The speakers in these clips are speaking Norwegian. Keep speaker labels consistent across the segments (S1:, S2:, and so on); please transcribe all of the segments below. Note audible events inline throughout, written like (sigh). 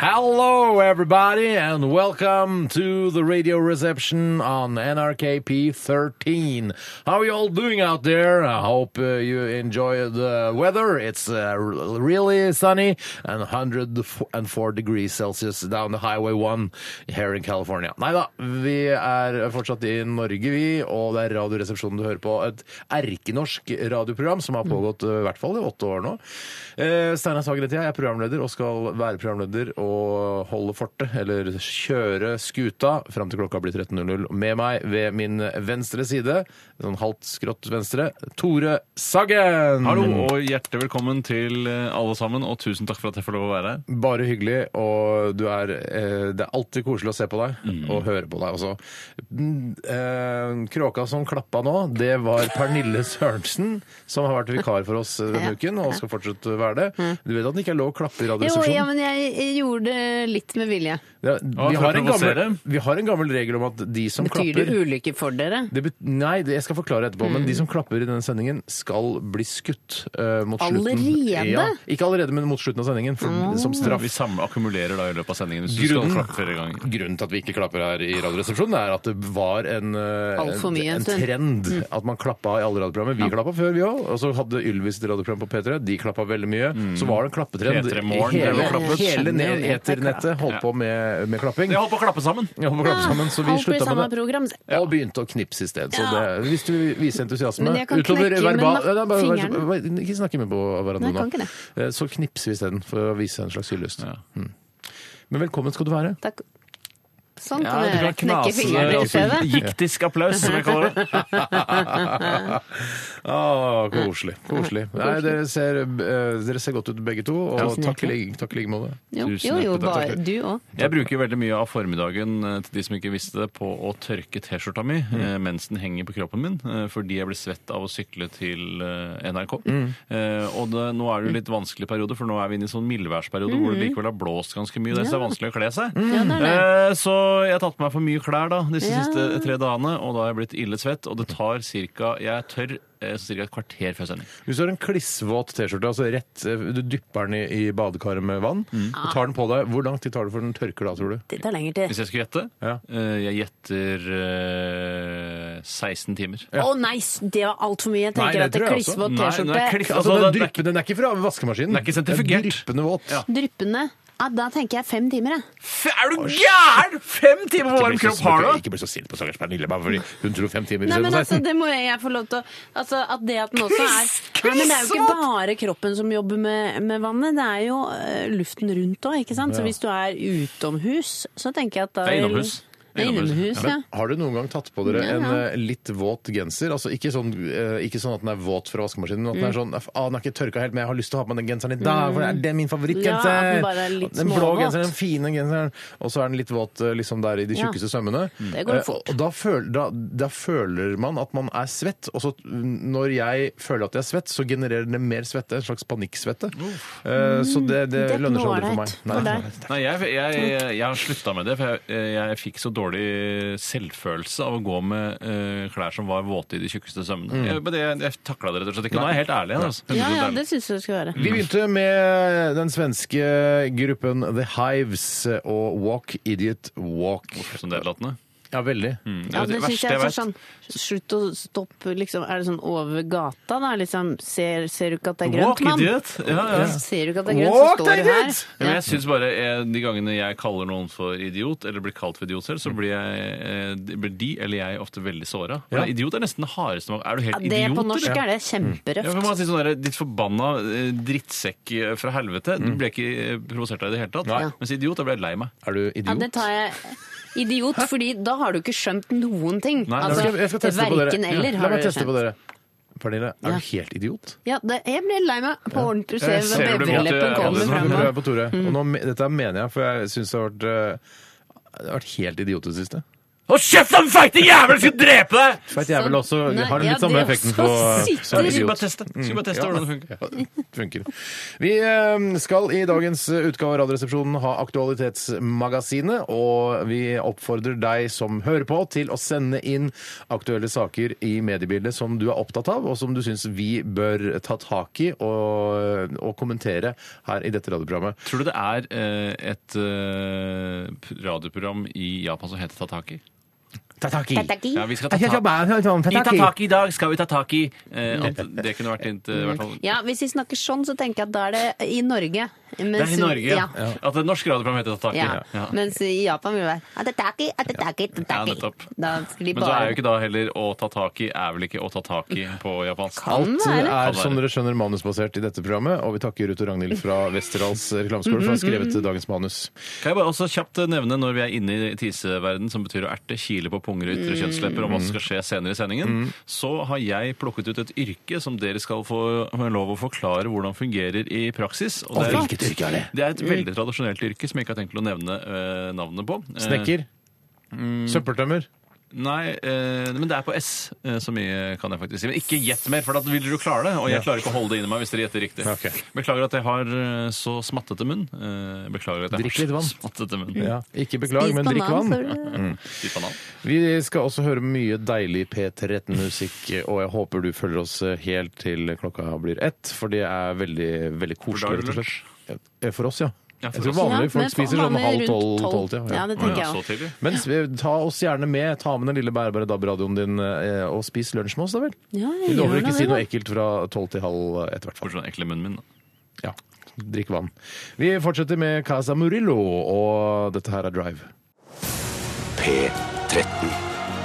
S1: Hello, everybody, and welcome to the radio reception on NRK P13. How are you all doing out there? I hope uh, you enjoy the weather. It's uh, r- really sunny and 104 degrees Celsius down the Highway 1 here in California. Nei da, vi er fortsatt i Norge, vi, og det er Radioresepsjonen du hører på. Et erkenorsk radioprogram som har pågått uh, i hvert fall i åtte år nå. Eh, Steinar Sagen heter jeg, jeg er programleder og skal være programleder og holde fortet, eller kjøre skuta, fram til klokka blir 13.00. Med meg ved min venstre side, sånn halvt skrått venstre, Tore Sagen!
S2: Hallo og hjertelig velkommen til eh, alle sammen, og tusen takk for at jeg får lov å være her.
S1: Bare hyggelig, og du er eh, Det er alltid koselig å se på deg, og høre på deg også. Mm, Eh, kråka som klappa nå, det var Pernille Sørensen, som har vært vikar for oss eh, denne uken, og skal fortsette å være det. Du vet at det ikke er lov å klappe i
S3: Mm. Jo, ja,
S1: Radioresepsjonen?
S3: men jeg jeg gjorde det litt med vilje.
S1: Ja, vi,
S2: for å
S1: har en gammel,
S2: provosere.
S1: vi har en gammel regel om at de som
S3: Betyr det Mm.
S1: klapper
S3: ulykke for dere?
S1: det bet, nei, det, jeg skal forklare etterpå, men de som klapper i denne sendingen, skal bli skutt eh, mot
S3: Allerede?
S1: slutten. ikke allerede, men mot slutten av sendingen, for, som straff.
S2: Vi samler, akkumulerer da i løpet av sendingen hvis du
S1: Grunnen-
S2: skal klappe flere ganger.
S1: Grunnen til at vi ikke klapper her i Radioresepsjonen, er at det var en, eh,
S3: Alt for
S1: en,
S3: mye, Mm.
S1: en
S3: så-
S1: trend at man klappa i alle radioprogrammer. Vi klappa før, vi òg. Og så hadde Ylvis et radioprogram på P3. De klappa veldig mye. Så var det en klappetrend.
S2: P3
S1: i
S2: Mm. Morgen ble
S1: Hele,
S2: klappet.
S1: hele ned-
S3: Skjønner jeg.
S1: eternettet holdt på med, med klapping.
S2: Jeg holdt på å klappe sammen!
S1: Vi holdt på å klappe sammen, så vi
S3: Ah, Alt blir
S1: slutta
S3: samme
S1: med det.
S3: program.
S1: Og begynte å knipse i sted. Så det, hvis du viser entusiasme
S3: Men jeg kan knekke med
S1: verbal-
S3: na-
S1: Nei, bare- bare-
S3: fingeren.
S1: bare- Ikke snakke med på hverandre
S3: Nei, jeg kan
S1: nå.
S3: ikke
S1: Eh, Så knipser vi isteden, for å vise en slags hyllest. Mm. Men velkommen skal du være.
S3: Takk. Sånn
S2: Ja,
S3: kan
S2: du
S3: jeg gjøre.
S2: kan knase
S3: Knekke
S2: det,
S3: fingrene i
S2: altså,
S3: stedet.
S2: Jiktisk applaus, som jeg kaller det.
S1: Ah, koselig. koselig. Nei, dere ser, eh, dere ser godt ut begge to, og
S3: Tusen
S1: takk i
S3: hjertelig.
S1: like- takk i like måte.
S3: Jo,
S2: Tusen
S3: jo, jo
S2: hjertelig takk.
S3: bare du òg.
S2: Jeg bruker veldig mye av formiddagen eh, til de som ikke visste det, på å tørke T-skjorta mi
S3: Mm.
S2: eh, mens den henger på kroppen min, eh, fordi jeg blir svett av å sykle til eh, NRK.
S3: Mm.
S2: Eh, Og det, nå er det jo litt vanskelig periode, for nå er vi inne i sånn mildværsperiode hvor det likevel har blåst ganske mye. Det er så det er vanskelig å kle seg.
S3: Mm. Ja, det er det.
S2: Eh, Så jeg har tatt på meg for mye klær da, disse
S3: Ja.
S2: siste tre dagene, og da har jeg blitt ille svett, og det tar cirka, jeg er tørr eh, så cirka et kvarter før sending.
S1: Hvis du har en klissvåt T-skjorte, altså rett, eh, du dypper den i, i badekaret med vann,
S3: Mm.
S1: og tar den på deg, hvor lang tid tar det før den tørker da, tror du?
S4: Det tar lenger til.
S2: Hvis jeg skulle gjette,
S1: Ja.
S2: eh, jeg gjetter eh, 16 timer.
S4: Å nei, s- det var altfor mye. Jeg
S1: Nei,
S4: tenker
S1: det
S4: at det
S1: tror
S4: er
S1: jeg også.
S4: klissvåt
S2: Nei, den er
S4: T-skjorte.
S2: kliss-
S1: Altså,
S2: Altså,
S1: den,
S2: det- det er
S1: dryppende, den er ikke fra vaskemaskinen.
S2: Den er ikke sentrifugert.
S1: Dryppende våt.
S2: Ja.
S3: Dryppende. Ja, da tenker jeg fem timer, jeg.
S2: Er du gæren?! Fem timer på varm kropp har du!
S1: Ikke bli så sint på stakkars Pernille, bare fordi hun tror fem timer
S3: Nei, men
S1: istedenfor
S3: altså,
S1: 16.
S3: det må jeg, jeg få lov til å Altså, at det at den også er Nei, men det er jo ikke bare kroppen som jobber med, med vannet, det er jo eh, luften rundt òg, ikke sant? Så hvis du er utomhus, så tenker jeg at da
S2: Det er innomhus.
S3: Det er innomhus, ja.
S1: Men har du noen gang tatt på dere
S3: Ja, ja.
S1: en eh, litt våt genser? Altså ikke sånn, eh, ikke sånn at den er våt fra vaskemaskinen, men at den er
S3: Mm.
S1: sånn ah, Den er ikke tørka helt, men jeg har lyst til å ha på meg den genseren i dag, for det er det er min favorittgenser!
S3: Ja, at den bare er litt
S1: den blå
S3: småvåt.
S1: genseren, den fine genseren, og så er den litt våt eh, liksom der i de
S3: Ja. Mm.
S1: tjukkeste sømmene.
S3: Det går
S1: Eh,
S3: fort.
S1: Og da føler, da, da føler man at man er svett, og så mm, når jeg føler at jeg er svett, så genererer det mer svette, en slags panikksvette. Eh, så det, det,
S3: Mm. Det er ikke
S1: lønner seg aldri
S3: noe
S1: for meg.
S3: ålreit for deg.
S2: Nei, jeg, jeg, jeg, jeg har slutta med det, for jeg, eh, jeg fikk så dårlig selvfølelse av å gå med eh, klær som var våte i de tjukkeste sømmene. Jeg, men det- jeg takla det rett og slett ikke. Nå er jeg helt ærlig. Altså.
S3: Ja, ja,
S2: 100% ærlig.
S3: det syns jeg det skal være.
S1: Vi begynte med den svenske gruppen The Hives og Walk Idiot Walk.
S2: Som det er latende.
S1: Ja, veldig.
S3: Ja, det synes
S2: verste
S3: jeg er
S2: vet-
S3: sånn, Slutt å stoppe, liksom. Er det sånn over gata, da? Liksom, ser, ser du ikke at det er
S2: Walk
S3: grønt, mann?
S2: idiot! Ja, ja.
S3: Ser du ikke at det er grønt, så
S1: Walk,
S3: står du her.
S1: idiot!
S2: Ja, Men jeg synes bare eh, De gangene jeg kaller noen for idiot, eller blir kalt for idiot selv, så blir, jeg, eh, de- blir de eller jeg ofte veldig såra.
S1: Ja.
S2: Idiot er nesten det hardeste man Er du
S3: Ja,
S2: helt
S3: det på
S2: idiot?
S3: norsk
S2: eller?
S3: er det
S2: Ja, for
S3: kjemperøft.
S2: man sier sånn der, Ditt forbanna eh, drittsekk eh, fra helvete. Du ble ikke eh, provosert av det i det hele tatt.
S3: Mm. Nei. Mm.
S2: Mens idiot, da ble jeg lei meg.
S1: Er du
S3: Ja, det
S1: idiot?
S3: tar jeg Idiot, fordi da har du ikke skjønt noen ting.
S2: Nei,
S1: Jeg
S3: altså,
S1: skal, jeg skal teste på dere.
S3: verken eller
S1: La
S3: har
S1: meg
S3: du
S1: teste på
S3: skjønt.
S1: dere. Pernille, er
S3: Ja.
S1: du helt idiot?
S3: Ja, det, jeg ble lei meg på ordentlig.
S1: Eh,
S3: Du
S2: Jeg
S3: ser
S2: ser
S3: hvor
S2: det måtte- ja,
S3: beverleppen
S2: det
S3: kommer
S2: er
S1: Nå
S3: frem.
S1: prøver
S3: nå. Mm.
S1: jeg på Tore. Og nå, me- dette mener jeg, for jeg syns det har vært eh, det har vært helt idiot i det siste. Hold kjeft, han feiting jævel! Skal drepe deg! Feit jævel
S3: Sånn.
S1: også
S3: Nei,
S1: har den
S3: ja,
S1: litt samme
S3: det
S1: effekten på
S3: også sitter.
S1: Idiot.
S2: Skulle bare teste, skulle bare teste
S1: Ja.
S2: hvordan det funker.
S1: (laughs) funker. Vi eh, skal i dagens eh, utgave av Radioresepsjonen ha Aktualitetsmagasinet, og vi oppfordrer deg som hører på til å sende inn aktuelle saker i mediebildet som du er opptatt av, og som du syns vi bør ta tak i og, og kommentere her i dette radioprogrammet.
S2: Tror du det er eh, et eh, p- radioprogram i Japan som heter Tataki?
S1: Ta tak i!
S4: Tataki.
S2: Ja, vi skal ta tak i Tataki i dag skal vi ta tak i! Eh, at det kunne vært int, eh, i hvert fall
S3: Ja, Hvis vi snakker sånn, så tenker jeg at da er det i Norge.
S2: Det er i Norge, ja.
S3: ja.
S2: At et norsk radioprogram heter Tataki.
S3: Ja.
S2: Ja.
S3: Mens i Japan vil det være atataki, atataki, atataki.
S2: Ja, nettopp.
S3: Da skulle de
S2: Men så er jo
S3: bare
S2: ikke da heller å ta tak i er vel ikke å ta tak i på japansk.
S3: Kan
S1: Alt
S3: være.
S1: er som dere skjønner manusbasert i dette programmet, og vi takker Ruth og Ragnhild fra Westerdals reklameskole
S2: (laughs)
S1: for å ha skrevet dagens manus.
S2: Kan jeg bare også kjapt nevne når vi er inne i tiseverden, som betyr å erte, kile på punger og ytre kjønnslepper, om hva som skal skje senere i sendingen, så har jeg plukket ut et yrke som dere skal få lov å forklare hvordan fungerer i praksis. Og det er-
S1: yrke er Mm.
S2: Det er et veldig tradisjonelt yrke som jeg ikke har tenkt til å nevne eh, navnet på. Eh,
S1: Snekker.
S3: Mm.
S1: Søppeltømmer.
S2: Nei, eh, men det er på S. eh, så mye kan jeg faktisk si. Men ikke gjett mer, for da vil dere jo klare det. Og jeg klarer ikke å holde det inni meg hvis dere gjetter riktig.
S1: Ok.
S2: Beklager at jeg har eh, så smattete munn. Eh, Beklager at jeg
S1: Drikk
S2: har
S1: litt vann.
S2: så smattete munn.
S1: (laughs) Ja. Ikke beklag, men drikk vann.
S2: Fy banan.
S1: Vi skal også høre mye deilig P13-musikk, og jeg håper du følger oss helt til klokka blir ett, for det er veldig,
S2: da
S1: veldig
S2: er
S1: koselig,
S2: det
S1: rett og slett. Eh, For oss, ja.
S2: Ja, for
S1: Jeg tror
S2: oss.
S1: vanlige
S3: Ja, men
S1: folk
S3: for-
S1: spiser sånn
S3: vanlig
S1: halv
S3: rundt
S1: tolv,
S3: tolv.
S1: tolv
S3: Ja, det tenker jeg
S2: Så
S3: også.
S2: tidlig.
S1: Men s- eh, ta oss gjerne med. Ta med den lille bærbare DAB-radioen din eh, og spis lunsj med oss, da vel.
S3: Ja,
S1: Vi
S3: jeg
S1: lover
S3: gjør
S1: ikke
S3: da
S1: si
S3: det, da.
S1: noe ekkelt fra tolv til halv ett, i hvert fall.
S2: Bortsett fra den sånn ekle munnen min. da.
S1: Ja. Drikk vann. Vi fortsetter med Casa Murillo, og dette her er Drive.
S5: P13.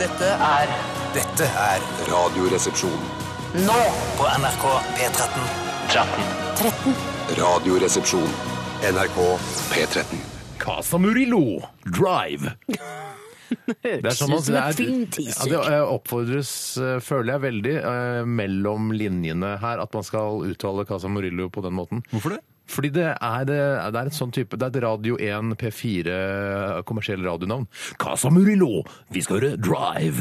S6: Dette er
S5: Dette er Radioresepsjon.
S6: nå på NRK P13.
S5: Radioresepsjon. NRK P13.
S1: Casa Murillo Drive. Det er sånn man
S3: ut som
S1: det
S3: et
S1: er-
S3: filmteaser.
S1: Ja, det eh, oppfordres, eh, føler jeg, veldig eh, mellom linjene her, at man skal uttale Casa Murillo på den måten.
S2: Hvorfor det?
S1: Fordi det er, det, det er en sånn type Det er et Radio 1 P4 eh, kommersiell radionavn. Casa Murillo! Vi skal høre Drive!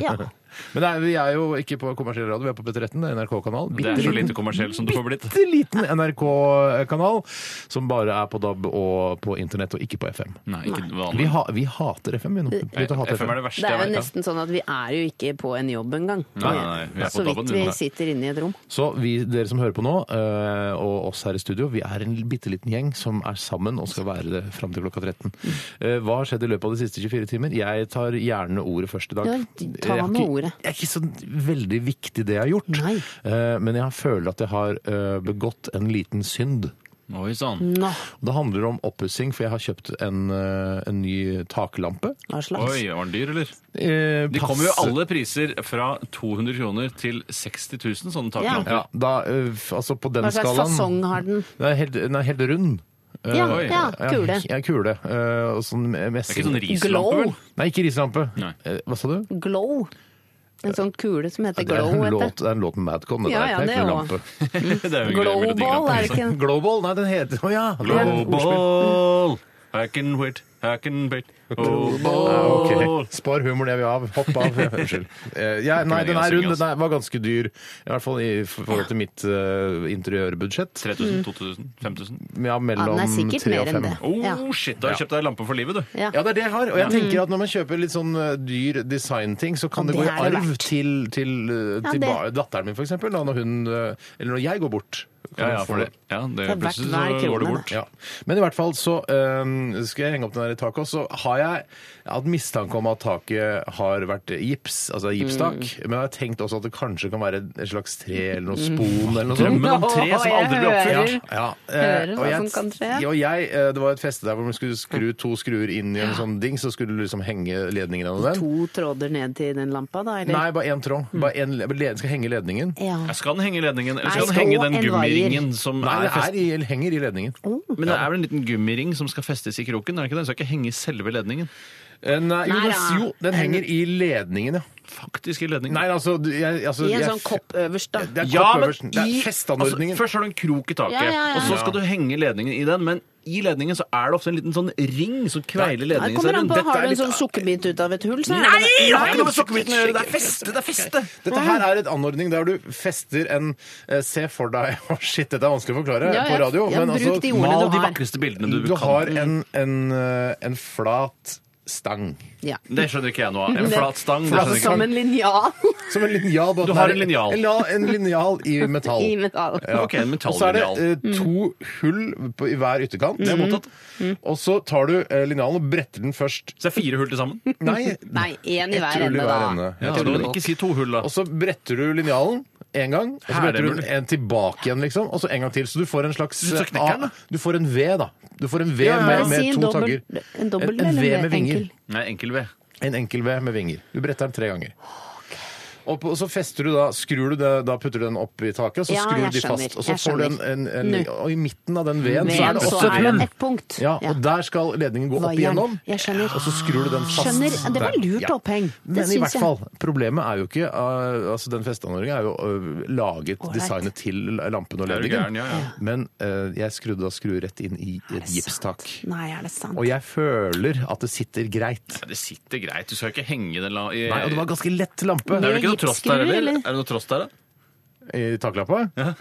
S3: Ja.
S1: Men nei, vi er jo ikke på kommersiell radio, vi er på P13, det er NRK-kanal.
S2: Det er så lite kommersiell som du får blitt.
S1: bitte liten NRK-kanal som bare er på DAB og på internett og ikke på FM.
S2: Nei, ikke
S1: Vi,
S2: vanlig.
S1: ha, vi hater FM, vi nå. Begynt å hate
S2: FM er
S1: FM.
S2: det verste
S3: Det er
S2: jeg
S3: jo
S2: vet.
S3: nesten sånn at vi er jo ikke på en jobb engang.
S2: Nei, nei, nei, vi er på
S3: Så
S2: dabben,
S3: vidt vi
S2: nei.
S3: sitter inne i et rom.
S1: Så vi, dere som hører på nå, eh, og oss her i studio, vi er en bitte liten gjeng som er sammen og skal være det fram til klokka 13. Eh, Hva har skjedd i løpet av de siste 24 timer? Jeg tar gjerne ordet først i dag.
S3: Ja, ta
S1: Jeg er
S3: med
S1: ikke-
S3: ordet.
S1: Jeg er ikke så veldig viktig det jeg har gjort,
S3: Nei.
S1: Eh, men jeg føler at jeg har eh, begått en liten synd.
S2: Oi sånn. sann.
S3: Nå,
S1: Det handler om oppussing, for jeg har kjøpt en, eh, en ny taklampe.
S3: hva slags?
S2: Oi, var den dyr, eller?
S1: Eh,
S2: De
S1: passe-
S2: kommer jo i alle priser fra 200 kroner til 60 000 sånne taklamper.
S1: Ja, da, eh, f- altså på den
S3: Hva slags
S1: skalaen
S3: fasong har den?
S1: Den er helt, den er helt rund. Eh,
S3: Ja,
S2: oi.
S3: ja kule.
S1: Ja, kule. eh, og sånn
S2: Det er
S1: messing.
S2: ikke sånn rislampe,
S3: Glow.
S2: vel? (laughs)
S1: Nei, ikke rislampe.
S2: Nei.
S1: Eh, Hva sa du?
S3: Glow. En sånn kule som heter
S1: Det er,
S3: Glow.
S1: en
S3: heter
S1: låt, det er en låt med Madcon. det
S3: Ja,
S1: der.
S3: ja,
S1: det er ikke
S3: det
S1: en
S3: også.
S1: lampe.
S2: Det er jo en grei melodi, kan
S3: Glowball, er
S2: jeg
S3: det
S2: si.
S3: ikke den?
S1: Glowball? Nei, den heter Å ja! det er et ordspill.
S2: Global. I can wait, I can wait. Global.
S1: Ja, Ah, ok. Spar humor det vi har. Hopp
S2: (laughs)
S1: av. Unnskyld. Eh, ja, nei, den er rund. Den er, var ganske dyr. I hvert fall i forhold til mitt eh, interiørbudsjett.
S2: 3000, 2000, 5000.
S1: Ja,
S3: Ja,
S1: mellom
S3: den er sikkert
S1: tre
S3: mer
S1: og
S3: enn
S1: fem.
S3: det.
S2: Oh,
S3: Ja.
S2: shit, da har du kjøpt deg lampe for livet, du.
S3: Ja. Mm.
S1: Ja, det er det jeg har. Og jeg tenker at når man kjøper litt sånn eh, dyr designting, så kan
S3: Ja,
S1: det, gå i
S3: det er det
S1: arv
S3: verdt.
S1: til, til, eh,
S3: Ja,
S1: til
S3: det-
S1: ba- datteren min, for eksempel. Da, når hun eh, Eller når jeg går bort. kan
S2: Ja, ja,
S1: jeg få
S2: for det. Ja, det,
S3: Det er verdt
S2: plutselig så
S3: hver
S2: går det
S3: krone,
S2: bort.
S1: Ja. Men i hvert fall så eh, skal jeg henge opp den der i taket, og så har jeg hatt mistanke om at taket har vært gips, altså gipstak,
S3: Mm.
S1: men jeg har tenkt også at det kanskje kan være et slags tre eller noe spon eller
S3: (laughs)
S1: noe sånt.
S2: Drømmen om tre som
S3: Åh, jeg
S2: aldri blir oppfylt.
S3: hører.
S1: Ja,
S3: Hører
S1: eh,
S3: hva som kan skje.
S1: Ja, og jeg, eh, det var et feste der hvor man skulle skru to skruer inn i en sånn ding, så skulle du liksom henge ledningen av den.
S3: To tråder ned til den lampa, da? Eller?
S1: Nei, bare én tråd. Bare en, led- skal henge i ledningen.
S3: Ja.
S2: Ja, Skal den henge i ledningen, eller skal
S3: Nei,
S2: den henge i
S3: og
S2: den
S3: en
S2: gummiringen som
S1: Nei,
S2: er
S1: det
S2: festet?
S1: er i, henger i ledningen.
S3: Oh.
S2: Men det er vel en liten gummiring som skal festes i kroken? er det ikke det? Den skal ikke henge i selve ledningen.
S1: Eh, Nei, jo,
S3: Nei
S1: den,
S3: da.
S1: jo, den henger i ledningen, ja.
S2: faktisk i ledningen.
S1: Nei, altså, du- jeg, altså
S3: I en
S1: jeg-
S3: sånn kopp øverst, da.
S1: Det er
S2: Ja, men
S1: kopphøversen. Det
S2: i-
S1: er festanordningen.
S2: Altså, først har du en krok i taket,
S3: Ja, ja, ja.
S2: og så
S1: Ja.
S2: skal du henge ledningen i den. Men i ledningen så er det ofte en liten sånn ring som kveiler
S3: Ja, Det
S2: ledningen.
S3: kommer an på,
S2: Dette
S3: Har
S2: er
S3: du en
S2: litt-
S3: sånn sukkerbit ut av et hull, så er
S2: Nei!
S3: det-
S2: Det har ikke noe med sokkebiten å gjøre! Det er feste! Det er feste!
S1: Dette her er et anordning der du fester en eh, Se for deg (laughs) Å, shit, dette er vanskelig å forklare
S3: Ja, ja.
S1: på radio. altså,
S3: Ja, bruk de ordene
S2: Mal
S3: du
S2: de
S3: har.
S2: vakreste bildene du, kan.
S1: du har en, en, eh, en flat stang.
S3: Ja.
S2: Det skjønner ikke jeg noe av. En flat stang. Det
S1: Flat
S2: skjønner jeg ikke.
S1: stang.
S3: Som en linjal
S1: Som en linjal. bare
S2: Du
S1: at
S2: har
S1: den er-
S2: en linjal.
S1: En, la- en linjal i metall.
S3: i metall.
S1: Ja.
S2: Ok, en
S1: Og så er det
S2: metalllinjal.
S1: eh, to hull på, i hver ytterkant. Det er mottatt.
S3: Mm.
S1: Og så tar du eh, linjalen og bretter den først.
S2: Så det er fire hull til sammen?
S1: Nei,
S3: Nei, én i
S1: ett hull
S3: hver ende, da.
S1: Ja,
S2: Ja,
S1: det
S2: da,
S1: er
S2: ikke si to hull, da.
S1: Og så bretter du linjalen en gang, og så
S2: Her er
S1: bretter du
S2: mulig.
S1: en tilbake igjen, liksom, og så en gang til. Så du får en slags ah,
S2: Så knekker den, da.
S1: Du får en V, da. Du får en V
S2: ja, ja.
S1: med,
S3: Si
S1: med
S3: en
S1: to
S3: dobbel-
S1: tagger.
S3: en dobbel
S1: en, en
S3: eller
S1: V
S3: en
S1: med vinger.
S3: enkel?
S2: Nei, enkel ved.
S1: En enkel V med vinger. Du bretter den tre ganger. Og, på, og så fester du da, skrur du det, da putter du den opp i taket, og så
S3: Ja,
S1: skrur
S3: jeg
S1: du de fast.
S3: skjønner,
S1: Og så
S3: jeg
S1: får du en, en, en,
S3: Nå.
S1: Og i midten av den V-en så er
S3: Men
S1: det
S3: så
S1: også
S3: er det
S1: et
S3: et punkt.
S1: ja, og der skal ledningen gå opp
S3: Vaieren.
S1: igjennom,
S3: Jeg skjønner.
S1: og så skrur du den fast.
S3: Skjønner. Det var
S1: der.
S3: lurt
S1: Ja.
S3: oppheng.
S1: Men
S3: Det
S1: i
S3: syns
S1: hvert
S3: jeg.
S1: fall, problemet er jo ikke uh, altså Den festeanordningen er jo uh, laget,
S3: Ålreit.
S1: designet til lampen og
S2: Er du gæren?
S1: ledningen.
S2: Ja, ja.
S1: Men uh, jeg skrudde da skruer rett inn i et gipstak.
S3: Nei, er det sant?
S1: Og jeg føler at det sitter greit.
S2: Ja, Det sitter greit. Du skal jo ikke henge den la... i-
S1: Nei, og det var ganske lett lampe
S2: Eh, Det er vel ikke noe tross der, eller?
S3: Gipsskruer, eller?
S2: Er det noe tross der, da?
S1: i
S2: (laughs)
S1: taklappa.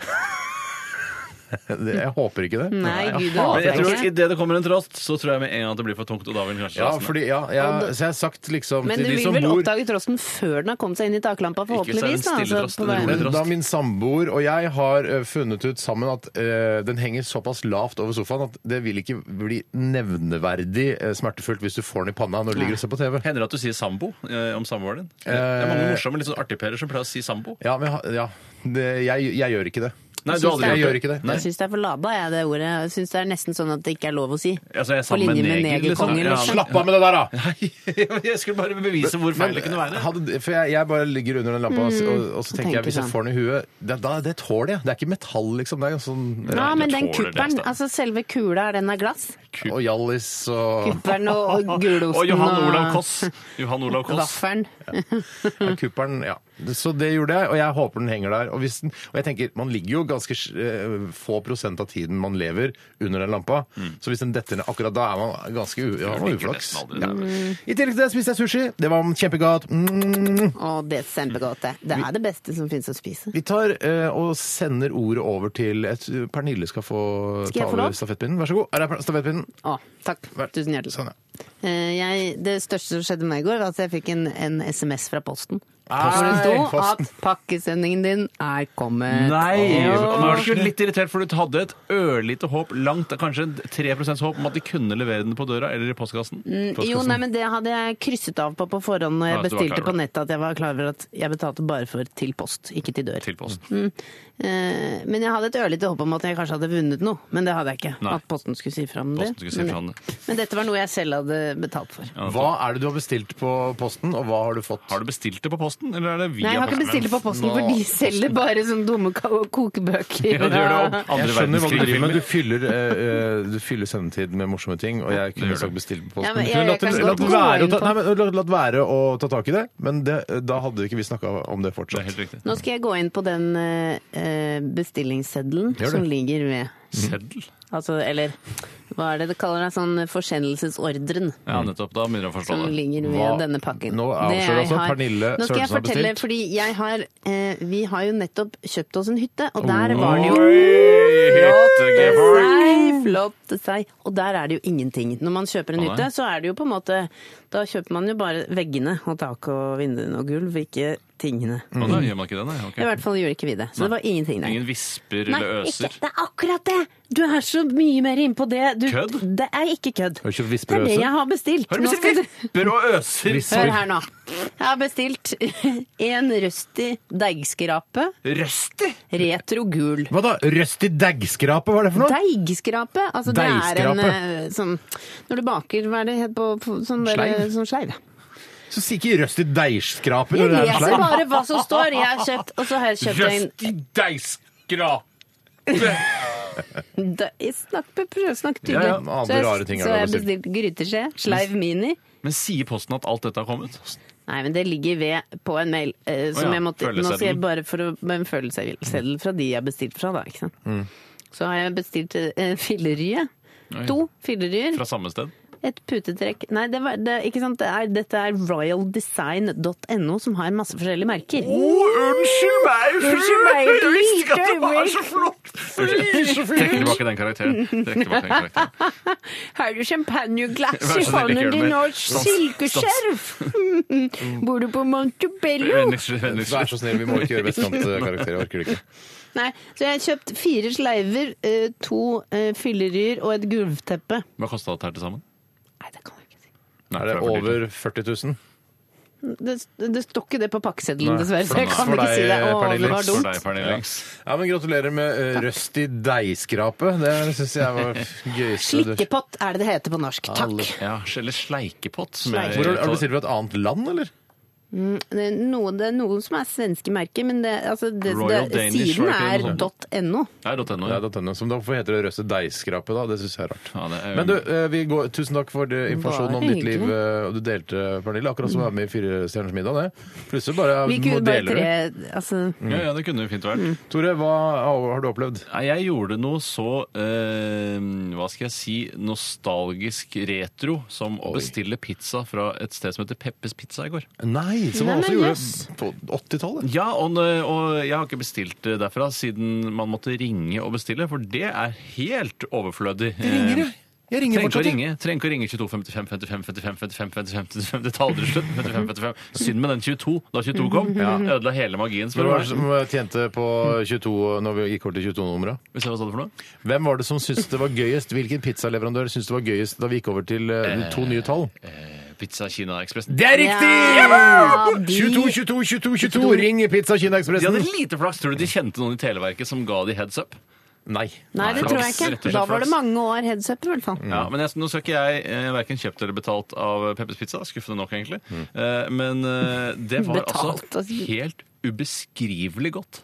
S1: Det- jeg håper ikke det.
S3: Nei,
S1: Jeg
S3: gud, det
S1: hater
S3: håper
S2: Men jeg
S3: jeg
S2: tror
S3: ikke.
S2: Idet det kommer en trost, så tror jeg med en gang at det blir for tungt. Og da vil den kanskje
S1: Ja,
S2: rasende.
S1: fordi, ja, jeg, så jeg har sagt liksom
S3: Men
S1: til
S3: du
S1: de
S3: vil
S1: som
S3: vel
S1: bor
S3: oppdage trosten før den har kommet seg inn i
S2: så
S3: taklampa,
S2: er det en
S3: forhåpentligvis? da,
S2: stille
S3: altså,
S2: trost,
S3: på
S2: en rolig
S3: veien.
S2: trost.
S1: men da min samboer og jeg har eh, funnet ut sammen at eh, den henger såpass lavt over sofaen at det vil ikke bli nevneverdig eh, smertefullt hvis du får den i panna når du ligger og ser på TV.
S2: Hender det at du sier sambo eh, om samboeren din? Det er mange morsomme litt sånn artigperer som pleier å si sambo.
S1: Ja, men jeg har- ja, det, jeg, jeg gjør ikke det.
S2: Nei,
S3: synes det er-
S1: Jeg gjør ikke det.
S2: Nei.
S3: Jeg syns det er for lada, jeg, det ordet. Jeg syns det er nesten sånn at det ikke er lov å si.
S2: Altså, jeg er
S3: På
S2: sammen
S3: linje
S2: med
S3: med
S2: neger, liksom.
S3: negerkongen,
S2: Ja,
S3: liksom.
S1: Slapp av med det der, da!
S2: Nei, jeg skulle bare bevise hvor feil det kunne være.
S1: Hadde, for jeg, jeg bare ligger under den lampa, og, og, Mm, og så tenker jeg
S3: tenker
S1: hvis jeg
S3: sånn.
S1: får den i huet Det, da, det tåler jeg. Det er ikke metall, liksom. Det er jo sånn
S3: Ja,
S2: Nei,
S3: men
S2: det tåler
S3: den
S2: det,
S3: kuppelen,
S2: Stein.
S3: altså selve kula, er den av glass?
S1: Og Hjallis og
S3: Kuppelen og og gulosten
S2: Og Johan Olav Koss. Johan Olav Koss.
S3: Vaffelen.
S1: (laughs) ja, kuppelen. Ja. Så det gjorde jeg, og jeg håper den henger der. Og, hvis den, og jeg tenker, man ligger jo ganske eh, få prosent av tiden man lever under den lampa, så hvis den detter ned akkurat da, er man ganske u, ja,
S2: Mm. Jeg
S1: man
S2: liker
S1: er uflaks.
S2: nesten aldri
S1: Ja.
S2: det.
S1: I tillegg til det spiste jeg sushi. Det var kjempegodt. Mm.
S3: Og det er kjempegodt, det. Det er det beste som finnes å spise.
S1: Vi tar eh, og sender ordet over til et, Pernille skal få
S3: Skal jeg
S1: ta
S3: få lov?
S1: over stafettpinnen. Vær så god. Er det stafettpinnen?
S3: Å, takk. Tusen hjertelig.
S1: Sånn, ja.
S3: Eh, Jeg, det største som skjedde meg i går, var at jeg fikk en, en SMS fra Posten.
S1: Posten.
S3: Hvor det
S1: Nei,
S3: sto
S1: Posten.
S3: at pakkesendingen din er kommet.
S2: Nei!
S3: Jo.
S2: Og nå er du ikke litt irritert, for du hadde et ørlite håp, langt, kanskje 3 håp om at de kunne levere den på døra eller i postkassen.
S3: Mm, Jo, nei, men det hadde jeg krysset av på på forhånd når
S2: Ja,
S3: jeg
S2: så du var
S3: bestilte
S2: klar over
S3: på nettet at jeg var klar over at jeg betalte bare for til post, ikke til dør. Mm.
S2: Til posten.
S3: Eh, Men jeg hadde et ørlite håp om at jeg kanskje hadde vunnet noe, men det hadde jeg ikke.
S2: Nei.
S3: At Posten skulle si fra om det.
S2: Posten skulle sånn. si
S3: Men-
S2: fra om det.
S3: Men dette var noe jeg selv hadde betalt for.
S1: Hva er det du har bestilt på posten, og hva har du fått?
S2: Har du bestilt det på posten, eller er det via
S3: Nei, jeg har ikke bestilt det på Posten, for de selger bare sånne dumme ka- kokebøker.
S2: Ja, det gjør det om andre
S1: Jeg skjønner hva du driver med.
S2: verdenskrig-filmer.
S1: Du fyller, eh, eh, du fyller sendetid med morsomme ting, og jeg kunne
S2: gjør
S1: sagt
S2: du.
S1: bestilt på posten.
S3: Ja, men jeg-
S1: Kunne
S3: jeg
S1: latt-
S3: kan
S1: latt
S3: godt gå
S1: være å
S3: inn
S1: ta-
S3: på-
S1: nei, men latt- Latt være å ta tak i det, men det, da hadde ikke vi snakka om det
S2: Det er
S1: fortsatt.
S2: helt riktig.
S3: Nå skal jeg gå inn på den eh, eh, bestillingsseddelen
S1: Gjør det.
S3: som ligger ved.
S2: Seddel?
S3: Altså, eller hva er det det kaller det? Sånn forsendelsesordren.
S2: Ja, nettopp. Da begynner jeg å forstå
S3: som
S2: det.
S3: ligger ved
S1: Hva-
S3: denne pakken.
S1: Nå avslører
S3: Det jeg
S1: altså Pernille
S3: Nå skal jeg
S1: Sørensen har
S3: fortelle,
S1: bestilt.
S3: fordi jeg har, eh, vi har jo nettopp kjøpt oss en hytte, og der var det jo
S2: Hyttegeborg!
S3: Nei, flott seg. Og der er det jo ingenting. Når man kjøper en
S2: Å, nei.
S3: hytte, så er det jo på en måte Da kjøper man jo bare veggene og taket og vinduene og gulv, ikke tingene.
S1: Mm.
S2: Å, da gjør man ikke det, nei. ok.
S3: I hvert fall gjorde ikke vi det. Så det var ingenting der.
S2: Ingen visper eller
S3: ikke.
S2: øser.
S3: Det er akkurat det! Du er så mye mer innpå det. Du,
S2: Kødd?
S3: Det er ikke kødd.
S1: Har du kjøpt
S3: Det
S1: visper
S3: er
S1: og
S3: det
S1: øser?
S3: jeg har bestilt.
S2: Har du
S3: Nå skal
S2: bestilt visper og øser?
S3: Hør her nå. Jeg har bestilt (laughs) en røstig deigskrape,
S2: Røsti?
S3: retro gul.
S1: Hva da? Røst i deggskrape, hva er det for noe?
S3: Deigskrape? Altså det er en
S1: Deigskrape.
S3: eh, sånn Når du baker, hva er det het på på- sånn der,
S2: Sleiv.
S3: Sånn sleiv. ja.
S1: Så si ikke røst i deigskrape
S3: Jeg
S1: når det er en
S3: leser
S1: sleip.
S3: bare hva som står. Jeg har kjøpt, og så har jeg kjøpt en
S2: Røsti deigskrap.
S3: Da- jeg Snakk, prøv å snakke tydelig.
S1: Ja, ja, andre
S3: så jeg,
S1: rare ting har
S3: så
S1: du
S3: jeg har bestilt gryteskje, sleiv mini.
S2: Men sier Posten at alt dette har kommet?
S3: Nei, men det ligger ved på en mail. eh, som
S2: Å ja,
S3: jeg måtte, nå sier jeg
S2: følgeseddelen.
S3: bare for å, med en følgeseddel fra de jeg har bestilt fra, da. ikke sant? Så har jeg bestilt eh, fillerye.
S2: Mm. Oi.
S3: To filleryer.
S2: Fra samme sted.
S3: Et putetrekk. Nei, det var, det, ikke sant? Det er, dette er royaldesign.no som har masse forskjellige merker.
S1: unnskyld meg!
S3: Unnskyld meg, et Jeg visste ikke at det lite var så
S1: flott!
S2: Trekker tilbake den karakteren. Trekker tilbake den
S3: (laughs)
S2: karakteren.
S3: Har du
S2: Vær
S3: champagneglass i
S2: så snill, ikke
S3: hånden
S2: gjør det sånn-
S3: din
S2: mer.
S3: og
S2: Stans,
S3: silkeskjerf?
S2: (laughs)
S3: Bor du på Montebello?
S2: Vennligst, vennligst.
S1: Vær så snill, vi må ikke gjøre vestkantkarakterer. Orker det ikke.
S3: Nei, så jeg har kjøpt fire sleiver, eh, to eh, filleryer og et gulvteppe.
S2: Hva kosta dette her til sammen?
S3: Nei, det kan jeg ikke si.
S2: Nei,
S1: Er det
S2: tror jeg for dyrt.
S1: over 40 000?
S3: Det, det står ikke det på pakkeseddelen,
S1: Nei,
S3: dessverre. Så jeg
S1: for
S3: kan
S1: deg,
S3: ikke si det. Å,
S1: Pernille.
S3: det var
S2: For
S3: dumt.
S2: deg, Pernille.
S1: Ja, men Gratulerer med eh, røst i deigskrape. Det syns jeg
S3: (laughs)
S1: var gøyeste. du-
S3: Slikkepott er det det heter på norsk. Takk.
S2: Ja, eller sleikepott. Som
S3: Sleik-
S1: Hvor, har du bestilt fra et annet land, eller?
S3: Det er noen, Eh, det er noen som er svenske merker, men det, altså, det,
S2: Royal
S3: det,
S2: Danish
S3: siden
S2: var ikke noe
S3: er .no.
S2: Ja, .no.
S1: Ja,
S2: Ja.
S1: da tønner. Som da, hvorfor heter det røst i deigskrape, da? Det syns jeg er rart.
S2: Ja, det er-
S1: Men du, eh, vi går, tusen takk for det informasjonen om
S3: Bare
S1: ditt liv, eh, og du delte, Pernille. Akkurat som å være med i Fire stjerners middag, det. Plutselig bare
S2: Mm,
S3: Vi
S1: må
S3: kunne bare
S1: dele
S3: tre
S1: det.
S3: altså,
S2: Ja, ja, det kunne jo fint vært.
S3: Mm.
S1: Tore, hva har du opplevd?
S2: Nei, jeg gjorde noe så eh, hva skal jeg si, nostalgisk retro som å
S1: Oi.
S2: bestille pizza fra et sted som heter Peppes Pizza i går.
S1: Nei, som man også
S3: Nei, men
S1: gjorde
S3: jøss.
S1: på 80-tallet.
S2: Ja, og, eh, og jeg har ikke bestilt det derfra siden man måtte ringe og bestille, for det er helt overflødig. Eh,
S1: Ringer jeg? Jeg ringer
S2: Trenger ikke å
S1: fortsatt. jeg.
S2: ringe. Trenger ikke å ringe 22 55 55 55 55 55 55 Det tar aldri slutt. 55 55. Synd med den 22 da 22 kom.
S1: Mhm.
S2: Ødela hele magien.
S1: Hvem
S2: spør du
S1: var det
S2: meg.
S1: som tjente på 22 når vi gikk over til 22-numra?
S2: Hvis jeg var sånn for noe.
S1: Hvem var det som syntes det var gøyest? Hvilken pizzaleverandør syntes det var gøyest da vi gikk over til eh, to nye tall?
S2: Pizza Kina Ekspress.
S1: Det er riktig!
S3: Ja,
S1: Jabba! 22, 22, 22, 22! Ring Pizza Kina
S2: De
S1: Ekspressen!
S2: hadde lite flaks. Tror du de kjente noen i Televerket som ga de heads up?
S1: Nei.
S3: Nei, det
S2: Flaks,
S3: tror
S2: rett
S3: jeg
S2: og slett
S3: ikke. Da var det
S2: flaks.
S3: mange år heads up, i hvert fall.
S2: Ja, men jeg, nå skal ikke jeg eh, verken kjøpt eller betalt av Peppers Pizza. Skuffende nok, egentlig. Eh, men eh, det var
S3: Betalt,
S2: altså
S3: altså.
S2: helt ubeskrivelig godt.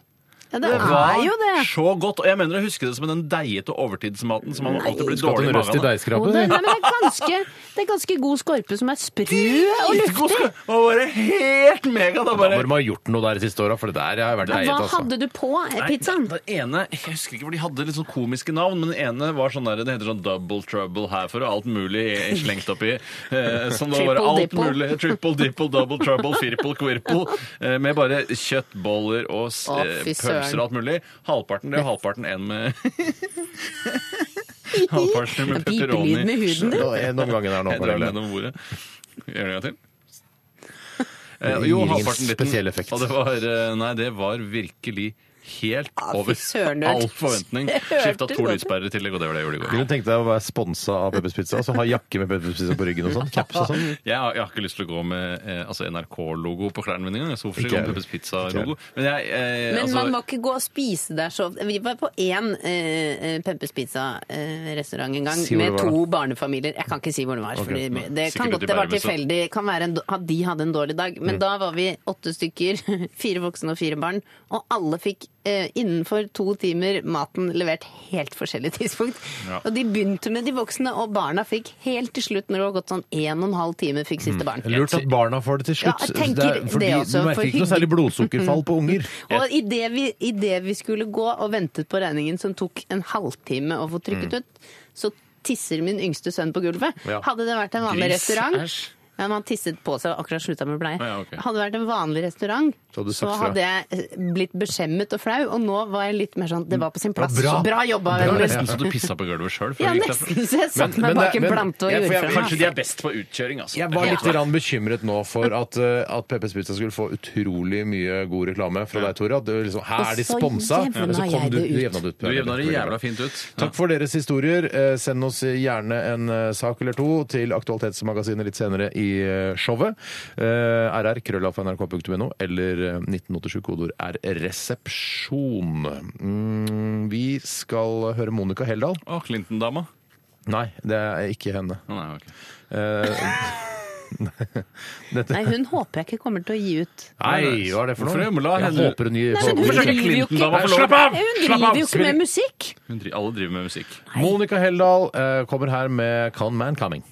S3: Ja, det er jo det.
S2: så godt. Og jeg mener å huske det som den deigete overtidsmaten som man alltid blir
S1: Hatt
S2: dårlig
S1: en
S2: i magen av.
S1: røst i
S3: Jo, det,
S1: deigskrapet.
S3: nei, men det, er ganske, det er ganske god skorpe som er sprø og
S2: God
S3: luftig.
S2: skal- Det var bare helt mega! Da
S1: Da
S2: bare
S1: bør man ha gjort noe der de siste åra, for det der har jeg vært eiet,
S3: Hva
S1: altså.
S3: hadde du på eh,
S2: Nei,
S3: pizzaen?
S2: Den ene, Jeg husker ikke hvor de hadde litt sånn komiske navn, men den ene var sånn der, det heter sånn Double Trouble herfor og alt mulig slengt oppi. Eh, som det var
S3: Triple
S2: alt
S3: Dipple.
S2: mulig. Triple Dipple, Double Trouble, Firple Quirple. Eh, med bare kjøttboller og s-
S3: Å,
S2: eh,
S3: fy søren.
S2: pølser og alt mulig. Halvparten det, og halvparten en med (laughs) Halvparten med
S3: Pipelyd med
S2: pepperoni.
S3: huden din.
S1: Nå er- Noen ganger der nå,
S2: Jeg drar den
S1: Pernille.
S2: gjennom bordet. Gjør det en gang til. Eh, jo,
S1: Gir ingen
S2: halvparten liten.
S1: spesiell effekt.
S2: Og det var, eh, nei, det var virkelig helt
S3: Ah, fy
S2: over
S3: søren, du hørte-
S2: all forventning.
S3: (laughs) Jeg hørte
S2: Skifta to
S3: det.
S2: lyspærer i tillegg, og det var det jeg gjorde i går.
S1: Kunne du tenkt deg å være sponsa av Peppers Pizza? Altså ha jakke med Peppers Pizza på ryggen og sånn? Caps og sånn?
S2: Jeg har, jeg har ikke lyst til å gå med eh, altså NRK-logo på klærne mine engang. Jeg så hvorfor ikke
S1: Ikke
S2: gå med
S1: heller.
S2: Peppers Pizza-logo. Men jeg eh,
S3: Men
S2: altså,
S3: man må ikke gå og spise der så ofte. Vi var på én eh, Peppes Pizza-restaurant en gang
S1: Si hvor
S3: med
S1: det var,
S3: to barnefamilier. Jeg kan ikke si hvor det var, fordi det kan
S2: Sikkert
S3: godt
S2: ute i
S3: det var
S2: Bergenhuset.
S3: tilfeldig. Kan være en, at de hadde en dårlig dag.
S1: Mm.
S3: Men da var vi åtte stykker, (laughs) fire voksne og fire barn, og alle fikk eh, innenfor to timer maten levert helt forskjellig (laughs) tidspunkt.
S2: Ja.
S3: Og de begynte med de voksne, og barna fikk helt til slutt, når det var gått sånn en og en halv time, fikk
S1: Mm.
S3: siste barn.
S1: Lurt at barna får det til
S3: Ja,
S1: slutt.
S3: jeg tenker
S1: er-
S3: det
S1: fordi
S3: også,
S1: du
S3: for Mm.
S1: merker ikke noe særlig blodsukkerfall på unger.
S3: Og idet vi, i det vi skulle gå og ventet på regningen som tok en halvtime å få trykket ut, så tisser min yngste sønn på gulvet.
S1: Mm. Ja.
S3: Hadde det vært en vanlig
S2: Gris,
S3: restaurant
S2: æsj.
S3: ja, men Han tisset på seg og akkurat slutta med bleie.
S2: Å, ja, ok.
S3: Hadde det vært en vanlig restaurant,
S1: Så hadde du
S3: så
S1: sagt fra.
S3: hadde jeg eh, blitt beskjemmet og flau. Og nå var jeg litt mer sånn Det var på sin plass.
S1: Mm. bra.
S3: Så bra jobba.
S2: det var
S3: venner.
S2: nesten så du pissa på gulvet sjøl.
S3: Ja, nesten så jeg satte
S1: men
S3: meg bak
S1: det-
S3: en
S1: men-
S3: plante og
S1: jeg- for
S3: gjorde
S1: jeg-
S3: fra
S2: Kanskje
S3: meg.
S2: de er best på utkjøring, altså.
S1: Jeg var litt grann bekymret nå for at, eh, at Peppers Pizza skulle få utrolig mye god reklame fra deg, Tore. At det var liksom, her
S3: Og
S1: er de
S3: så
S1: sponsa,
S3: jevna
S1: og så kom
S3: jeg
S1: du,
S3: det
S1: du
S3: ut.
S1: jevna det ut.
S2: Du jevna det jævla fint ut.
S1: Takk for deres historier. Eh, Send oss gjerne en eh, sak eller to til Aktualitetsmagasinet litt senere i eh, showet. Eh, RR, krøllalfa.nrk.no, eller eh, 1987-kodeord er resepsjon. Mm, vi skal høre Monica Heldal.
S2: Å, Clinton-dama.
S1: Nei, det er ikke henne.
S2: Å, nei, ok.
S1: Eh, (laughs)
S3: Nei, hun håper jeg ikke kommer til å gi ut.
S1: Nei, hva er det for noe?
S2: Hvorfor la
S1: jeg
S2: henne-
S1: håper hun gir
S3: Nei, men hun
S2: Hvorfor skal
S3: driver jo ikke,
S2: Clinton-dama få lov?
S1: Slapp av!
S3: hun
S1: Slapp av!
S3: driver jo ikke med musikk!
S2: Hun dri- Alle driver med musikk.
S1: Monica Heldal eh, kommer her med Con Man Coming.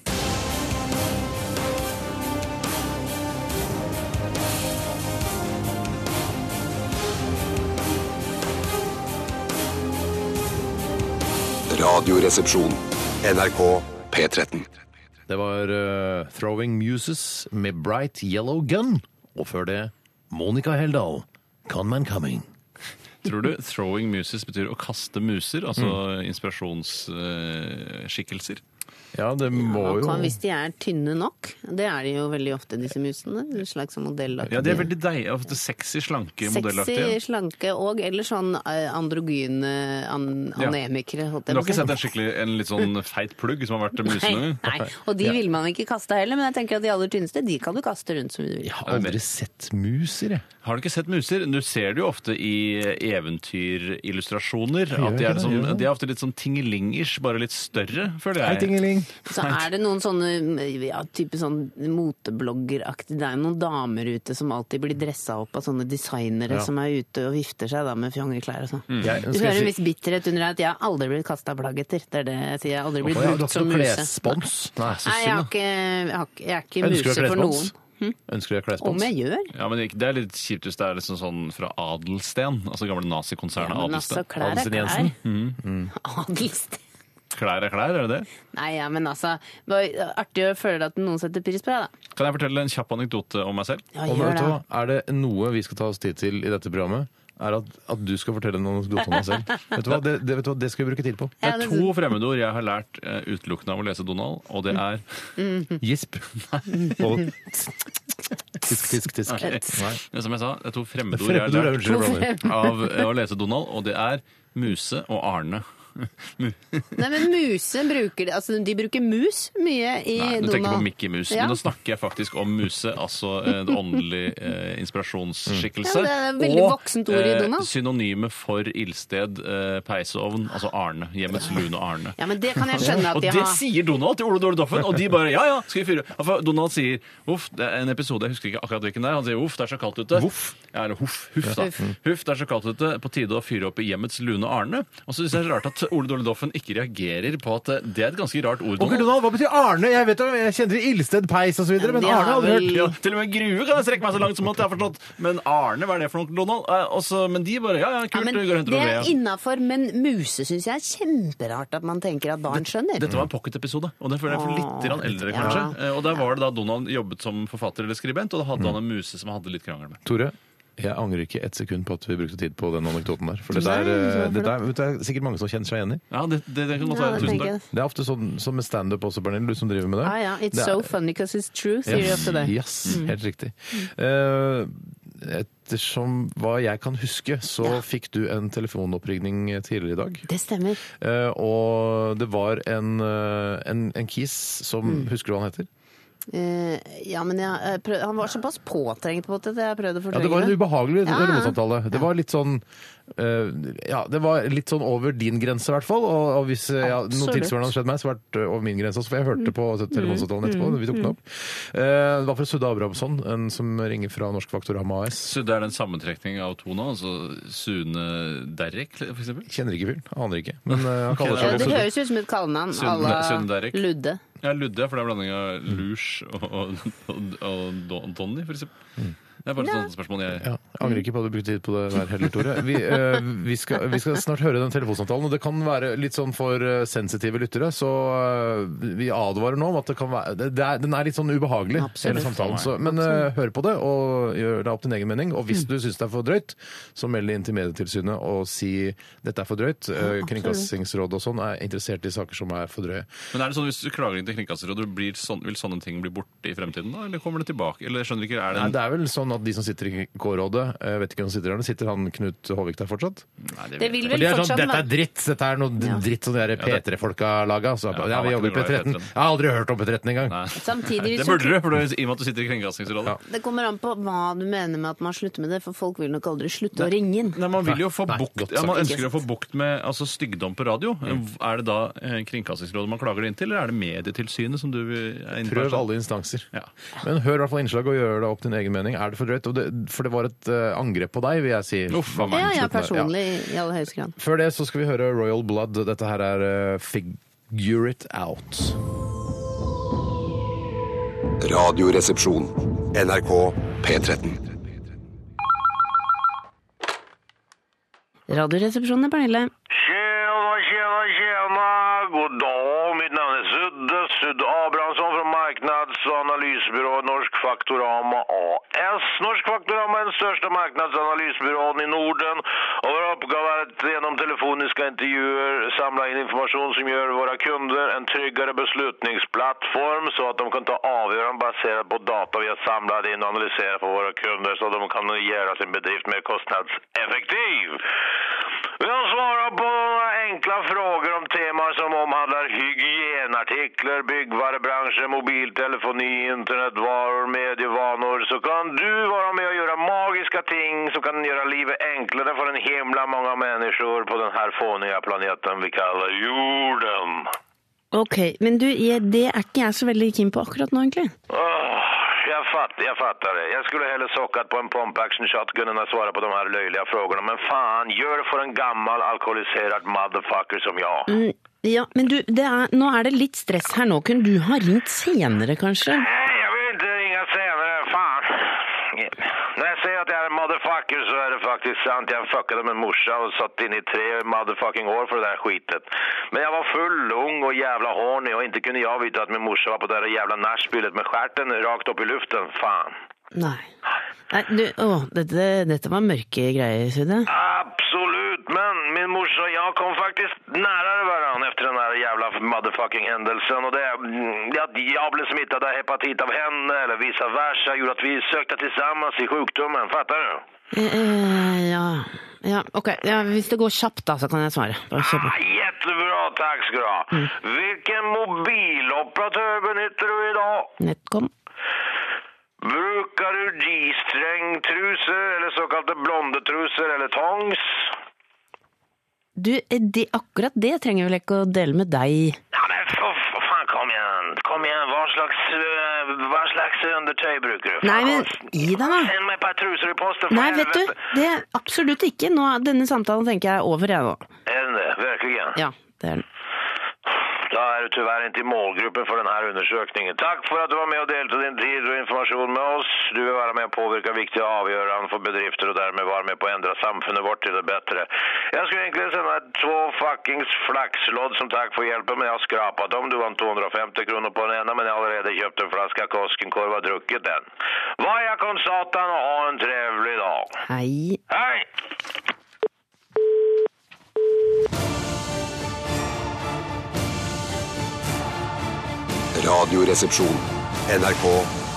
S5: Radioresepsjon. NRK P13.
S1: Det var eh, Throwing Muses med Bright Yellow Gun. Og før det Monica Heldal, Conman Coming.
S2: Tror du 'throwing muses' betyr å kaste muser? Altså inspirasjonsskikkelser?
S1: Ja, det må
S3: Man
S1: jo
S3: kan, hvis de er tynne nok. Det er de jo veldig ofte, disse musene. En slags sånn modellaktige.
S2: ja, de er veldig deilige. Ofte sexy, slanke,
S3: Sexy,
S2: modellaktige.
S3: slanke og eller sånn eh, androgyne an
S2: Ja.
S3: anemikere. holdt
S2: Du
S3: jeg
S2: har
S3: på å
S2: ikke
S3: si.
S2: sett en
S3: (laughs)
S2: skikkelig en litt sånn feit plugg som har vært musene?
S3: Mm. Nei, nei, og de vil man ikke kaste heller, men jeg tenker at de aller tynneste de kan du kaste rundt som du vil.
S1: Jeg har aldri sett muser, jeg.
S2: Har du ikke sett muser? Du ser det jo ofte i eventyrillustrasjoner. At de,
S1: ikke
S2: er
S1: det,
S2: sånn,
S1: gjør det.
S2: de er ofte litt sånn tingelingish, bare litt større,
S1: Hei,
S2: føler jeg.
S1: Tingeling.
S3: Så er det noen sånne mm, ja, type sånn motebloggeraktig Det er noen damer ute som alltid blir dressa opp av sånne designere
S1: Ja.
S3: som er ute og vifter seg da med fjongeklær og sånn.
S2: Mm.
S1: Jeg-
S3: Du
S1: skal jeg
S3: hører
S1: si-
S3: en viss bitterhet under deg at jeg har aldri blitt kasta plagg etter. Det er det jeg sier. Jeg har aldri blitt
S1: Hvorfor har du
S3: brukt
S1: ikke
S3: som
S1: noe
S3: muse.
S1: klesspons? Nei, så
S3: Nei, jeg,
S1: synd, da.
S3: har ikke, jeg, har ikke, jeg er ikke
S1: Ønsker du
S3: muse for noen. Hm?
S1: klesspons? Ønsker du klesspons?
S3: Om jeg gjør?
S2: Ja, men Det er litt kjipt hvis det er liksom sånn fra Adelsten. Altså gamle nazikonsernet
S3: Ja, men altså,
S2: Adelsten.
S3: klær er
S1: Adelsten
S3: klær.
S1: Jensen?
S2: Mm.
S1: Mm.
S3: (laughs) Adelsten.
S2: Klær er klær, er det det?
S3: Nei, ja, men altså det var Artig å føle at noen setter pris på deg, da.
S2: Kan jeg fortelle en kjapp anekdote om meg selv?
S3: Ja,
S1: Og
S3: gjør
S1: vet du
S3: det.
S1: hva, er det noe vi skal ta oss tid til i dette programmet, er at, at du skal fortelle en anekdote om deg selv.
S3: (laughs)
S1: Vet du hva, det, det, vet du hva, det skal vi bruke tid på.
S2: Det
S3: Ja,
S2: er
S3: det-
S2: to fremmedord jeg har lært eh, utelukkende av å lese Donald, og det er (laughs)
S1: Gisp. Og tisk, tisk,
S3: (laughs)
S1: tisk. Nei.
S2: Men som jeg sa, det er to fremmedord jeg har
S1: Fremmedord er
S2: lært
S1: unnskyld, Blommer.
S2: av eh, å lese Donald, og det er Muse og Arne. Mu-
S3: Nei, men muse bruker de Altså, de bruker mus mye i
S2: Nei, du
S3: Donald.
S2: tenker på Mickey Mus,
S3: Ja.
S2: men altså- nå snakker jeg faktisk om muse, altså eh, det åndelige eh, inspirasjonsskikkelse.
S3: Ja, det er et veldig
S2: og,
S3: voksent ord i
S2: eh,
S3: Donald.
S2: synonyme for ildsted, eh, peisovn, altså Arne. Hjemmets lune Arne.
S3: Ja, men det kan jeg skjønne at
S2: (laughs) Og
S3: de
S2: det
S3: har.
S2: sier Donald til Ole Dole Doffen, og de bare ja, ja, skal vi fyre Ja, for Donald sier uff, det er en episode, jeg husker ikke akkurat hvilken det er, han sier uff, Mm. det er så kaldt ute.
S1: Voff.
S2: Ja, eller huff, huff, da. Huff, det er så kaldt ute, på tide å fyre opp i hjemmets lune Arne. Og så syns jeg det er rart at Ole Dole Doffen ikke reagerer på at eh, det er et ganske rart ord,
S1: Onkel
S2: Donald.
S1: Donald, hva betyr Arne? Jeg vet jo, jeg kjenner Ildsted, Peis osv., men
S3: det har
S1: Arne har jeg aldri hørt.
S3: vel-
S2: Ja, til og med Grue kan jeg strekke meg så langt som at jeg har forstått. Men Arne, hva er det for noe, Donald? Eh, og så- men de bare ja, ja,
S3: Ja,
S2: kult,
S3: men
S2: vi går og henter
S3: det
S2: noe ved.
S3: er innafor, men muse syns jeg er kjemperart at man tenker at barn skjønner.
S2: Dette var en pocket-episode, og det føler jeg for litt grann eldre,
S3: Ja.
S2: kanskje. Eh, Og der var det da Donald jobbet som forfatter eller skribent, og da hadde han en muse som han hadde litt krangel med.
S1: Tore, jeg angrer ikke et sekund på at vi brukte tid på den anekdoten der. For det der, eh, det der vet du, det er sikkert mange som kjenner seg igjen i.
S2: Ja, det, det, det kan godt
S3: Ja,
S2: være.
S3: det
S2: Tusen
S3: tenker
S2: takk.
S3: jeg.
S1: Det er ofte sånn som med standup også, Pernille, du som driver med det.
S3: Ah, ja. It's
S1: Det
S3: so
S1: er-
S3: funny because it's true, sier de
S1: Yes,
S3: ofte det.
S1: yes,
S3: Mm.
S1: helt riktig. Eh, ettersom hva jeg kan huske, så fikk du en telefonoppringning tidligere i dag.
S3: Det stemmer.
S1: Eh, og det var en, eh, en, en kis som
S3: Mm.
S1: Husker du hva han heter?
S3: Eh, ja, men jeg, jeg prøv, han var såpass påtrengt på det, jeg prøvde å
S1: Ja,
S3: fortrenge
S1: det var en ubehagelig
S3: Ja.
S1: telefonsamtale. Det var litt sånn eh, Ja, det var litt sånn over din grense, i hvert fall. Og, og hvis eh, ja, noe
S3: Absolutt. Mm.
S1: tilsvarende hadde skjedd meg, så hadde det vært eh, over min grense også. For jeg hørte på telefonsamtalen etterpå. Vi tok den opp. Eh, det var fra Sudde Abrahamsson, en som ringer fra Norsk Faktorama AS.
S2: Så det er den sammentrekning av to nå, altså Sune Derek, for eksempel?
S1: Kjenner ikke fyren. Aner ikke. Men eh, han kaller
S3: Ja,
S1: seg
S3: det
S1: Sudde.
S3: høres ut som et kallenavn
S2: Sunde-
S3: à
S2: Sunde
S3: la
S2: Derek.
S3: Ludde.
S2: Ja, Ludde, for det er blanding av Lush og, og, og, og Don- Donny, for eksempel. Det er bare sånne spørsmål jeg
S1: Ja, jeg angrer ikke på at du brukte tid på det der heller, Tore. Vi, eh, vi, skal, vi skal snart høre den telefonsamtalen, og det kan være litt sånn for eh, sensitive lyttere, så eh, vi advarer nå om at det kan være det det er, Den er litt sånn ubehagelig, hele samtalen. Så, men eh, hør på det, og gjør deg opp din egen mening. Og hvis du syns det er for drøyt, så meld det inn til Medietilsynet og si dette er for drøyt. Eh, Kringkastingsrådet og sånn er interessert i saker som er for drøye.
S2: Men er det sånn hvis du klager inn til Kringkastingsrådet, blir sånn, vil sånne ting bli borte i fremtiden da, eller kommer det tilbake? Eller jeg skjønner ikke, er det
S1: Nei,
S2: en
S1: det er vel sånn at de som sitter i K-rådet, eh, vet ikke hvem som sitter der. Sitter han Knut Håvik der fortsatt?
S2: Nei, det
S3: Det
S2: vet jeg
S3: vil
S2: ikke.
S3: vel
S1: Og de er sånn,
S3: fortsatt
S1: dette er dritt, dette er noe dritt som de der
S2: det-
S1: P3-folka laga. Så,
S2: Ja,
S1: ja, vi
S2: han var
S1: jobber i
S2: ikke noe glad i
S1: P13.
S2: P13.
S1: Jeg har aldri hørt om P13 engang.
S2: Nei.
S3: Samtidig
S2: Det
S3: så-
S2: burde du, for du, i og med at du sitter i Kringkastingsrådet.
S1: Ja.
S3: Det kommer an på hva du mener med at man slutter med det, for folk vil nok aldri slutte å ringe inn.
S2: Nei, Man vil jo få
S1: Nei,
S2: bukt
S1: godt
S2: ja, Man
S1: sagt. Mm.
S2: ønsker å få bukt med altså, styggdom på radio. Er det da eh, Kringkastingsrådet man klager det inn til, eller er det Medietilsynet som du er inne på?
S1: Prøv alle instanser.
S2: Ja.
S1: Men hør i hvert fall innslaget og gjør deg opp din egen mening. Er det for drøyt? Og det, for det var et eh, angrep på deg, vil jeg si.
S2: Uff, hva
S3: Ja, ja,
S1: Slutten der. Ja.
S3: personlig i aller høyeste grad.
S1: Før det så skal vi høre Royal Blood. Dette her er eh, Figure It Out.
S5: Radioresepsjon. NRK P13.
S3: Radioresepsjonen er Pernille.
S7: Tjena, tjena, tjena! Faktorama AS. Norsk Faktorama er den største markedsanalysbyråden i Norden, og vår oppgave er at gjennom telefoniske intervjuer samle inn informasjon som gjør våre kunder en tryggere beslutningsplattform, så at de kan ta avgjørelser basert på data vi har samlet inn og analysert for våre kunder, så de kan gjøre sin bedrift mer kostnadseffektiv. Vi har svarat på några enkla frågor om teman som omhandlar hygienartiklar, byggvarubranschen, mobiltelefoni, internetvaror, medievanor så kan du vara med och göra magiska ting som kan göra livet enklare för en himla många människor på den här fåniga planeten vi kallar jorden.
S3: Ok, men du, jeg- det er ikke jeg så veldig keen på akkurat nå, egentlig.
S7: Åh, jeg, fatt, jeg fattar det. Jeg skulle heller sockat på en pump action shotgun än att svara på de här löjliga frågorna. Men fan, gör det för en gammal alkoholiserad motherfucker som jeg
S3: Mm, Ja, men du, det er, nå er det litt stress her nå. Kunne du ha ringt senere, kanskje?
S7: Nej, jag vill inte ringa senare. Fan. När jag säger att jag är en motherfucker så är det faktiskt sant. Jag fuckade med morsa och satt in i tre motherfucking år för det där skitet. Men jag var full, ung och jävla horny och inte kunde jag veta att min morsa var på det där jävla nachspielet med stjärten rakt upp i luften. Fan.
S3: Nei. Nei, du, å, dette, dette var mørke greier, Sudde.
S7: Absolut, men min morsa och jag kom faktiskt närmare varandra efter den här jävla motherfucking händelsen. Och det, mm, att jag blev smittad av hepatit av henne eller vice versa gjorde att vi sökte tillsammans i sjukdomen. Fattar du?
S3: Eh, eh, ja. ja, ok. Ja, hvis det går kjapt, da, så kan jeg svare. Bare kjør på.
S7: Ah, jättebra, tack ska du ha. Vilken mobiloperatör benyttar du idag?
S3: Netcom.
S7: Brukar du G-strängtrusor eller så kallade blondetrusor eller tongs?
S3: Du, eh, det, akkurat det trenger jeg vel ikke å dele med deg.
S7: Ja, men for, for faen, kom igjen. Kom igjen, hva slags, øh, hva slags undertøy bruker du? Faen,
S3: Nei, men
S7: hold-
S3: gi deg, da.
S7: Send meg et par truser i posten. for
S3: Nei, vet du,
S7: helvete.
S3: det er absolutt ikke. Nå, er- denne samtalen tenker jeg er over, jeg nå.
S7: Er det det? Virkelig?
S3: Ja, det er den.
S7: Da er du tyvärr ikke i målgruppen for denne undersøkningen. Takk for at du var med og delte din tid og informasjon med oss. Du vil være med og påvirke viktige avgjørelser for bedrifter og dermed være med på å endre samfunnet vårt til det bedre. Jeg skulle egentlig sende deg to fuckings flakslodd som takk for hjelpen, men jeg har skrapet dem. Du vant 250 kroner på den ene, men jeg har allerede kjøpt en flaske Koskenkorv og drukket den. Vaja kon satan og ha en trevlig dag.
S3: Hei.
S7: Hei!
S5: Radioresepsjon. NRK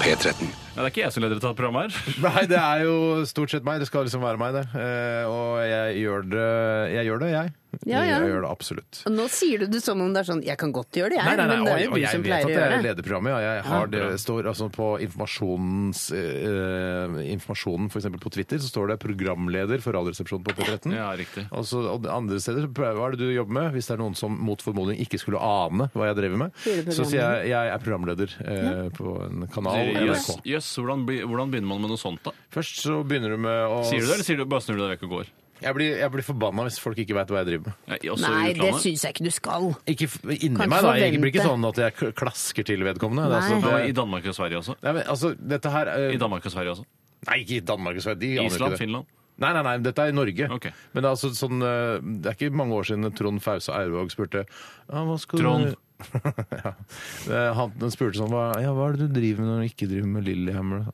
S5: P13.
S2: Ja, det er ikke jeg som leder dette programmet her.
S1: Nei, det er jo stort sett meg. Det skal liksom være meg, det. Eh, og jeg gjør det, jeg. Gjør det, jeg.
S3: Ja, ja.
S1: jeg gjør det absolutt.
S3: Og nå sier du det som om det er sånn Jeg kan godt gjøre det,
S1: Nei,
S3: jeg,
S1: nei, nei,
S3: men det er
S1: og, og
S3: jo du
S1: jeg
S3: som
S1: vet at
S3: pleier å
S1: jeg
S3: gjøre det.
S1: leder programmet. Ja, jeg har det
S2: bra.
S1: står altså på informasjonens eh, informasjonen, f.eks. på Twitter, så står det 'programleder for Radioresepsjonen på P13'.
S2: Ja, riktig.
S1: Og så og andre steder så prøver- Hva er det du jobber med? Hvis det er noen som mot formodning ikke skulle ane hva jeg driver med,
S3: Sier du
S1: så sier jeg jeg er programleder eh, på en kanal.
S2: Jøss,
S1: NRK.
S2: jøss, hvordan, bli- hvordan begynner man med noe sånt, da?
S1: Først så begynner du med å
S2: Sier du det, eller sier du bare snur du deg vekk og går?
S1: Jeg blir, jeg blir forbanna hvis folk ikke veit hva jeg driver med.
S2: Ja, også i
S3: Nei, det
S2: utlandet.
S3: syns jeg ikke du skal.
S1: Ikke f- inni
S3: Kan ikke
S1: meg, da. Jeg blir ikke
S3: forvente.
S1: sånn at jeg k- klasker til vedkommende. Det er
S3: Nei.
S1: altså-
S2: Ja,
S1: det-
S2: men I Danmark og Sverige også.
S1: Nei, men altså, dette her eh,
S2: I Danmark og Sverige også.
S1: Nei, ikke i Danmark og Sverige. De aner
S2: Island,
S1: ikke det.
S2: Finland.
S1: Nei, nei, nei, dette er i Norge.
S2: Ok.
S1: Men det er, altså sånn, eh, det er ikke mange år siden Trond Fause Aurvåg spurte ja, hva skal
S2: Trond.
S1: Du... (laughs) ja. Eh, Han den spurte sånn hva, ja, hva er det du driver med når du ikke driver med Lillehammer?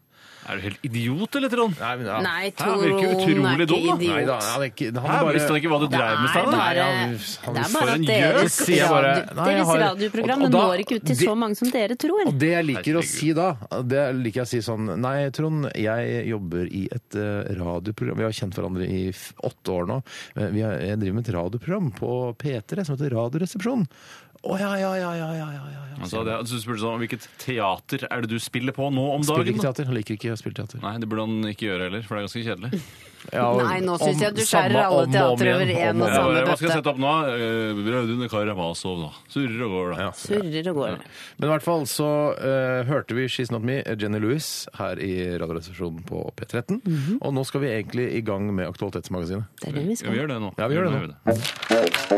S2: Er du helt idiot, eller, Trond?
S1: Nei, men, ja.
S3: Nei,
S2: Ja, han virker
S3: Trond er
S2: utrolig
S3: ikke
S2: dum, da.
S1: Nei, da,
S3: idiot.
S1: han er ikke, han
S2: Hæ,
S1: er bare,
S2: Visste han ikke hva du
S3: Det
S2: dreiv med i
S3: er
S2: stad? da?
S1: Nei,
S3: bare,
S1: han- han-
S3: det er
S2: for
S3: bare
S2: en
S3: at
S2: gjøk,
S3: deres,
S1: sier jeg bare.
S3: radio-
S1: Nei, jeg
S3: deres
S1: har-
S3: radioprogram
S1: og
S3: det
S1: da-
S3: når ikke ut til
S1: det-
S3: så mange som dere tror.
S1: Og det jeg liker å
S2: Herregud.
S1: si da, det liker jeg å si sånn Nei, Trond, jeg jobber i et eh, radioprogram. Vi har kjent hverandre i f- åtte år nå. Eh, Vi har, jeg driver med et radioprogram på P3 som heter Radioresepsjon. Å ja, ja, ja, ja, ja, ja, ja. ja.
S2: Han sa det, altså, du spurte sånn, Hvilket teater er det du spiller på nå om
S1: Spiller
S2: dagen?
S1: ikke
S2: da?
S1: teater. Han liker ikke å spille teater.
S2: Nei, det burde han ikke gjøre heller, for det er ganske kjedelig.
S1: Ja, og-
S3: Nei, nå synes
S1: om-
S3: jeg du skjærer
S1: samme
S3: alle
S1: om og om igjen,
S3: teatre
S1: om
S3: over en og
S1: igjen.
S2: Jeg
S3: (laughs) samme.
S2: bare, Hva skal jeg
S3: bøtte.
S2: sette opp nå? Eh, Braudune Karamazov, da. Surrer og går, da.
S1: Ja.
S3: Surrer og går.
S1: Men i hvert fall så eh, hørte vi She's Not Me, Jenny Lewis, her i Radioresepsjonen på P13.
S3: Mhm.
S1: Og nå skal vi egentlig i gang med Aktualitetsmagasinet.
S3: Det er det vi
S2: Ja, vi
S3: skal.
S2: gjør det nå.
S1: Ja, vi gjør det nå.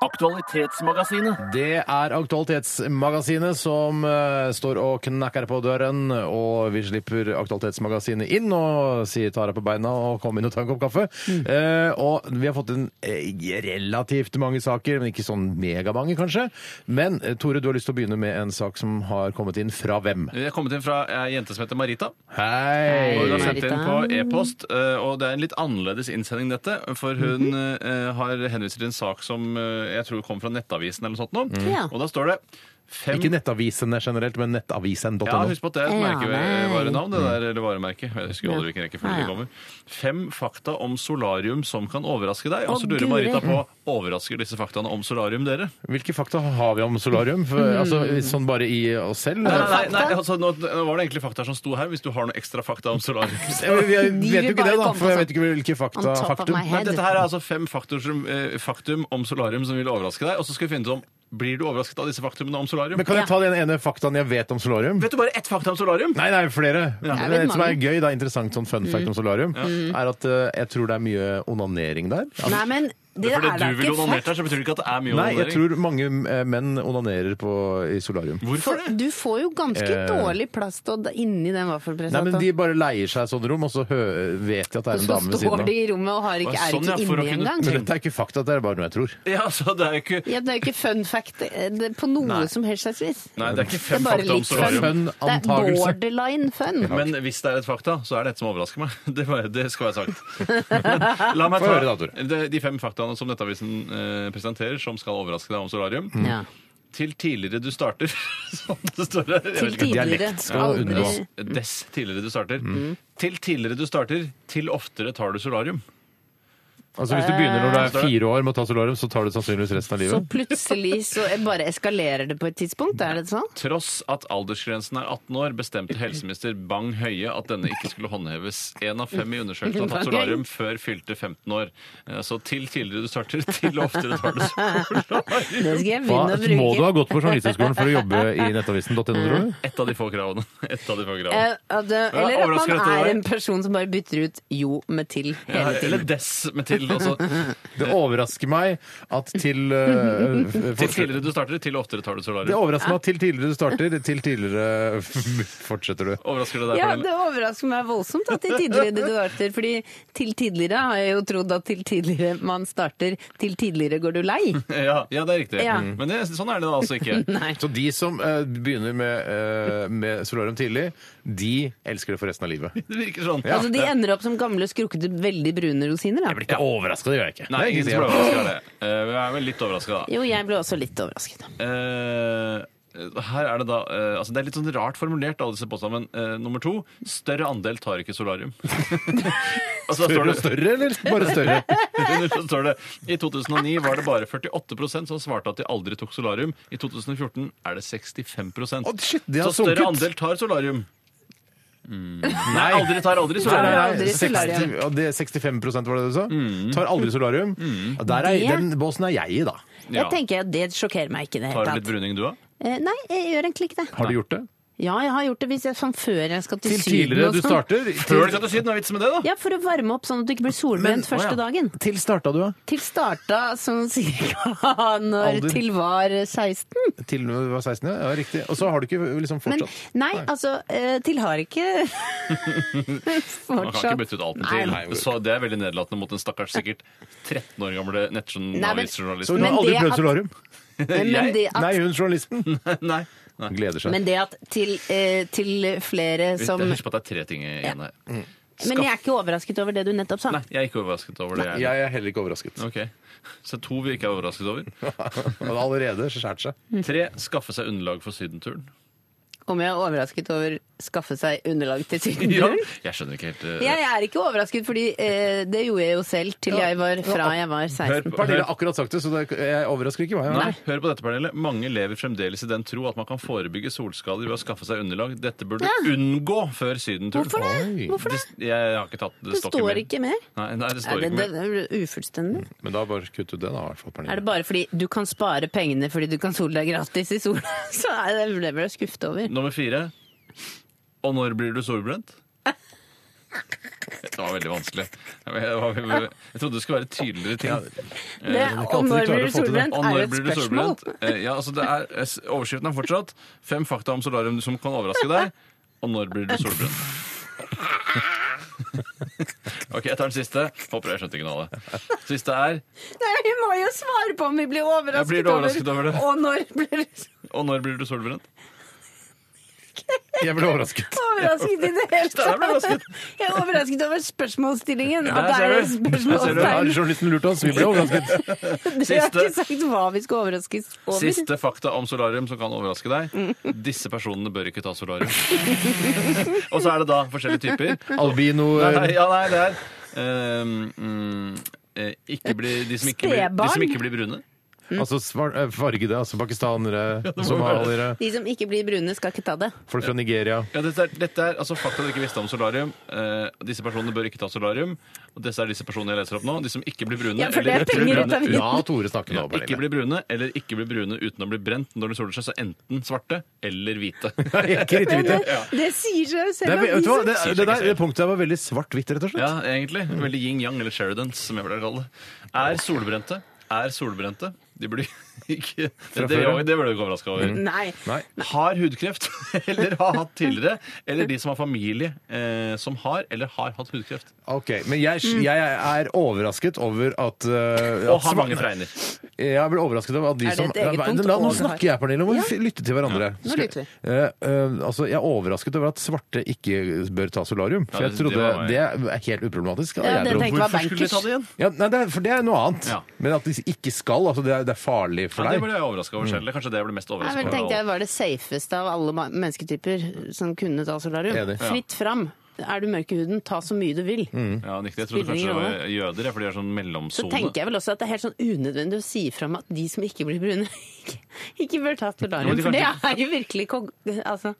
S8: Aktualitetsmagasinet.
S1: Det er Aktualitetsmagasinet som eh, står og knakker på døren, og vi slipper Aktualitetsmagasinet inn og sier ta deg på beina og kom inn og ta en kopp kaffe. Eh, og vi har fått inn eh, relativt mange saker, men ikke sånn megamange, kanskje. Men eh, Tore, du har lyst til å begynne med en sak som har kommet inn fra hvem?
S2: Jeg er kommet inn fra ei jente som heter Marita.
S1: Hei!
S2: Og hun har
S3: Hei,
S2: sendt inn på
S3: Marita.
S2: e-post, eh, og det er en litt annerledes innsending dette, for hun eh, har henvist til en sak som eh, jeg tror kom fra Nettavisen eller noe sånt nå,
S3: Ja.
S2: og da står det fem...
S1: Ikke nettavisene generelt, men nettavisen.no.
S2: Ja, husk på at det er et
S3: Ja,
S2: merkevarenavn, det der, eller varemerke. Jeg husker aldri hvilken
S3: Ja,
S2: rekkefølge
S3: ja.
S2: det kommer. Fem fakta om solarium som kan overraske deg. Og så
S3: Å,
S2: lurer
S3: Guri.
S2: Marita på overrasker disse faktaene om solarium dere?
S1: Hvilke fakta har vi om solarium? For, altså, sånn bare i oss selv?
S2: Nei, nei, nei, altså, nå, nå var det egentlig fakta som sto her, hvis du har noen ekstra fakta om
S3: (laughs)
S2: solarium.
S1: Jeg, jeg, jeg vet jo
S3: De vil
S1: ikke
S3: bare
S1: det, da,
S3: komme
S1: for jeg
S3: på
S1: vet ikke hvilke
S3: on
S1: fakta
S3: top of
S1: faktum.
S3: my
S2: Men
S3: head.
S2: dette her er altså fem faktor som, eh, faktum om solarium som vil overraske deg, og så skal vi finne ut om blir du overrasket av disse faktumene om solarium.
S1: Men kan jeg ta den ene faktaen jeg vet om solarium?
S2: Vet du bare ett fakta om solarium?
S1: Nei, nei, flere.
S3: Jeg
S1: Men
S3: vet
S1: et som er
S3: mange.
S1: gøy, da, interessant sånn fun fact om solarium, er at eh, jeg tror det er mye onanering der. At-
S3: Nei, men det er
S2: Fordi
S3: da
S2: du ville
S3: ikke
S2: onanert
S3: fakt.
S2: der, så betyr det ikke at det er mye
S1: Nei, jeg
S2: onanering.
S1: tror mange eh, menn onanerer på, i solarium.
S2: Hvorfor det?
S3: Du får jo ganske
S1: Eh.
S3: dårlig plass til å inni den
S1: Nei, men
S3: vaffelpresentaten.
S1: De bare leier seg sånn rom, og så hø vet de at det
S3: Og
S1: er en
S3: så
S1: dame ved
S3: står
S1: siden av.
S3: de i rommet og har ikke,
S2: Å,
S3: er
S2: sånn,
S3: ikke
S2: ja, for å
S3: inni
S2: kunne
S3: engang.
S1: Men dette er ikke fakta, det er bare noe jeg tror.
S2: Ja, så det er jo ikke...
S3: Ja, det er jo ikke fun fact eh, det, på noe
S2: Nei.
S3: som helst slags vis.
S2: Nei, det er ikke
S3: Det er
S2: fem
S3: bare
S2: fakta om
S3: litt fun.
S2: solarium.
S1: Fun
S3: Det er
S1: antagelse.
S3: borderline fun.
S2: Men hvis det er et fakta, så er det et som overrasker meg. (laughs) Det, var, det skal være sagt. Men la meg
S1: Få
S2: ta
S1: høre da, Tore.
S2: de, de fem faktaene som Nettavisen eh, presenterer, som skal overraske deg om solarium.
S3: Ja.
S2: Til tidligere du starter, (laughs) som det står her. Jeg vet
S3: Til
S2: ikke.
S3: tidligere.
S1: Dialekt skal
S3: Aldri-
S1: unngås.
S2: Dess tidligere du starter. Til tidligere du starter, til oftere tar du solarium.
S1: Altså Hvis du begynner når du er fire år med å ta solarium, så tar du sannsynligvis resten av
S3: Så
S1: livet.
S3: plutselig så bare eskalerer det på et tidspunkt, er det sånn?
S2: Tross at aldersgrensen er 18 år, bestemte helseminister Bang Høie at denne ikke skulle håndheves. Én av fem i undersøkelsen har tatt solarium før fylte 15 år. Eh, Så til tidligere du starter, til oftere tar du solarium.
S3: Det skal jeg
S1: Hva,
S3: begynne å
S1: må du ha
S3: bruke.
S1: gått på journalisthøgskolen for å jobbe i nettavisen.no, tror du?
S2: Ett av de få kravene. Ett av de få kravene.
S3: Eh, at det- Eller at
S2: overrasker
S3: man
S2: at det var-
S3: er en person som bare bytter ut jo med til hele tiden.
S2: Eller dess med til. Altså,
S1: Det overrasker meg at til eh, f-
S2: til
S1: fortsetter-
S2: tidligere du starter, til oftere tar du
S1: Det
S2: solarium.
S1: overrasker meg at til tidligere du starter, til tidligere (laughs) fortsetter du.
S2: Overrasker det deg
S3: Ja,
S2: på
S3: det
S2: den?
S3: overrasker meg voldsomt at til tidligere du starter, fordi til tidligere har jeg jo trodd at til tidligere man starter, til tidligere går du lei.
S2: Ja, ja, det er riktig.
S3: Ja.
S2: Men det, sånn er det da altså ikke.
S3: Nei.
S1: Så de som eh, begynner med, eh, med solarium tidlig, de elsker det for resten av livet.
S2: Det virker sånn.
S3: Altså, de ender opp som gamle, skrukkete, veldig brune rosiner, da.
S1: ikke overraska, det gjør jeg ikke.
S2: Nei, ingen som ble overraska av det. Eh, Vi er vel litt overraska, da.
S3: Jo, jeg ble også litt overrasket.
S2: Eh, her er Det da, eh, altså det er litt sånn rart formulert, alle disse påstandene. men, Eh, nummer to større andel tar ikke solarium. (laughs) Og så står
S1: Større og
S2: det,
S1: større, eller (laughs) bare større?
S2: under (laughs) så står det I 2009 var det bare 48 som svarte at de aldri tok solarium. I 2014 er det 65
S1: Å, shit, det har
S2: Så større
S1: sunket.
S2: andel tar solarium. Mm. Nei, aldri tar aldri
S1: Nei,
S2: solarium.
S1: nei,
S3: Aldri solarium.
S1: 60, og det, 65 var det du sa? Tar aldri solarium. Ja, Der er,
S3: Det-
S1: den båsen er jeg i, da.
S2: Ja.
S3: Jeg tenker at det sjokkerer meg ikke i det
S2: Tar du
S3: hele
S2: litt
S3: tatt.
S2: bruning, du òg?
S3: Eh, Nei, jeg gjør egentlig ikke det.
S1: Har du gjort det?
S3: Ja, jeg har gjort det hvis jeg, sånn før jeg skal til,
S1: Til
S3: Syden
S1: tidligere
S3: og
S1: du
S3: sånn.
S1: starter?
S2: Før du skal til Syden, hva er vitsen med det, da?
S3: Ja, for å varme opp sånn at du ikke blir solbrent første dagen.
S1: Til starta du, da?
S3: Til starta sånn cirka (laughs) når
S1: Alder.
S3: til var 16.
S1: Til du var 16, ja. ja riktig. Og så har du ikke liksom
S3: Men
S1: fortsatt.
S3: nei, altså, eh, til har
S2: (laughs)
S3: ikke
S2: Man kan ikke bytte
S3: fortsatt
S2: ut alt med
S3: Nei,
S2: til.
S3: nei.
S2: så det er veldig nedlatende mot en stakkars sikkert 13 år gamle
S3: Nei, men-
S1: Så
S2: nettjournalistjournalist.
S1: hun har
S3: Men
S1: aldri
S3: det
S1: prøvd
S3: at-
S1: solarium?
S3: Men det
S1: Nei,
S3: at,
S1: hun journalisten.
S2: Nei. nei.
S1: Gleder seg.
S3: men det at til, eh, til flere
S2: Husk
S3: som
S2: husk på at det er tre ting igjen her.
S3: Men jeg er ikke overrasket over det du nettopp sa.
S2: Nei, jeg er ikke overrasket over det. Jeg.
S1: Jeg er heller ikke
S2: (laughs)
S1: overrasket.
S2: Ok. Så to vi ikke er overrasket
S3: (laughs)
S2: over.
S1: Han har allerede skåret seg.
S2: Tre, skaffe seg underlag for sydenturen.
S3: Om jeg er overrasket over skaffe seg underlag til sydenturen?
S2: Ja, jeg skjønner ikke helt eh,
S3: Mhm. Jeg er ikke overrasket, fordi eh, det gjorde jeg jo selv til jeg var, fra jeg var
S2: hør,
S3: 16.
S2: på-
S1: Pernille har
S2: hør,
S1: akkurat sagt det, så det jeg overrasker ikke meg.
S2: nei, hør på dette, Pernille. Mange lever fremdeles i den tro at man kan forebygge solskader ved å skaffe seg underlag. Dette burde du unngå før sydenturen.
S3: Hvorfor det?
S1: Oi.
S3: Hvorfor det?
S2: Det- Jeg har ikke tatt det.
S3: Det står ikke mer.
S2: Nei, nei, det
S3: Er
S2: står
S3: det,
S2: ikke
S3: det,
S2: mer. Mm.
S3: det er ufullstendig.
S1: Men da bare kutt ut det, da, i hvert fall,
S3: Er det
S1: Pernille.
S3: bare fordi du kan spare pengene fordi du kan sole deg gratis i sola? (laughs) Så er det, det ble jeg skuffet over.
S2: Nummer fire. Og når blir du solbrent? det var veldig vanskelig. Jeg, var, jeg trodde det skulle være tydeligere ting.
S3: Det, og når blir du solbrent,
S2: Og
S3: er jo
S2: når
S3: et
S2: blir du
S3: spørsmål.
S2: solbrent? Eh, Ja, altså det er, eh, overskriften er fortsatt 'Fem fakta om solarium som kan overraske deg'. Og når blir du solbrent? (laughs) OK, jeg tar den siste. Håper jeg skjønte ikke noe av det. Siste er
S3: Nei, vi må jo svare på om vi blir
S2: Ja,
S3: overrasket,
S2: blir du overrasket over det?
S3: Og når blir du
S2: 'Og når blir du solbrent'?
S1: Jeg ble overrasket.
S3: overrasket i det hele
S2: Der ble jeg
S3: tatt? (laughs) Jeg er overrasket over spørsmålsstillingen.
S2: Ja,
S3: at det
S2: ser
S3: er
S2: du.
S3: et
S2: Der ser du.
S1: Ja,
S3: spørsmålstegn.
S1: Journalisten lurte oss. Vi ble overrasket.
S3: Dere har ikke
S2: Siste.
S3: sagt hva vi skal overraskes over.
S2: Siste fakta om solarium som kan overraske deg. Disse personene bør ikke ta solarium.
S3: (laughs)
S2: Og så er det da forskjellige typer.
S1: (laughs) Albino eh,
S2: Nei, ja, nei, det er ehm, mm, eh, ikke bli, de, som ikke blir, de
S3: Stebarn.
S2: som ikke blir brune.
S1: Altså svar- eh, fargede, altså pakistanere,
S2: må
S1: somaliere,
S3: De som ikke blir brune, skal ikke ta det.
S1: folk fra Nigeria.
S2: Ja, dette er, dette er altså fakta du ikke visste om solarium. Eh, disse personene bør ikke ta solarium. Og disse er disse personene jeg leser opp nå. De som ikke blir brune
S3: Ja, for det er penger ut av
S2: uten-
S1: Ja, Tore snakker nå.
S2: ikke
S1: Pernille.
S2: blir brune eller ikke blir brune uten å bli brent når de soler seg, så enten svarte eller hvite.
S1: (laughs) (laughs) Ikke riktig, riktig.
S3: Det, det sier seg jo
S1: Det,
S3: selv.
S1: er- vet du hva,
S3: at de
S1: det,
S2: Sier seg
S1: det
S2: ikke
S1: der
S2: selv.
S1: det punktet der var veldig svart-hvitt, rett og slett.
S2: Ja, egentlig. Veldig yin-yang, eller Sheridans, som jeg vil kalle det. Er solbrente. Er solbrente. De blir (laughs) ikke Det, det,
S1: før, ja. Mm.
S2: det burde du ikke overraske over.
S3: som- Nei.
S1: Nei.
S2: har hudkreft, (laughs) eller har hatt tidligere, eller de som har familie eh, som har eller har hatt hudkreft.
S1: Ok, Men jeg,
S3: Mm.
S1: jeg er overrasket over at, eh,
S2: Og har
S1: at svar-
S2: mange fregner.
S1: Jeg blir overrasket over at de
S3: Er det
S1: som
S3: et eget
S1: Nei,
S3: punkt
S1: la, Nå
S3: over
S1: snakker
S3: her?
S1: jeg, Pernille. Nå må vi lytte til hverandre.
S3: nå lytter vi.
S1: Eh, eh, altså, jeg er overrasket over at svarte ikke bør ta solarium. For
S2: Ja,
S1: jeg
S2: det-
S1: trodde
S2: det var meg.
S1: det, er helt uproblematisk.
S3: Ja,
S1: jeg
S3: det
S1: trodde.
S3: tenkte jeg var
S2: Hvorfor skulle de ta det
S3: bankers.
S2: igjen?
S1: Ja, nei, det er, for det er noe annet.
S2: Ja.
S1: Men at de ikke skal. Altså, det, er, det er farlig for
S2: Ja, det
S1: deg. Mm.
S2: ble jeg overraska over selv. Kanskje det jeg ble mest
S3: Nei,
S2: overraska
S3: men tenkte jeg var det safeste av alle ma- mennesketyper som kunne ta solarium.
S1: Enig. Ja.
S3: Fritt fram. Er du mørk i huden, ta så mye du vil.
S2: Ja, Nikki, jeg trodde
S3: Spiller
S2: kanskje det
S3: ingen
S2: var jøder, jeg, for de er sånn
S3: Så
S2: mellomsone.
S3: tenker jeg vel også at det er helt sånn unødvendig å si fram at de som ikke blir brune, (laughs) ikke, ikke bør ta
S2: Jo,
S3: solarium.
S2: de
S3: For det
S2: kan
S3: er jo virkelig kog... Altså,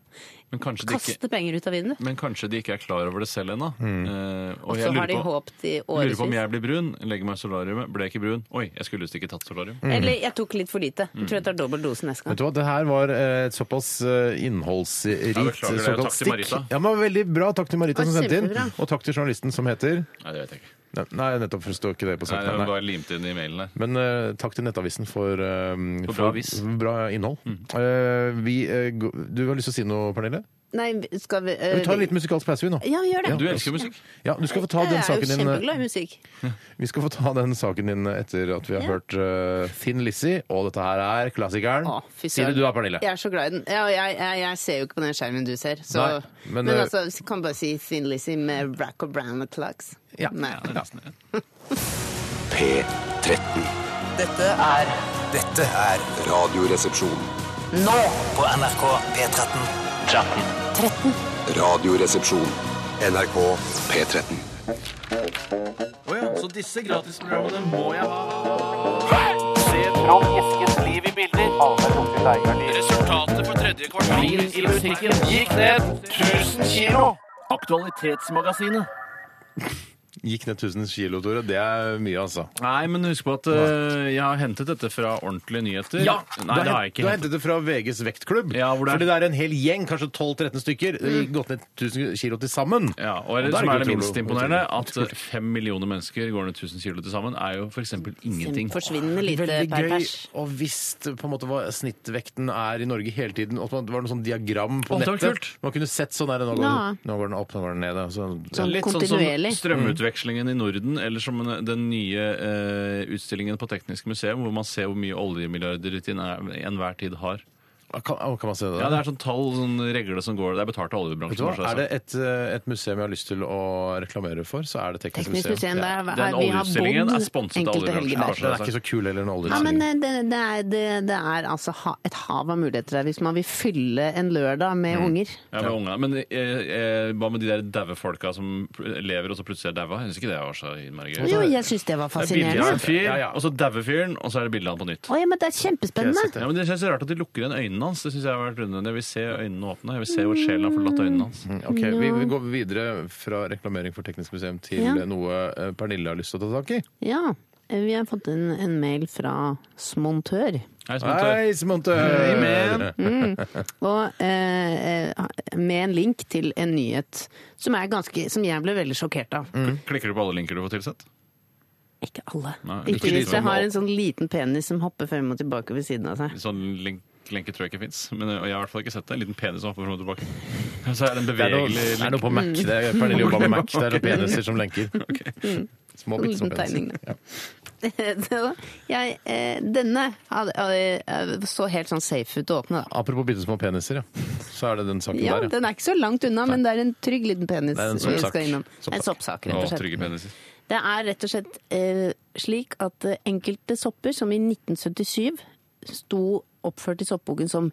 S2: Men kanskje de ikke,
S3: kaste penger ut av vinduet.
S2: men kanskje de ikke er klar over det selv ennå.
S1: Mm.
S2: Eh, og jeg
S3: Og så har
S2: lurer
S3: de
S2: på,
S3: håpet i
S2: lurer på om
S3: årevis.
S2: jeg blir brun, legger meg i solariumet, ble jeg ikke brun. Oi, jeg skulle visst ikke tatt solarium.
S3: Eller jeg tok litt for lite. Jeg tror jeg tar dobbel dose neste
S1: Vet
S3: gang.
S1: du hva, Det her var eh, et såpass eh,
S2: Ja,
S1: innholdsrikt
S2: beklager det.
S1: såkalt
S2: Takk til
S1: stikk.
S2: Marita.
S1: Ja, men Veldig bra. Takk til Marita
S3: Det
S1: som
S3: var
S1: sendte inn.
S3: kjempebra.
S1: Og takk til journalisten som heter
S2: Nei, det vet jeg ikke.
S1: Nei, Nei, nettopp for det står ikke det på
S2: Nei, det
S1: saken.
S2: var
S1: Nei.
S2: bare limt inn i mailen her.
S1: Men eh, takk til Nettavisen for, eh,
S2: For bra Mm. avis.
S1: bra innhold. Eh, vi, eh, gå- du har lyst til å si noe, Pernille?
S3: Nei, skal vi
S1: Vi tar en liten musikalsk pause, vi nå.
S3: Eh, Ja, gjør det.
S2: Du elsker jo musikk.
S1: Ja, du skal få ta den saken
S3: Jeg er jo
S1: din eh.
S3: kjempeglad i musikk.
S1: Vi skal få ta den saken din etter at vi har hørt eh, Thin Lizzie, og dette her er klassikeren.
S3: Å, fy
S1: Sier
S3: søren.
S1: det du da, Pernille?
S3: Jeg er så glad i den. Ja, og jeg, jeg, jeg ser jo ikke på den skjermen du ser. Så,
S1: Nei, men,
S3: men
S1: eh,
S3: altså, så kan du bare si Thin Lizzie med Rack og Brown og Clucks.
S1: Ja.
S3: Nei.
S1: Ja.
S5: P13.
S6: Dette er Dette er
S5: Radioresepsjon.
S6: nå på NRK P13. 13.
S5: Radioresepsjon. NRK P13.
S8: Resultatet på tredje kvartal i butikken gikk ned 1000 kilo. Aktualitetsmagasinet.
S1: Gikk ned 1000 kilo, Tore. Det er mye, altså.
S2: Nei, men husk på at eh, jeg har hentet dette fra ordentlige nyheter. Nei,
S1: du
S2: det har
S1: hen-
S2: jeg ikke
S1: Du
S2: hentet.
S1: har hentet det fra VGs vektklubb.
S2: Ja, hvor det er-
S1: Fordi det er en hel gjeng, kanskje 12-13 stykker, mm. gått ned 1000 kilo til sammen.
S2: Ja, og
S1: Og
S2: det,
S1: da
S2: som
S1: er det
S2: er det
S1: ikke
S2: minst
S1: utrolig-
S2: imponerende, at eh, fem millioner mennesker går ned 1000 kilo til sammen, er jo f.eks. ingenting.
S3: Forsvinnende lite
S1: Veldig
S3: per
S1: gøy
S3: pers.
S1: å visst på en måte hva snittvekten er i Norge hele tiden. og at Det var noe sånn diagram på
S2: Å, det var
S1: nettet.
S2: kult.
S1: Man kunne sett sånn der, nå går,
S3: Ja.
S1: den, nå går den opp, nå går den ned. og Sånn,
S3: Sånn
S2: Litt sånn som
S3: kontinuerlig.
S2: strømutvekslingen i Norden, eller som den nye eh, utstillingen på Teknisk museum, hvor man ser hvor mye oljemilliarder til en- enhver tid har.
S1: Kan, å, kan man se det der?
S2: Ja, Det er sånn tall, sånn regle som går Det er betalt av
S1: Vet du
S2: oljebransjen.
S1: hva?
S2: bare så
S1: Er
S2: det er
S1: det
S2: sagt.
S1: et, eh, et museum jeg har lyst til å reklamere for, så er det Teknisk,
S3: Teknisk museum
S1: Ja.
S2: Den
S3: der vi har
S2: oljeutstillingen er
S3: bodd
S2: sponset av
S3: enkelte
S2: oljebransjen.
S3: helger der.
S1: Den er ikke så kul heller, den
S3: Ja, men
S1: oljeutstilling.
S3: eh, det, det, er, det, det er altså ha, et hav av muligheter der, hvis man vil fylle en lørdag med unger.
S2: Ja, med unga. Men eh, eh, hva med de der daue folka som pl- lever og så plutselig er daua? Jeg syns ikke det var så innmari gøy.
S3: Jo, jeg syns det var
S2: Det er bilde av en fyr,
S3: fascinerende.
S1: Ja, ja.
S2: og så dauer fyren, og så er det bilde av han på nytt.
S3: Å, ja, men det er kjempespennende!
S2: Ja, men Det synes jeg er rart at de lukker igjen øynene hans. Det synes Jeg har vært unødvendig. Jeg vil se øynene åpne. Jeg vil se hvor sjelen har forlatt øynene hans.
S1: Ok, vi, vi går videre fra reklamering for Teknisk museum til
S3: Ja.
S1: eh, noe eh, Pernille har lyst til å ta tak i.
S3: Ja, eh, vi har fått en, en mail fra Smontør.
S2: Hei, Smontør.
S1: Hei, Smontør!
S2: Amen.
S3: Og eh, eh, med en link til en nyhet som, er ganske, som jeg ble veldig sjokkert av.
S2: Klikker du på alle linker du får tilsett?
S3: Ikke alle.
S2: Nei, ikke
S3: ikke
S2: de
S3: hvis
S2: som
S3: jeg har
S2: har-
S3: en sånn liten penis som hopper frem og tilbake ved siden av seg.
S2: Sånn link, lenke tror jeg ikke fins. Men eh, og jeg har i hvert fall ikke sett det. En liten penis som hopper fram og tilbake. Så er det en
S1: Det er noe,
S2: bevegelig
S1: det er
S2: link.
S1: noe på Mac. Det er Pernille jobber med Mac. Det (laughs) er noen peniser som lenker. (laughs) Små bitte små
S3: Liten tegning,
S1: peniser.
S3: da. (laughs) Så jeg, eh, denne hadde, eh, så helt sånn safe ut å åpne, da.
S1: Apropos bitte små peniser, ja. Så er det den saken
S3: Ja,
S1: der, ja.
S3: Den er ikke så langt unna, men det er en trygg liten penis
S1: Det er en
S3: vi
S1: soppsak.
S3: skal innom.
S1: Soppsak.
S3: En soppsak,
S2: Å,
S3: rett og slett.
S2: trygge peniser.
S3: Det er rett og slett eh, slik at eh, enkelte sopper som i 1977 sto oppført i soppboken som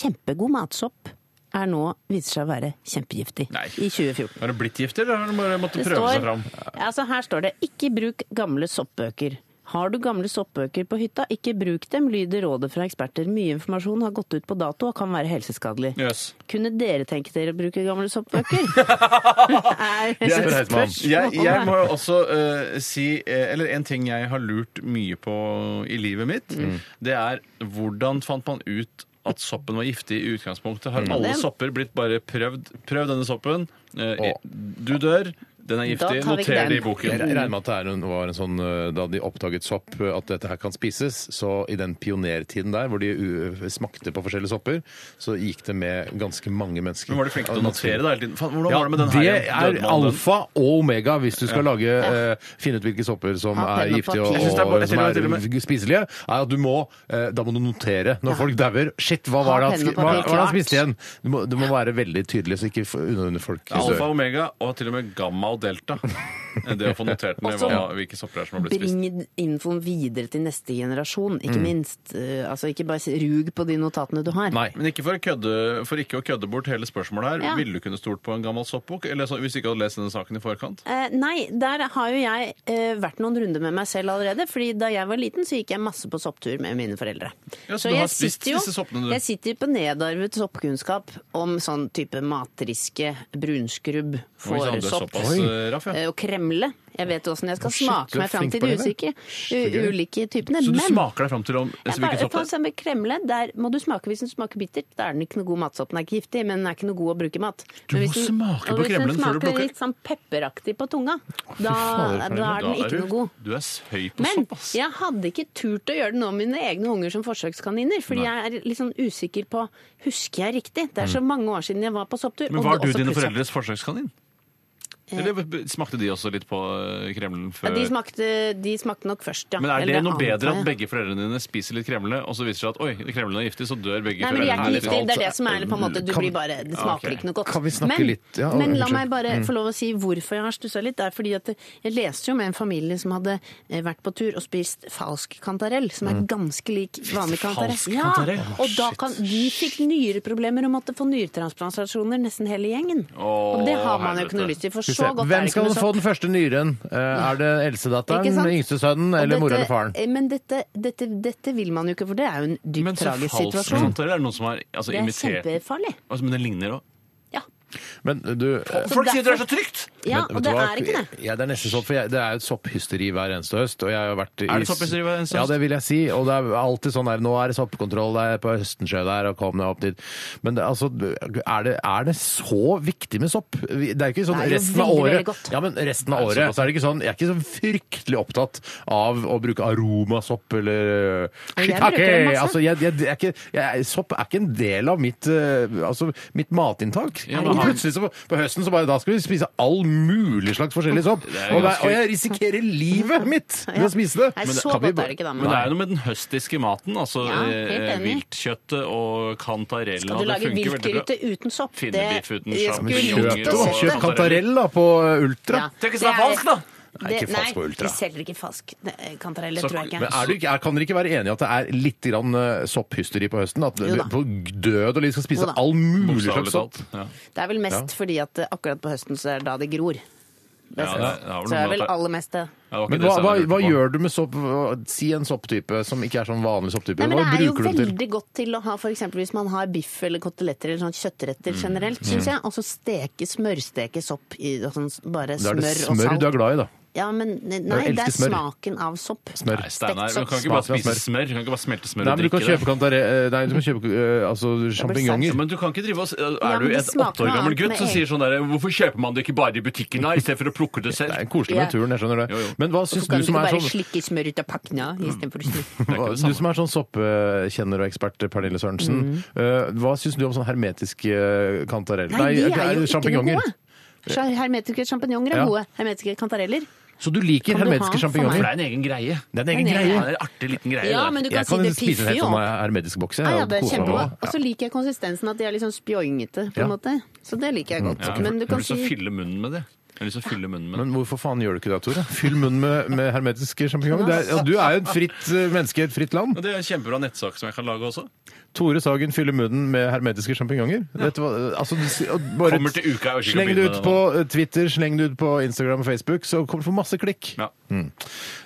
S3: kjempegod matsopp, er nå viser seg å være kjempegiftig
S2: Nei.
S3: i 2014.
S2: Har du blitt gift, eller har du bare måttet
S3: Det
S2: prøve
S3: står-
S2: seg fram?
S3: Altså her står det 'ikke bruk gamle soppbøker'. Har du gamle soppbøker på hytta, ikke bruk dem, lyder rådet fra eksperter. Mye informasjon har gått ut på dato og kan være helseskadelig.
S2: Jøss.
S3: Kunne dere tenke dere å bruke gamle
S2: (laughs)
S3: soppbøker? er
S1: Jeg-
S3: spørsmålet.
S2: Jeg, jeg må jo også eh, si eh, Eller en ting jeg har lurt mye på i livet mitt,
S3: Mm.
S2: det er hvordan fant man ut at soppen var giftig i utgangspunktet? Har alle
S3: Den-
S2: sopper blitt bare prøvd? Prøv denne soppen. eh,
S1: Å.
S2: Du dør. Den er
S3: Da
S2: giftig.
S3: tar vi ikke
S2: Noter det i
S3: den.
S1: Jeg
S2: boken.
S1: regner med at det er en, var en sånn, eh, Da de oppdaget sopp, eh, at dette her kan spises, så i den pionertiden der hvor de u smakte på forskjellige sopper, så gikk det med ganske mange mennesker.
S2: Men var du flink til å notere da hele tiden? Faen, hvordan
S1: Ja,
S2: var det med den her? igjen?
S1: det er
S2: Døde man av den?
S1: alfa og omega hvis du skal lage, eh, finne ut hvilke sopper som er
S3: Ha penn og
S1: giftige og,
S3: papir. Jeg
S2: synes det er
S1: og,
S2: bare- jeg
S1: som
S2: tror
S1: er
S2: det er til
S1: spiselige. Er at du må, eh, da må du notere når folk dauer. Shit, hva
S3: Ha
S1: var det han,
S3: penn og
S1: sk- hva, hva var
S3: papir,
S1: det han
S3: klart.
S1: spiste igjen? Du må, du må være veldig tydelig, så ikke f- unødvendig folk
S2: Alfa,
S1: dør.
S2: omega og til og med gamma og
S3: (laughs)
S2: delta. Det å få notert ned hva, hvilke sopper det er som har blitt spist.
S3: Bring infoen videre til neste generasjon,
S2: Mm.
S3: ikke minst. Eh, Altså, ikke bare rug på de notatene du har.
S1: Nei.
S2: Men ikke for, å kødde, for ikke å kødde bort hele spørsmålet her.
S3: Ja.
S2: Ville du kunne stolt på en gammel soppbok? Eller så, hvis du ikke hadde lest denne saken i forkant?
S3: Eh, nei, der har jo jeg eh, vært noen runder med meg selv allerede. fordi da jeg var liten, så gikk jeg masse på sopptur med mine foreldre.
S2: Ja, så du har spist disse soppene, du?
S3: jeg sitter jo på nedarvet soppkunnskap om sånn type matriske, brunskrubb,
S2: Oi, sann, du er
S3: fåresopp.
S2: såpass eh, raff, ja.
S3: eh, og kremle. Jeg vet åssen jeg skal
S1: Å, shit, du
S3: smake
S1: er
S3: meg fram
S1: flink
S3: til
S1: på
S3: de
S1: det, du.
S3: usikre, u- ulike typene.
S2: Så du
S3: men
S2: smaker deg fram til om altså,
S3: jeg
S2: hvilken
S3: bare,
S2: sopp
S3: for
S2: det er?
S3: eksempel kremle, der må du smake hvis den smaker bittert. Da er den ikke noe god matsopp. Den er ikke giftig, men den er ikke noe god å bruke i mat.
S2: Du
S3: Men
S2: må
S3: hvis den-
S2: smake
S3: og
S2: på
S3: hvis den
S2: kremlen før du
S3: smaker
S2: plukker.
S3: litt sånn pepperaktig på tunga, da,
S1: fader, Pernille,
S3: da er den
S2: Da
S3: ikke noe god.
S2: du, du er s- høy på
S3: Men
S2: sopp, ass.
S3: jeg hadde ikke turt å gjøre det nå med mine egne unger som forsøkskaniner, fordi jeg er litt sånn usikker på husker jeg riktig. Det er så mange år siden jeg var på sopptur.
S2: Mm. Men
S3: og
S2: var du
S3: det også
S2: dine
S3: plutselig-
S2: foreldres forsøkskanin? Eller b- smakte de også litt på eh, kremlen
S3: Ja,
S2: før?
S3: de, smakte, de smakte nok først, ja.
S2: men er det
S3: Eller
S2: noe
S3: annet,
S2: bedre
S3: ja.
S2: at begge foreldrene dine spiser litt kremle, og så viser det seg at oi, kremlen er giftig, så dør begge
S3: Nei, men de er
S2: foreldrene?
S3: ikke giftige. Det er det som er på en måte Du
S1: Kan-
S3: blir bare Det smaker
S2: Ok.
S3: ikke noe godt.
S1: Kan vi snakke
S3: men,
S1: litt? Ja,
S3: men la
S1: unnskyld. Mm.
S3: meg bare få lov å si hvorfor jeg har stussa litt. Det er fordi at jeg leste jo med en familie som hadde eh, vært på tur og spist falsk kantarell, som
S1: Mm.
S3: er ganske lik vanlig kantarell.
S2: Falsk kantarell?
S3: Ja, og da kan, de fikk nyreproblemer og måtte få nyretransplantasjoner, nesten hele gjengen.
S2: Åh,
S3: og det har man jo ikke
S2: helvete.
S3: noe lyst til, for
S1: Skal vi se.
S3: så godt
S1: Hvem
S3: er det ikke sånn.
S1: skal
S3: med
S1: få
S3: sopp.
S1: den første nyren? Eh, Er det
S3: Ikke
S1: eldsteddatteren,
S3: sant?
S1: yngstesønnen
S3: Og
S1: eller mora
S3: dette- eh,
S1: eller faren?
S3: Men dette, dette, dette vil man jo ikke, for det er jo en
S2: Men så sånn.
S3: dypt tragisk
S2: falsk
S3: situasjon.
S2: kantarell er det noen som har altså,
S3: Det er
S2: imitert
S3: kjempefarlig.
S2: altså, Men det ligner òg.
S3: Ja.
S1: Men du eh,
S3: Så Folk sier det er så
S2: trygt!
S3: Ja,
S1: Men vet
S3: og det
S1: du hva?
S3: er ikke det.
S1: Ja, det er nesten sopp, for jeg, det er jo et sopphysteri hver eneste høst. Og jeg har jo vært i,
S2: Er det sopphysteri hver eneste
S1: Ja,
S2: høst?
S1: det vil jeg si. Og det er alltid sånn der, nå er det soppkontroll der på Østensjø der, og kom deg opp dit. Men det, altså, er det, er det så viktig med sopp? Vi- Det er ikke sånn
S3: Det er jo
S1: resten av
S3: veldig,
S1: året.
S3: veldig godt.
S1: Ja, men resten av
S2: Er det
S1: året så er det ikke sånn, jeg er ikke så fryktelig opptatt av å bruke aromasopp eller
S3: Men jeg
S1: shiitake.
S3: bruker det masse.
S1: Altså, jeg, jeg, jeg, er ikke, jeg, sopp er ikke en del av mitt, eh, altså, mitt matinntak.
S2: Ja, men
S1: Og
S2: har-
S1: plutselig så, på høsten så bare da skal vi spise all mulig slags forskjellig sopp.
S2: er
S1: Og, det,
S2: ganske-
S1: og jeg risikerer livet
S3: (laughs)
S1: mitt ved å spise det.
S3: Nei,
S1: Men det-
S3: så
S1: kan vi
S3: godt
S1: bare-
S3: er det ikke da.
S2: Men det er jo noe med den høstiske maten. altså
S3: Ja, helt
S2: eh,
S3: enig.
S2: Viltkjøttet og kantarella.
S3: Skal du lage
S2: det funker veldig bra.
S3: viltgryte uten sopp?
S2: Finnebiff uten
S3: jeg
S2: sjampinjonger
S3: skulle
S2: og-
S3: likt å
S2: Kjøp
S3: sett det.
S2: kantarell.
S1: Kantarell da, på eh, Ultra.
S3: Ja,
S2: Tenk hvis det er falsk, da!
S1: Nei, ikke falsk på Ultra.
S3: Nei, de selger ikke falsk ne- kantarell, det eh,
S2: Så-
S3: tror jeg
S1: Men
S3: ikke.
S1: er du, ikke- er, kan dere ikke være enige at det er litt grann eh, sopphysteri på høsten? At
S3: Jo da.
S1: vi på død og liv skal
S3: Jo
S1: spise
S3: da.
S1: all mulig slags
S2: Bokstavelig
S1: sopp?
S2: talt. Ja.
S3: Det er vel mest fordi at eh, akkurat på høsten så er det da det gror.
S2: Ja, det, det var
S3: Så det
S2: noe
S3: er
S2: med
S3: vel
S2: at det-
S3: aller mest det.
S2: Ja, det var ikke
S1: Men
S2: det
S1: hva,
S2: jeg
S1: hva,
S2: lurte
S1: hva
S2: på.
S1: gjør du med sopp? hva- Si en sopptype som ikke er sånn vanlig sopptype.
S3: Nei, men
S1: Hva
S3: det er jo
S1: bruker du den til?
S3: veldig godt til å ha for eksempel hvis man har biff eller koteletter eller sånn
S1: Mm.
S3: kjøttretter generelt, syns jeg. Og så steke, smørsteke sopp i og sånn, bare
S1: Da er
S3: smør
S1: det
S3: og salt.
S1: smør du er glad i, da.
S3: Ja, men nei,
S1: elsker
S3: det er
S1: smør.
S3: smaken av sopp.
S1: Smør.
S2: Nei, Steinar,
S3: Stekt
S2: du kan
S3: sopp.
S2: ikke bare
S1: Smaken av
S2: spise
S1: smør.
S2: smør. Du kan ikke bare smelte smør
S1: Nei,
S2: og
S1: men du kan
S2: drikke det.
S1: kjøpe, kantare- nei, du kan kjøpe eh, altså,
S2: Ja,
S1: sjampinjonger.
S2: men du kan ikke drive oss Er
S3: Ja, men
S2: du
S3: det
S2: et
S3: smaker
S2: åtte år
S3: noe
S2: gammel
S3: annet
S2: gutt
S3: med
S2: som
S3: egg.
S2: sier sånn derre Hvorfor kjøper man det ikke bare i butikken, da, istedenfor å plukke det
S1: Det
S2: selv?
S1: er koselig med
S3: Ja.
S1: naturen, jeg skjønner det.
S2: Jo, jo.
S1: Men hva syns
S3: Hvorfor
S1: du
S3: kan du
S1: som
S3: ikke
S1: er
S3: bare
S1: sånn
S3: slikke smør ut av pakken ja, istedenfor å
S1: (laughs)
S3: slikke?
S2: ikke det
S1: du
S2: samme.
S1: som er sånn soppkjenner og ekspert, Pernille Sørensen. eh, hva syns du om sånn hermetiske kantareller?
S3: Mm. Nei, de er jo ikke noe
S1: sjampinjonger.
S3: gode. Sja- Hermetiske sjampinjonger er
S1: Ja.
S3: gode. Hermetiske kantareller.
S1: Så du liker
S3: Kan du
S1: hermetiske
S2: For
S3: ha for
S2: det
S1: sjampinjonger?
S2: er en egen greie.
S1: Det er en egen
S3: Nei, nei.
S2: Ja, det
S1: greie.
S2: er en artig liten greie.
S3: Ja,
S2: det.
S3: men du kan
S1: Jeg
S3: si
S1: kan
S3: det
S1: spise en
S3: piffer
S1: helt
S3: jo
S1: sånn
S3: opp.
S1: hermetisk boks. jeg,
S3: Ja, ja,
S1: og
S3: det er
S1: kose meg med
S3: kjempegodt.
S1: det.
S3: Og så liker jeg konsistensen at de er litt sånn spjongete, på en måte. Så det liker jeg godt.
S2: Ja,
S3: Men du
S2: jeg har
S3: kan
S2: lyst til å
S3: si
S2: fylle munnen med det. Jeg har lyst til å fylle munnen med det.
S1: Men hvorfor faen gjør du ikke det, Tore? Fyll munnen med, med hermetiske sjampinjonger. Det er- ja, Du er jo et fritt eh, menneske i et fritt land.
S2: Og det er en kjempebra nettsak som jeg kan lage også.
S1: Tore Sagen fyller munnen med hermetiske sjampinjonger. Dette var- Altså, du si- og bare
S2: Kommer til uka, jeg orker ikke å
S1: sleng det
S2: begynne
S1: ut
S2: med det
S1: på eh, Twitter, sleng det ut på Instagram og Facebook, så kommer du få masse klikk. Mm.
S2: Ja.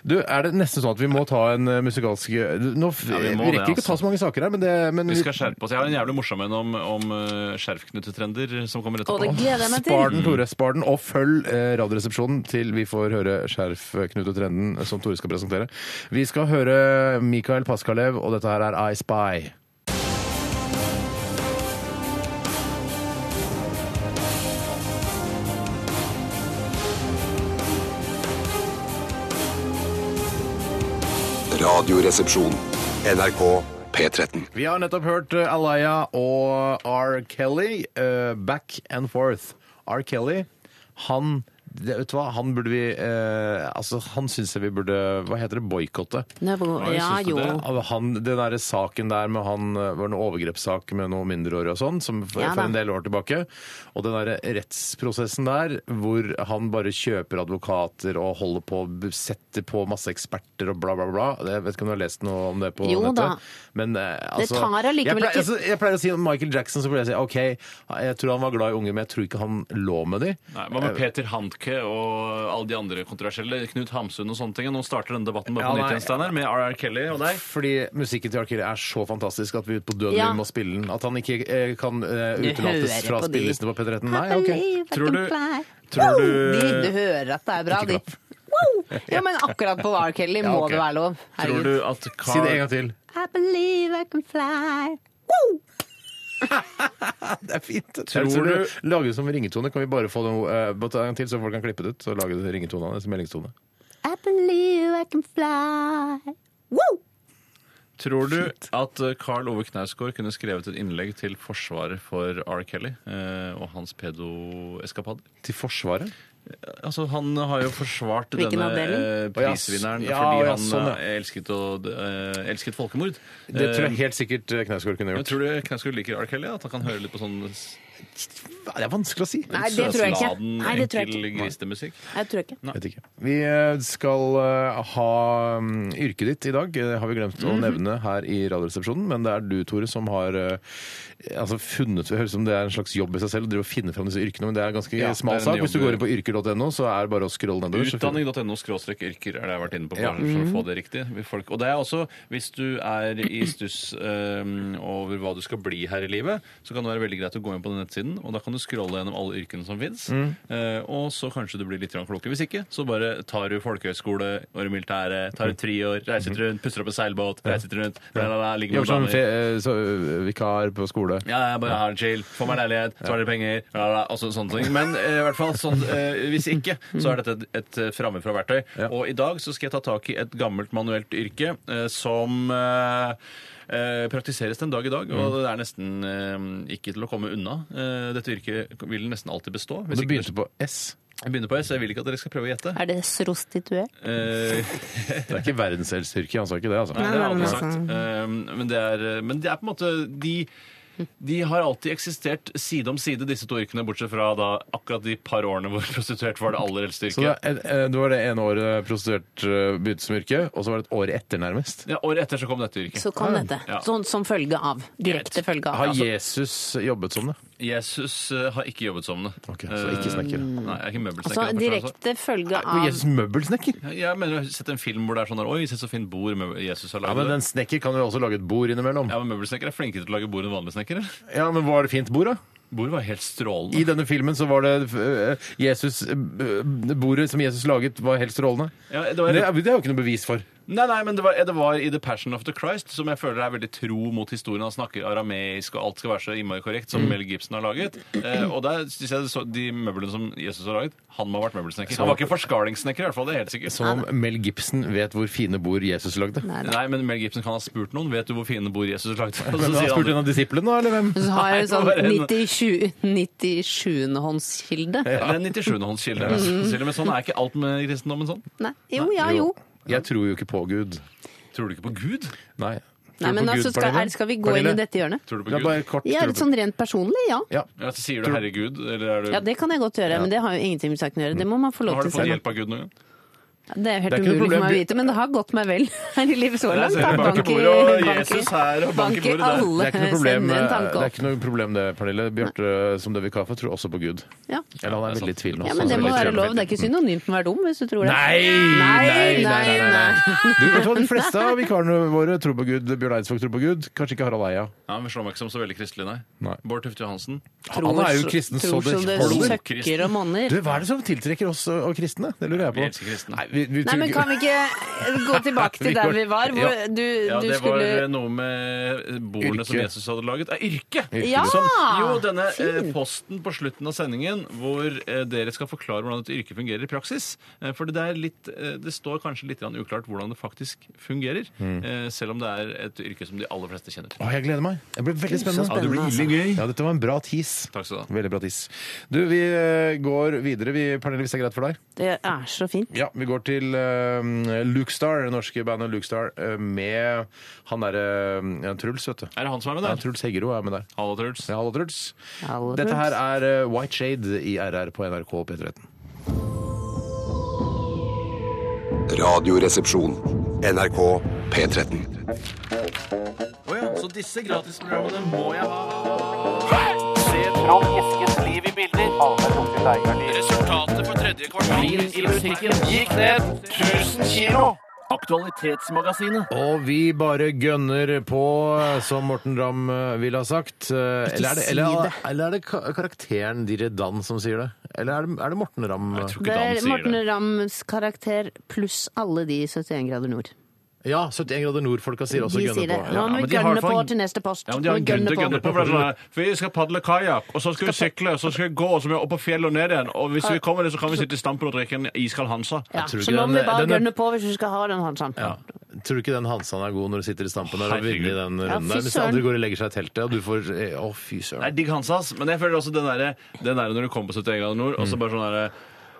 S1: Du, er det nesten sånn at vi må ta en eh, musikalsk du, Nå f- eh,
S2: Ja,
S1: vi,
S2: vi må det, altså.
S1: rekker ikke å ta så mange saker her, men det men
S2: Vi skal skjerpe oss. Jeg har en jævlig morsom en om, om eh, skjerfknutetrender som kommer
S3: Å, det
S2: etterpå.
S3: gleder jeg meg til!
S1: Spar den,
S2: Mm.
S1: Tore. Spar den, og følg eh, Radioresepsjonen til vi får høre Skjerf-Knut og Trenden, eh, som Tore skal presentere. Vi skal høre Mikael Paskalev, og dette her er I Spy.
S5: Radioresepsjon. NRK P13.
S1: Vi har nettopp hørt eh, Alaya og R. Kelly, eh, Back and Forth. R. Kelly, han det, vet du hva, han burde vi eh, Altså, han syns jeg vi burde Hva heter det? Boikotte.
S3: Nei, hvor-
S2: jeg
S3: Ja,
S2: synes
S3: jo.
S2: det er-
S1: Av Han, den der saken der med han eh, var en overgrepssak med noen mindreårige og sånn, som for,
S3: Ja da.
S1: for en del år tilbake. Og den der rettsprosessen der, hvor han bare kjøper advokater og holder på, setter på masse eksperter og bla, bla, bla. Jeg vet ikke om du har lest noe om det på
S3: Jo
S1: nettet?
S3: da.
S1: Men eh, altså
S3: tar allikevel
S1: jeg pleier,
S3: ikke-
S1: altså, jeg pleier å si om Michael Jackson, så pleier jeg å si OK, jeg tror han var glad i unge, men jeg tror ikke han lå med de.
S2: Nei, Hva med Peter Handke og alle de andre kontroversielle? Knut Hamsun og sånne ting. Nå starter denne debatten bare
S1: Ja,
S2: på nytt
S1: nei.
S2: igjen, Steinar, med R.R. Kelly og deg.
S1: Fordi musikken til R. Kelly er så fantastisk at vi ut på døden
S3: Ja.
S1: vil må spille den. At han ikke eh, kan eh,
S3: Du
S1: utelates
S3: hører
S1: fra
S3: på de.
S1: spillelistene på P13. Nei,
S3: I
S1: ok.
S3: believe I
S2: Tror
S3: can
S2: du-
S3: fly.
S1: tror
S3: Wow!
S1: du-
S3: de, du hører at det er bra, de.
S1: klapp.
S3: Wow! Ja, men akkurat på R. Kelly må
S1: ok.
S3: det være lov.
S2: Tror du
S3: Herregud.
S2: at Carl...
S1: Si det en gang til.
S3: I believe I can fly. Wow!
S1: Det er fint.
S2: Tror
S1: Tror
S2: du-
S1: du Lage det som ringetone. Kan vi bare få noe eh, bare ta en gang til, så folk kan klippe det ut? Så lage det ringetone av det som meldingstone.
S3: I believe I can fly. Wow!
S2: Tror du at eh, Karl Ove Knausgård kunne skrevet et innlegg til forsvaret for R. Kelly eh, og hans pedoeskapader?
S1: Til Forsvaret?
S2: Altså, han har jo forsvart
S3: Hvilken
S2: denne eh,
S3: avdeling?
S2: prisvinneren
S1: Å, ja, s- ja, å,
S2: fordi
S1: ja,
S2: han
S1: sånn, ja.
S2: eh, elsket, å, eh, elsket folkemord.
S1: Det tror jeg helt sikkert eh, Knausgård kunne
S2: Men
S1: gjort.
S2: tror du Knausgård liker R. Kelly? At han kan høre litt på sånn s-
S1: Det er vanskelig å si.
S3: Nei, det tror jeg ikke.
S2: søtladen,
S3: Nei, det tror jeg
S2: enkel
S3: ikke.
S2: grisemusikk?
S3: Jeg tror ikke.
S1: Vet ikke. Vi eh, skal eh, ha mm, yrket ditt i dag, eh, har vi glemt
S2: Mhm.
S1: å nevne her i Radioresepsjonen. Men det er du, Tore, som har eh, altså funnet Det høres ut som det er en slags jobb i seg selv å drive og finne fram disse yrkene, men det er en ganske
S2: Ja,
S1: smal
S2: det er en
S1: sak. Hvis du
S2: jobb.
S1: går inn på yrker.no, så er det bare å scrolle nedover. så finner-
S2: Utdanning.no skråstrek yrker er det jeg har vært inne på
S1: Ja.
S2: bare for
S3: Mm.
S2: å få det riktig. Vi Folk, og det er også, hvis du er i stuss øhm, over hva du skal bli her i livet, så kan det være veldig greit å gå inn på den nettsiden, og da kan du scrolle gjennom alle yrkene som fins,
S1: Mm.
S2: eh, og så kanskje du blir litt grann klokere. Hvis ikke, så bare tar du folkehøyskole, går i militæret, tar
S1: Mm.
S2: et friår, reiser rundt, puster opp en seilbåt, reiser rundt, la, la, la, ligger
S1: Jobber
S2: med
S1: som fe
S2: damer.
S1: eh, så, eh, vikar på skole.
S2: Ja, jeg bare har en chill, får meg leilighet, sparer penger la, la, la, og så, sånne ting. Men eh, i hvert fall, sånn, eh, hvis ikke, så er dette et, et eh, framifrå verktøy.
S1: Ja.
S2: Og i dag så skal jeg ta tak i et gammelt manuelt yrke eh, som eh, eh, praktiseres den dag i dag,
S1: Mm.
S2: og det er nesten eh, ikke til å komme unna. Eh, dette yrket vil nesten alltid bestå.
S1: Men
S2: Hvis
S1: du
S2: ikke,
S1: begynte på S.
S2: jeg begynner på S, jeg vil ikke at dere skal prøve å gjette.
S3: Er det prostituert?
S2: Eh,
S1: Det er ikke verdenshelseyrke, han sa ikke det, altså.
S2: Nei, det har jeg aldri
S3: nei,
S2: sagt. Eh, Men det er, men det er på en måte de de har alltid eksistert side om side, disse to yrkene, bortsett fra da akkurat de par årene hvor (laughs) prostituert var det aller eldste
S1: Så det,
S2: yrket.
S1: er- eh, det var det ene året prostituert eh, begynte som yrke, og så var det et år etter, nærmest.
S2: Ja, året etter så kom dette yrket.
S3: Så kom dette.
S2: Ja.
S3: Sånn som følge av. Direkte følge av.
S2: altså-
S1: Har Jesus jobbet som det?
S2: Jesus eh, har ikke jobbet som det.
S1: Ok, så ikke snekker.
S2: Eh, Nei, jeg er ikke møbelsnekker.
S3: Altså
S2: da, for sånn,
S3: direkte følge
S1: Og
S3: av
S1: Jesus møbelsnekker?
S2: så- Jeg mener, jeg har sett en film hvor det er sånn der, Oi, se så fint bord mø- Jesus har
S1: Ja,
S2: laget.
S1: men
S2: det."
S1: en snekker kan jo også lage et bord innimellom.
S2: ja, men møbelsnekker er flinkere til å lage bord enn vanlige snekkere.
S1: Ja, men var det fint bord, da?
S2: Bordet var helt strålende.
S1: I denne filmen så var det eh, Jesus eh, Bordet som Jesus laget, var helt strålende.
S2: Ja, det var-
S1: Men det, er- det er jo ikke noe bevis for.
S2: Nei, nei, men det var, det var i The Passion of the Christ, som jeg føler er veldig tro mot historien. Han snakker arameisk, og alt skal være så innmari korrekt,
S3: Mm.
S2: som Mel Gibson har laget. Eh, og der synes jeg så, de møblene som Jesus har laget, han må ha vært møbelsnekker. Han var ikke forskalingssnekker, i hvert fall. Det er helt sikkert.
S1: Som om Mel Gibson vet hvor fine bord Jesus lagde.
S3: Nei, nei.
S2: Nei, men Mel Gibson kan ha spurt noen. Vet du hvor fine bord Jesus
S3: (laughs)
S2: lagde? Og så
S1: Men har
S2: sier
S1: han spurt
S2: han-
S1: en av disiplene, da, eller hvem?
S3: Så har jeg sånn
S2: Nei, det var en-
S3: 97 97-håndskilde.
S2: Eller en 97. hånds kilde.
S3: Mm.
S2: Selv om sånn er ikke alt med kristendommen sånn.
S3: Nei. Jo, ja, jo.
S1: Jeg tror jo ikke på Gud.
S2: Tror du ikke på Gud?
S1: Nei. Tror
S3: Nei,
S1: du
S3: men
S1: på Gud,
S3: altså, skal,
S1: Pernille?
S3: er, skal vi gå inn
S1: Pernille?
S3: i dette hjørnet?
S2: Tror du på
S1: Ja,
S2: Gud?
S1: bare kort. tror
S3: Ja,
S1: du
S3: litt
S1: på-
S3: sånn rent personlig, ja.
S1: ja.
S2: Ja, så sier du herregud, eller er du...
S3: Ja, det kan jeg godt gjøre, men det har jo ingenting med saken å gjøre. Det må man få lov
S2: Har
S3: til
S2: du fått
S3: selv.
S2: hjelp av Gud noen gang?
S3: Det er jo
S1: Det er
S3: helt
S1: ikke noe
S3: umulig for
S1: problem.
S3: meg å vite, men det har gått meg vel her i livet så
S2: Der
S3: langt.
S2: ser du
S3: Jeg
S2: bank i
S3: banker-
S2: bordet, og
S3: banker-
S2: Jesus her, og bank i
S3: banker
S2: bordet der.
S1: Det
S3: alle
S1: er ikke noe problem,
S3: (laughs)
S1: eh,
S3: sender en tanke
S1: det, er
S3: opp.
S1: ikke noe problem det, Pernille. Bjarte, eh, som døver kaffe, tror også på Gud. Eller han
S3: Ja.
S2: Ja, det
S1: er
S2: er
S1: veldig
S2: sant.
S1: tvilende.
S3: ja,
S1: også,
S3: men det
S1: så
S3: må
S1: litt
S3: være
S1: tvilende.
S3: lov. Det er ikke synonymt med å være dum, hvis du tror det.
S1: Nei!
S3: Nei, nei, nei.
S1: Du, vet du hva, De fleste av vikarene våre tror på Gud. Bjørn Eidsvåg tror på Gud. Kanskje ikke Harald Eia.
S2: Ja, men slår meg ikke som så veldig kristelig, nei.
S1: Nei.
S2: Bård Tufte Johansen.
S1: Han er jo kristen, så
S3: tror
S1: det
S3: som det
S1: holder.
S3: søkker og monner.
S1: Du, Hva er det som tiltrekker oss og og kristne? Det lurer jeg på.
S2: Vi elsker kristne.
S1: Nei, vi, vi
S3: Nei,
S1: tror
S3: men
S1: ikke-
S3: kan vi ikke eh, gå tilbake til der vi var? Hvor
S1: Ja.
S3: du,
S2: Ja,
S3: du
S2: det var eh,
S3: skulle
S2: noe med bordene som
S1: Yrke.
S2: Jesus hadde laget. Eh, yrke!
S3: Ja!
S2: Som, jo, denne eh,
S3: Fint.
S2: posten på slutten av sendingen hvor eh, dere skal forklare hvordan et yrke fungerer i praksis. Eh, for det, er litt, eh, det står kanskje litt grann uklart hvordan det faktisk fungerer.
S3: Mm.
S2: Eh, selv om det er et yrke som de aller fleste kjenner til.
S1: Å, jeg gleder meg. Det blir veldig
S3: så
S1: spennende.
S3: Ja, det blir spennende, altså.
S2: gøy.
S3: ille
S1: Ja, dette var en bra tis.
S2: Takk skal du ha.
S1: Veldig bra tis. Du, vi eh, går videre, vi, Pernille, hvis det er greit for deg?
S3: Det er så fint.
S1: Ja, vi går til uh, Luke Star, det norske bandet Luke Star, eh, med han derre eh, Truls, vet du.
S2: Er det han som er med
S1: Ja,
S2: der?
S1: Truls Heggero er med der.
S2: Hallo, Truls.
S1: Ja, hallo, Truls.
S3: Hallo,
S1: Dette
S3: Truls.
S1: her er eh, White Shade i RR på NRK P13.
S5: Radioresepsjon. NRK P13.
S8: Så disse gratisprogrammene må jeg ha. Se Trond Eskens liv i bilder. Resultatet på tredje kvartal i musikken gikk ned 1000 kilo. Aktualitetsmagasinet.
S1: Og vi bare gønner på, som Morten Ramm eh, ville ha sagt. Eh, Eller er det, eller,
S3: si
S1: eller er det ka- karakteren Dire Dan som sier det? Eller er det, er det Morten Ramm?
S2: Jeg tror
S3: Det
S2: ikke Dan
S3: er
S2: sier
S3: Morten
S2: det.
S3: Ramms karakter pluss alle de 71 grader nord.
S1: Ja, 71 grader nord-folka sier også
S3: De
S1: gønne
S3: sier det.
S1: på.
S3: Nå
S1: Ja.
S3: må
S2: men
S3: vi
S2: de har
S3: gønne
S2: for-
S3: på til neste post.
S2: Ja, men de har
S3: Må
S2: en
S3: gønne
S2: grunn til å
S3: på.
S2: gønne på. for det er sånn, For vi skal padle kajakk, og så skal vi sykle, og så skal vi gå, og så må vi opp på fjellet og ned igjen. Og hvis vi kommer dit, så kan vi sitte i stampen og drikke en iskald Hansa.
S3: Ja,
S1: tror
S3: så
S1: ikke
S3: nå må
S1: den-
S3: vi bare
S1: den er-
S3: gønne på hvis vi skal ha den Hansan.
S1: Tror du ikke den Hansan er god når du sitter i stampen der og
S2: Herregud.
S1: vinner i den
S3: Ja,
S1: runden
S3: fy
S1: der? Mens
S3: søren.
S1: andre går og legger seg i teltet, og du får eh, Å, fy
S2: Det er
S1: søren.
S2: digg Hansas, men jeg føler også den derre den der når du kommer på 71 grader nord, og så bare sånn derre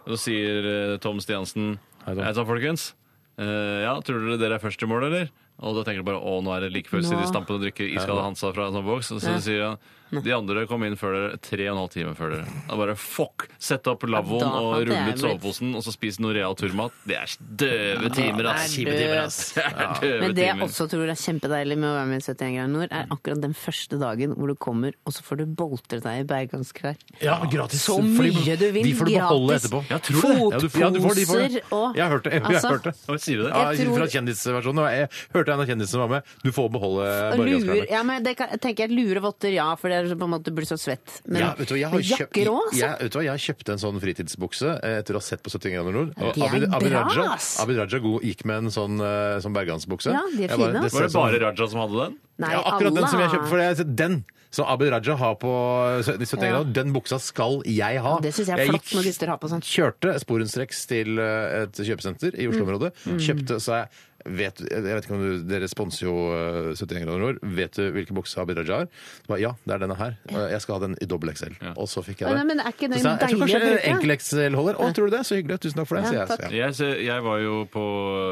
S2: Så sier eh, Tom Stiansen
S1: Hei,
S2: Hei
S1: Tom.
S2: sann, folkens. Eh, ja, tror dere dere er først i mål, eller? Og da tenker du bare å, nå er det like før sitter i stampen og drikker iskald Hansa fra en sånn boks. Og så sier han de andre kom inn før dere, tre og en halv time før dere. Da bare fuck! Sett opp lavvoen
S3: Ja, da
S2: og
S3: hadde
S2: rull
S3: jeg
S2: ut
S3: blitt-
S2: soveposen, og så spis noe real turmat. Det er døve timer, ass!
S3: det er døvt.
S2: Det er døve
S3: Men det jeg
S2: timer.
S3: også tror er kjempedeilig med å være med i 71 grader nord, er akkurat den første dagen hvor du kommer, og så får du boltre deg i bergansklær.
S1: Ja, gratis.
S3: Så
S1: Fordi-
S3: mye du vil,
S1: De får du beholde
S3: gratis.
S1: etterpå.
S3: Ja,
S1: tror du det? Ja, du- ja, du får de for-
S3: Fotposer og-
S1: Jeg har hørt det. Jeg,
S3: Altså-
S1: har hørt det.
S2: Hva Sier du det?
S1: Ja,
S3: Jeg tror-
S1: Fra kjendisversjonen. og Jeg hørte en av kjendisene var med. Du får beholde
S3: Og luer,
S1: borgerskapet.
S3: ja, men det kan, jeg tenker jeg lurer votter, ja, for det er så på en måte blir så svett. Men
S1: Ja, vet du, hva, jeg, har
S3: men
S1: kjøpt,
S3: jakker òg, altså.
S1: jeg, vet du hva, jeg kjøpte en sånn fritidsbukse eh, etter å ha sett på 70 grader nord. Og
S3: de er
S1: Abid, Abid,
S3: bra,
S1: Raja,
S3: ass.
S1: Abid Raja go- gikk med en sånn, eh, sånn bergansbukse.
S3: Ja, de er
S1: Jeg
S3: fine, ass.
S1: ser
S2: Var det
S1: sånn-
S2: bare Raja som hadde den?
S3: Nei,
S1: ja, akkurat den
S3: alle
S1: som jeg
S3: har-
S1: kjøpte. For jeg, har sett den som Abid Raja har på 70
S3: Ja.
S1: grader, den buksa skal jeg ha.
S3: Ja, det synes jeg er flott når gutter har på sånn.
S1: Kjørte sporenstreks til eh, et kjøpesenter i Oslo-området.
S3: Mm.
S1: Kjøpte, sa jeg Vet, jeg vet ikke om du, Dere sponser jo eh, 71 grader nord. Vet du hvilken bukse Abid Raja har? Så ba jeg, ja, det er denne her. Eh, Jeg skal ha den i dobbel XL. Og så fikk jeg det.
S3: Nei, men er ikke den
S1: Så sa jeg, jeg tror
S3: deilig å
S1: kanskje
S3: bruke?
S1: enkel XL holder. Å, tror du det? Så hyggelig. Tusen takk for det.
S3: Ja,
S1: sier jeg,
S3: takk.
S1: så, ja.
S2: Jeg, ser- jeg var jo på,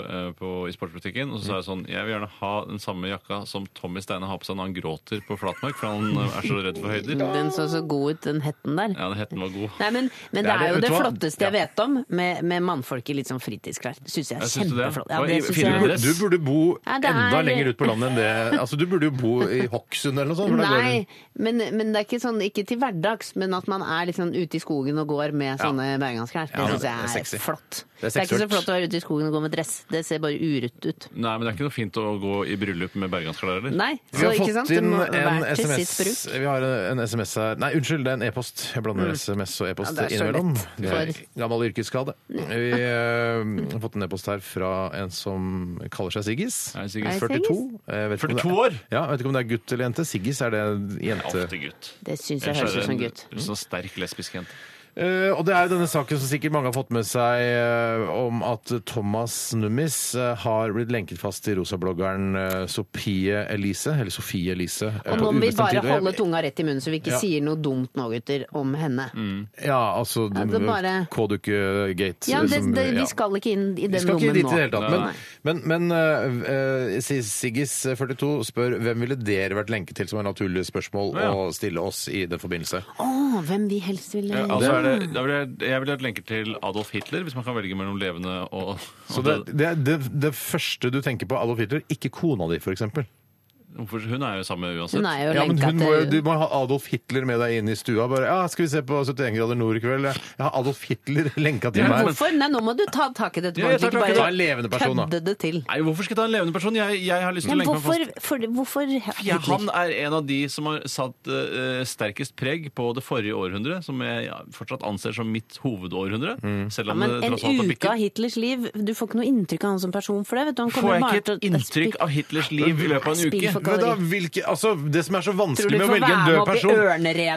S2: eh, på, i sportsbutikken, og så sa jeg sånn Jeg vil gjerne ha den samme jakka som Tommy Steine har på seg når han gråter på Flatmark, for han eh, er så redd for høyder.
S3: Den så så god ut, den hetten der.
S2: Ja, den hetten var god.
S3: Nei, men, men det
S1: Ja, det-
S3: er jo
S1: vet
S3: det
S1: du hva?
S3: flotteste jeg vet om, med, med mannfolk i litt sånn fritidsklær. Syns jeg er
S2: Jeg syns du det? Hva-
S3: kjempeflott. Ja, det syns
S2: finner
S1: burde,
S2: dress.
S1: du burde bo
S3: Ja, det er-
S1: enda lenger ut på landet enn det. Altså, du burde jo bo i Hokksund eller noe sånt. for da går
S3: Nei,
S1: det-
S3: men, men det er ikke sånn, ikke til hverdags, men at man er litt sånn ute i skogen og går med sånne bergansklær. Det
S1: Ja,
S3: synes
S1: det er
S3: jeg er,
S1: sexy.
S3: flott.
S1: Det er
S3: Det er ikke så
S1: seksuelt.
S3: flott å være ute i skogen og gå med dress. Det ser bare urutt ut.
S2: Nei, men det er ikke noe fint å gå i bryllup med bergansklær heller.
S3: Nei,
S1: Vi
S3: så
S1: har
S3: ikke
S1: fått
S3: sant? Det
S1: inn
S3: må
S1: en
S3: være til sitt bruk.
S1: SMS
S3: Mm.
S1: Vi har en SMS her Nei, unnskyld, det er en e-post. Jeg blander SMS og
S3: Ja,
S1: e-post
S3: det er så
S1: innimellom.
S3: lett
S1: Det er
S3: for- Mm.
S1: gammel yrkesskade. Vi eh, har fått en e-post her fra en som kaller seg Siggis.
S2: Nei, sikkert
S3: Nei,
S1: 42. Jeg vet ikke om det er-
S2: 42 år?
S1: Ja, jeg vet ikke om det er gutt eller jente. Siggis er det en jente.
S2: Ofte gutt.
S3: Det syns jeg
S2: Ellers
S3: høres
S2: er
S3: ut som
S2: det
S3: gutt.
S2: en sånn sterk lesbisk jente.
S1: Eh, og det er jo denne saken som sikkert mange har fått med seg eh, om at Thomas Nummis eh, har blitt lenket fast til rosabloggeren eh, Sophie Elise, eller Sofie Elise. eh,
S3: Og
S1: på
S3: nå må vi
S1: ubestemt tid.
S3: bare
S1: Og jeg-
S3: holde tunga rett i munnen, så vi ikke
S1: Ja.
S3: sier noe dumt nå, gutter, om henne.
S1: Ja, altså
S3: det er bare-
S1: K-dukke-gate.
S3: Ja, det,
S1: som-
S3: det,
S1: ja.
S3: vi skal ikke inn
S1: Vi
S3: i den
S1: skal ikke
S3: lommen
S1: dit i
S3: nå.
S1: det hele tatt.
S3: Nei.
S1: Men, men, men eh, eh, Siggis42 spør hvem ville dere vært lenket til, som er naturlig spørsmål
S2: Ja.
S1: å stille oss i den forbindelse.
S3: Å, hvem vi helst ville
S2: Ja, altså er det, da vil jeg, jeg ville hatt lenker til Adolf Hitler, hvis man kan velge mellom levende og,
S1: Så
S2: og
S1: det,
S2: døde.
S1: det, er det, det første du tenker på, Adolf Hitler, ikke kona di, f.eks.
S2: Hvorfor- Hun er jo samme uansett.
S3: Hun er jo
S1: Ja, men
S3: lenka
S1: hun må, jo- du
S3: til
S1: må ha Adolf Hitler med deg inn i stua. Bare, ja, 'Skal vi se på 71 grader nord i kveld?' Ja, Jeg har Adolf Hitler (laughs) lenka til
S2: Ja,
S1: meg.
S3: Hvorfor? Nei, nå må du ta tak i dette.
S1: Ja, jeg tar
S3: Ikke
S1: tak i det.
S3: bare
S1: Ta en levende person, da.
S3: kødde det til.
S2: Nei, hvorfor skal jeg ta en levende person? Jeg, jeg har lyst til å
S3: Men
S2: lenke meg
S3: hvorfor,
S2: fast.
S3: for, hvorfor
S2: Ja,
S3: Hitler?
S2: han er en av de som har satt eh, sterkest preg på det forrige århundret, som jeg ja, fortsatt anser som mitt hovedårhundre. Selv
S3: ja,
S2: om
S3: men
S2: det
S3: en
S2: tross alt har
S3: uke av
S2: bikket.
S3: Hitlers liv Du får ikke noe inntrykk av han som person for det. Vet du. Han
S2: Får
S3: kommer
S2: jeg
S3: bare
S2: ikke
S3: til
S2: et
S3: å-
S2: inntrykk av Hitlers liv i løpet av en
S3: Spill
S2: uke?
S3: for
S1: Men da, hvilke, altså, det som er så
S3: Tror du
S1: vanskelig
S3: vi
S1: med å
S3: får
S1: velge
S3: være
S1: en
S3: med
S1: død
S3: opp i
S1: person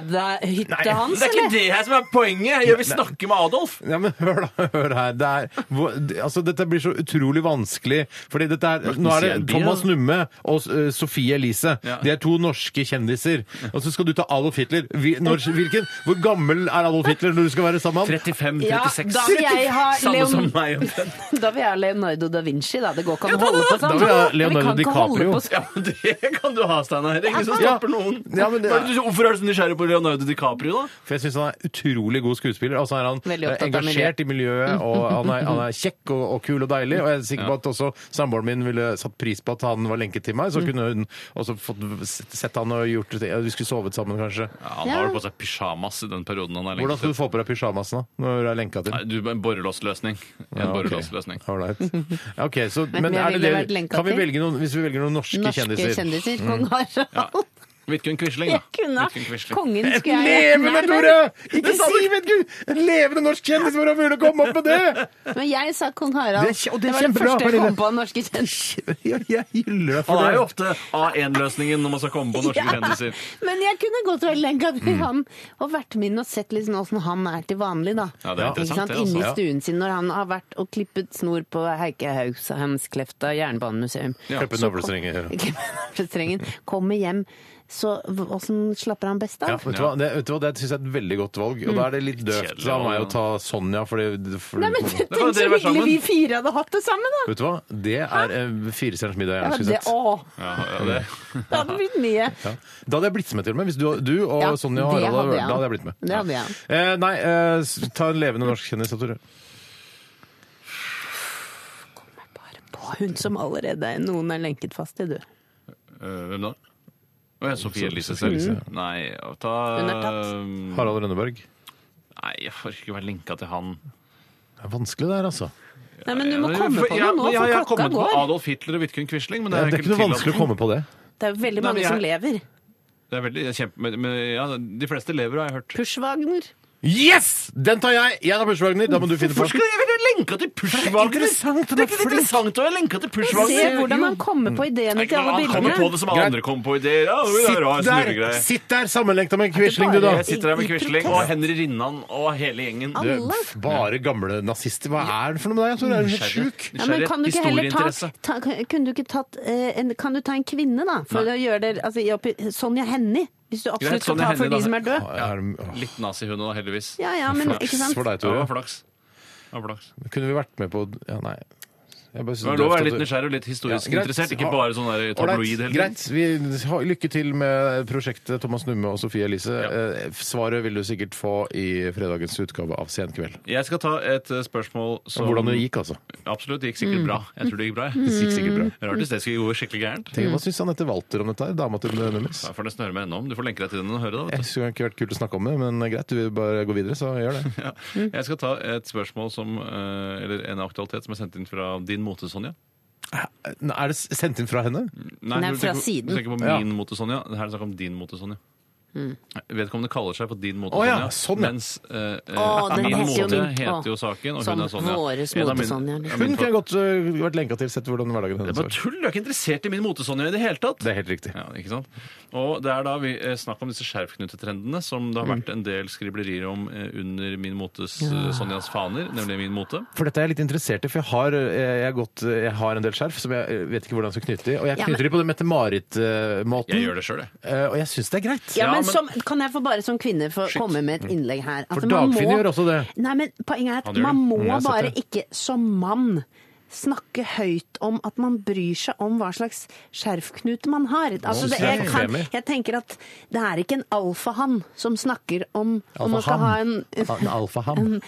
S1: Nei,
S3: ørneredehytta hans,
S2: Det er ikke
S3: eller?
S2: det her som er poenget! Jeg vil
S1: Nei.
S2: snakke med Adolf!
S1: Ja, men hør, da, (laughs) hør her. Det er, hvor, det, altså, dette blir så utrolig vanskelig. Fordi dette er, nå er det
S2: sier de,
S1: Thomas
S2: da?
S1: Numme og eh, Sofie Elise.
S2: Ja.
S1: De er to norske kjendiser. Og så skal du ta Adolf Hitler. Vi, når, hvilken, hvor gammel er Adolf Hitler når du skal være sammen med ham?
S2: 35,
S3: Ja,
S2: 36.
S3: da vil jeg
S1: (laughs)
S3: ha
S2: Samme som
S3: Leon-
S2: meg omtrent.
S3: (laughs) Da vil jeg ha Leonardo da Vinci, da. Det går ikke an å holde på
S1: Da
S3: sånn.
S1: vil jeg ha
S3: Vi
S1: Leonardo
S3: kan ikke holde
S1: DiCaprio.
S3: på sånn.
S2: Ja, men Det kan du ha, Steinar. Det er ingen som
S1: Ja.
S2: stopper noen.
S1: Ja, men det
S2: Hva er det du- Hvorfor er du så nysgjerrig på Leonardo DiCaprio, da?
S1: For jeg syns han er utrolig god skuespiller. Altså er han
S3: Veldig
S1: eh,
S3: opptatt av
S1: engasjert i miljøet,
S3: (laughs)
S1: og han er, han er kjekk og, og kul og deilig. Og jeg er sikker på at også samboeren min ville satt pris på at han var lenket til
S3: Mm.
S1: meg. Så kunne hun også fått sett sett han og gjort det. Ja, Vi skulle sovet sammen, kanskje.
S2: Ja, han
S3: Ja.
S2: har jo på seg pysjamas i den perioden han er
S1: Hvordan
S2: lenket
S1: skal
S2: til.
S1: du få på deg pysjamasene når du er lenka til?
S2: Nei, du, En borrelåsløsning. En
S1: Ja, ok.
S2: borrelåsløsning.
S1: All right. Ja, ok, så,
S3: Men
S1: men,
S3: jeg
S1: er det
S3: ville
S1: det,
S3: vært lenka
S1: kan vi
S3: til.
S1: velge noen, Hvis vi velger noen norske,
S3: Norske
S1: kjendiser Mm.
S3: kjendiser. Kong Harald.
S2: Vidkun Quisling, da.
S3: (laughs) Jeg kunne
S2: Vidkun Quisling.
S3: Kongen
S1: Et
S3: skulle jeg
S1: levende,
S3: Nei, men-
S1: Tore! Ikke si vet du! En levende norsk kjendis! Hvor er det mulig å komme opp med det?!
S3: Men jeg sa kong Harald.
S1: Det er kje- og det er
S3: var det
S1: kjempebra,
S3: første jeg
S1: Pernille.
S3: kom på av norske kjendiser.
S1: Jeg, jeg hyller
S2: Han
S1: deg for
S2: er jo
S1: det.
S2: ofte A1-løsningen når man skal komme på norske
S3: (laughs) Ja.
S2: kjendiser. Mm.
S3: Men jeg kunne godt vært lenka til han og vært med inn og sett liksom åssen han er til vanlig, da.
S2: Ja, det er interessant,
S3: Ikke sant?
S2: det, altså.
S3: Inni
S2: Ja.
S3: stuen sin når han har vært og klippet snor på Heikehaughamsklefta jernbanemuseum. (laughs)
S1: Klippe navlestrenger. Ja.
S3: Klemmerstrengen kommer hjem, så åssen slapper han best
S1: Ja,
S3: av?
S1: vet, du hva? Det, vet du hva, det syns jeg er et veldig godt valg. Og da er det litt døvt
S2: Mm. Kjedelig,
S1: av meg
S2: ja.
S1: å ta Sonja, fordi for,
S3: Nei,
S2: (laughs)
S3: men Tenk
S2: kan jo
S3: så
S2: dere være
S3: hyggelig
S2: sammen.
S3: vi fire hadde hatt det sammen, da!
S1: (laughs) Vet du hva? Det er eh, firestjerners middag jeg
S3: Ja,
S1: gjerne skulle
S3: det,
S1: sett.
S3: å,
S2: Ja, ja, det.
S3: det hadde blitt mye.
S1: Ja. Da hadde jeg blitt med, til og med. Hvis du, du og
S3: Ja,
S1: Sonja og
S3: det
S1: Harald hadde
S3: hadde
S1: vært
S3: jeg.
S1: da hadde jeg blitt med.
S3: Det hadde jeg.
S1: Eh, nei, eh, s- ta en levende norsk kjendis, da, Tore.
S3: Bare på hun som allerede er- noen er lenket fast til, du.
S2: Øh, Hvem da? Å ja, Sofie Elise selv. Nei, å ta
S3: Hun er tatt.
S2: øhm,
S1: Harald Rønneberg.
S2: Nei, jeg får ikke være lenka til han.
S1: Det er vanskelig det her, altså.
S3: Nei, men du må
S2: Ja,
S3: komme på
S2: ja,
S3: noe nå,
S2: ja, jeg har
S3: for klokka
S2: kommet på
S3: går.
S2: Adolf Hitler og Vidkun Quisling, men
S1: Det
S2: det
S1: er,
S2: er,
S1: ikke noe
S2: tillatt.
S1: vanskelig å komme på det.
S3: Det er jo veldig
S2: Nei,
S3: mange
S2: men
S3: som
S2: jeg-
S3: lever.
S2: Det er veldig, kjempe, men, men, ja, de fleste lever, har jeg hørt.
S3: Pushwagner.
S1: Yes! Den tar jeg! Jeg tar Bushwagner. Da må du finne på
S2: Hvorfor skal jeg være lenka til Pushwagner?
S1: Det er ikke interessant,
S2: Det er ikke interessant å være lenka til
S3: Se
S2: Pushwagner.
S3: hvordan han kommer på ideene til
S2: Han kommer
S3: alle
S2: på
S3: bildene.
S2: det som alle andre kommer på ideer. Ja, det er rar
S1: Sitt der,
S2: snurregreie.
S1: sitt der sammenlengta med Quisling, du, da.
S2: Jeg sitter her med Quisling og Henry Rinnan og hele gjengen.
S3: Alle.
S1: Du, pff, Bare gamle nazister. Hva er det for noe med deg? Tore? Er du helt sjuk?
S3: Ja, men kan du ikke heller ta,
S2: Historieinteresse.
S3: ta, kunne du ikke tatt, eh, en, kan du ta en kvinne, da? For å gjøre det, altså, i oppi, Sonja Hennie, hvis du absolutt skal
S2: Sonja
S3: ta for
S2: Hennie,
S3: de
S2: da.
S3: som er døde.
S1: Er det- åh,
S2: Litt nazihund da, heldigvis.
S3: Ja, ja, men ikke
S1: Flaks
S3: sant?
S1: for deg,
S2: Ja, det
S1: Tore.
S2: var flaks. Det var flaks.
S1: Kunne vi vært med på ja, Nei. Jeg bare synes
S2: Det er
S1: det er
S2: lov å
S1: ofte
S2: være
S1: at
S2: litt
S1: du-
S2: nysgjerrig og litt historisk
S1: Ja, greit.
S2: interessert, ikke bare sånn der
S1: Ålreit,
S2: tabloid. hele tiden.
S1: Greit. Vi har lykke til med prosjektet Thomas Numme og Sofie Elise. Eh, Svaret vil du sikkert få i fredagens utgave av Senkveld.
S2: Jeg skal ta et eh, spørsmål som
S1: Hvordan det gikk, altså.
S2: Absolutt, det gikk
S3: Mm.
S2: sikkert bra. Jeg tror det gikk bra. jeg.
S1: Det gikk sikkert bra.
S2: Rart hvis det skulle gå skikkelig gærent.
S1: Tenk, hva syns Anette Walter om dette? her, Dama til Nummis?
S2: Jeg får nesten høre meg ennå om. Du får lenke deg til den og høre, da. vet du.
S1: Jeg synes det har ikke vært kult å snakke om det, men greit, du vil bare gå videre, så gjør det.
S2: (laughs) Ja.
S3: Mm.
S2: Jeg skal ta et spørsmål som, eh, eller en aktualitet som er sendt inn fra din mote, Sonja.
S1: Eh, Er det sendt inn fra henne?
S3: Nei,
S2: du
S3: fra
S2: tenker,
S3: siden.
S2: Du tenker på
S1: Ja.
S2: min mote, Sonja. Her er det snakk om din mote, Sonja.
S3: Mm.
S2: Vedkommende kaller seg for din mote,
S1: Å ja,
S2: Sonja.
S1: sånn, ja.
S2: Mens eh, eh,
S3: Å, den
S2: min
S3: heter jo
S2: mote
S3: min- å,
S2: heter jo saken, og
S3: som
S2: hun er Sonja.
S3: våres
S2: En av
S3: mote,
S2: mine-
S3: Sonja. liksom.
S2: ja, min
S1: Hun
S2: fa-
S1: kunne godt øh, vært lenka til, sett hvordan hverdagen
S2: Det er
S1: hennes
S2: bare
S1: var.
S2: tull! Du er ikke interessert i min mote, Sonja, i det hele tatt!
S1: Det er helt riktig.
S2: Ja, ikke sant? Og det er da vi eh, snakk om disse skjerfknutetrendene som det har vært en del skriblerier om eh, under Min Motes eh, Sonjas faner, nemlig Min Mote.
S1: For dette er jeg litt interessert i, for jeg har, eh, jeg har, gått, jeg har en del skjerf som jeg eh, vet ikke hvordan jeg skal knytte i. Og jeg
S3: Ja,
S1: knytter de på den Mette-Marit-måten. Eh,
S2: Jeg gjør det sjøl, jeg.
S1: og jeg syns det er greit.
S3: Ja,
S2: Ja,
S3: men
S2: men- Mm.
S3: som, Kan jeg få bare som kvinne få komme med et innlegg her? At
S1: For
S3: altså, man
S1: Dagfinn
S3: må-
S1: gjør også det.
S3: Nei, men Poenget er
S2: Han
S3: at
S2: gjør
S3: man
S2: det.
S3: må
S1: Mm, jeg har sett
S3: bare
S1: det.
S3: ikke som mann snakke høyt om at man bryr seg om hva slags skjerfknute man har. Altså, det, jeg, kan,
S1: skjerfknute.
S3: jeg tenker at det er ikke en alfahann som snakker om om man skal ha en,
S1: Alfahann. En alfahann.
S3: en,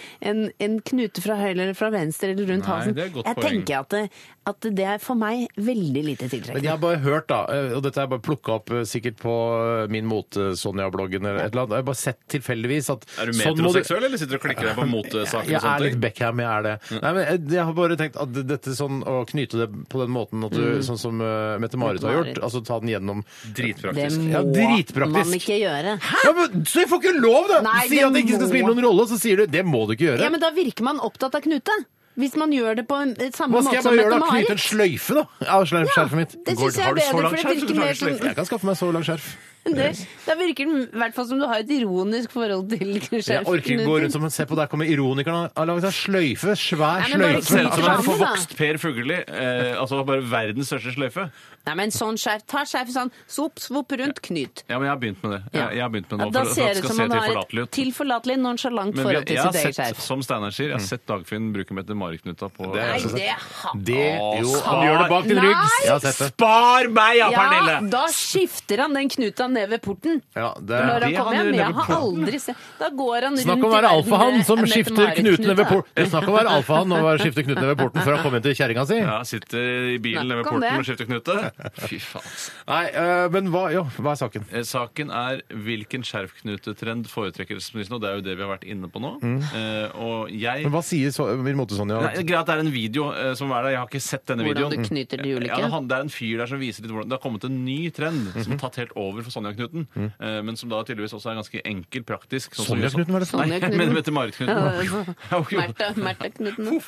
S3: en, en knute fra høyre eller fra venstre eller rundt
S2: Nei,
S3: halsen.
S2: det er et godt
S3: Jeg
S2: poeng.
S3: tenker at det, at det er for meg veldig lite
S1: Men jeg
S3: tiltrekkende.
S1: har bare hørt, da, eh, og dette er bare plukka opp eh, sikkert på eh, min mote-Sonja-bloggen eller et eller annet, jeg har bare sett tilfeldigvis at
S2: Er du
S1: sånn må du-
S2: metroseksuell, eller sitter du og klikker deg på motesaker?
S1: Jeg
S2: og sånne
S1: er litt
S2: ting?
S1: Beckham, jeg er det.
S2: Mm.
S1: Nei, men jeg, jeg har bare tenkt at dette sånn å knyte det på den måten at du, sånn som eh, Mette-Marit har gjort,
S3: Mm. Mette-Marit.
S1: altså ta den gjennom
S3: Det
S2: Dritpraktisk.
S3: må
S1: Ja, dritpraktisk.
S3: man ikke gjøre.
S1: ja, men, Så jeg får ikke lov, da!
S3: Nei,
S1: du sier
S3: det
S1: at det ikke skal
S3: må-
S1: spille noen rolle, og så sier du 'det må du ikke gjøre'.
S3: Ja, men da virker man opptatt av Knute. Hvis man gjør det på en- eh, samme
S1: Hva
S3: måte
S1: skal jeg
S3: som
S1: bare gjøre, da?
S3: Mette-Marit.
S1: Knyte en sløyfe, da? Av skjerf- skjerfet mitt.
S3: Det
S2: Går-
S3: syns jeg
S2: har
S3: er
S2: du så
S3: bedre,
S2: langt
S3: for det
S2: skjerf, så
S3: virker
S2: du
S3: mer
S2: klarer
S3: som
S2: sløyfe?
S1: Jeg kan skaffe meg så langt skjerf.
S3: det, Da virker det i hvert fall som du har et ironisk forhold til
S1: Jeg orker ikke gå rundt som Se på, der kommer ironikeren. Han har laget seg sløyfe. Svær
S3: Nei, men bare
S1: sløyfe.
S2: Ser ut som en
S3: Reklame, da.
S2: forvokst Per Fugelli. Eh, altså bare verdens største sløyfe.
S3: Nei, men sånn skjerf. Ta skjerfet sånn, svopp, svopp rundt, knyt.
S2: Ja, men jeg har begynt med det.
S3: Ja.
S2: Jeg, jeg har begynt med det
S3: Ja,
S2: nå,
S3: da
S2: for, for
S3: ser
S2: at
S3: det
S2: det
S3: ut
S2: skal
S3: som
S2: se
S3: man har
S2: tilforlatelig ut.
S3: tilforlatelig, nonsjalant
S2: Men vi,
S3: forhold til
S2: jeg har
S3: sitt eget
S2: sett,
S3: skjerf.
S2: som Steinar sier, jeg har sett Dagfinn bruke Mette-Marit-knuta på
S1: Det
S3: Nei,
S1: er-
S3: det har
S1: Det, jo,
S2: Å,
S1: han gjør det bak din
S3: nei!
S1: rygg. Jeg har sett det.
S2: Spar meg, ja,
S3: Ja,
S2: Pernille!
S3: da skifter han den knuta ned ved porten.
S1: Ja, det
S2: er
S3: Når
S1: er
S3: han
S2: det
S3: kommer
S2: han
S3: hjem,
S2: gjør
S3: jeg
S2: nede
S3: har
S2: ved porten.
S3: aldri sett Da går han rundt
S1: Snakk om å være
S3: i verden
S1: alfahann
S3: med
S1: som
S3: en
S1: skifter
S3: Mette-Marit-knute.
S1: knutene ved porten. Det er Snakk om å være alfahann og skifte knutene ved porten før han kommer hjem til kjerringa si.
S2: Ja, sitter i bilen nede ved
S3: Snakk om det.
S2: porten og skifter knute. Fy faen.
S1: Nei, øh, men hva, jo, hva er saken?
S2: Eh, Saken er hvilken skjerfknutetrend foretrekker helseministeren, og det er jo det vi har vært inne på nå.
S3: Mm.
S2: Eh, og jeg
S1: Men hva sier så, min måte Sonja?
S2: Nei, det er Greit, det er en video eh, som er der. Jeg har ikke sett denne
S3: Hvordan
S2: videoen.
S3: du knyter de ulike.
S2: Ja, det, han- det er en fyr der som viser litt hvordan Det har kommet en ny trend som har tatt helt over for Sonja-knuten. eh, Men som da tydeligvis også er ganske enkel, praktisk. sånn som-
S1: Sonja-knuten, hva er det
S2: Nei, (laughs)
S3: Sonja-knuten?
S2: men (laughs) Mette-Marit-knuten.
S3: altså. Mette, Mette Knuten.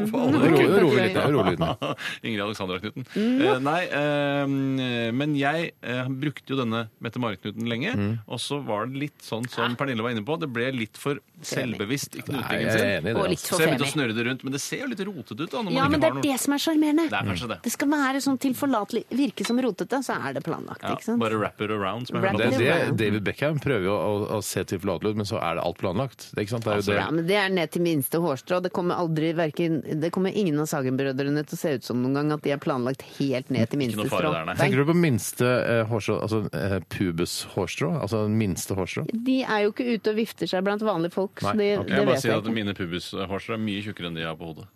S1: Rolig rolig litt, nå, rolig litt nå.
S2: Ingrid Alexandra-Knuten. Eh, nei, eh, men jeg eh, brukte jo denne Mette-Marit-Knuten lenge. Og så var det litt sånn som Pernille var inne på, det ble litt for selvbevisst i
S1: Nei,
S2: knutingen
S1: jeg er
S2: sin.
S1: enig i
S3: Og
S1: det.
S3: litt
S2: Så
S3: for
S2: jeg begynte å
S3: femi.
S2: snurre det rundt. Men det ser jo litt rotete ut da, når man
S3: Ja,
S2: ikke
S3: men det
S2: har
S3: er
S2: noe
S3: det som er sjarmerende.
S2: Det er kanskje det.
S3: Det skal være sånn tilforlatelig. Virke som rotete, så er det planlagt,
S2: Ja,
S3: ikke sant?
S2: Bare wrap it around. Som jeg
S3: Wrap
S2: hørte
S1: Det
S2: at
S1: er
S2: han
S3: it
S2: sa.
S1: det David Beckham prøver jo å, å se tilforlatelig ut, men så er det alt planlagt. Det, er ikke sant? Det er jo det.
S3: Altså, Ja, men Det er ned til minste hårstrå. Det kommer aldri, hverken, det kommer ingen av Sagen-brødrene til å se ut som noen gang at de er planlagt helt ned til minste
S2: noe fare
S3: strå.
S2: der, nei.
S1: Tenker du på minste eh, hårstrå, altså eh, pubeshårstrå? Altså minste hårstrå?
S3: De er jo ikke ute og vifter seg blant vanlige folk, så
S1: Nei,
S3: det,
S1: ok.
S2: Jeg
S3: det
S2: vil bare
S3: vet
S2: si
S3: jeg
S2: at
S3: ikke.
S2: mine pubeshårser er mye tjukkere enn de jeg har på hodet.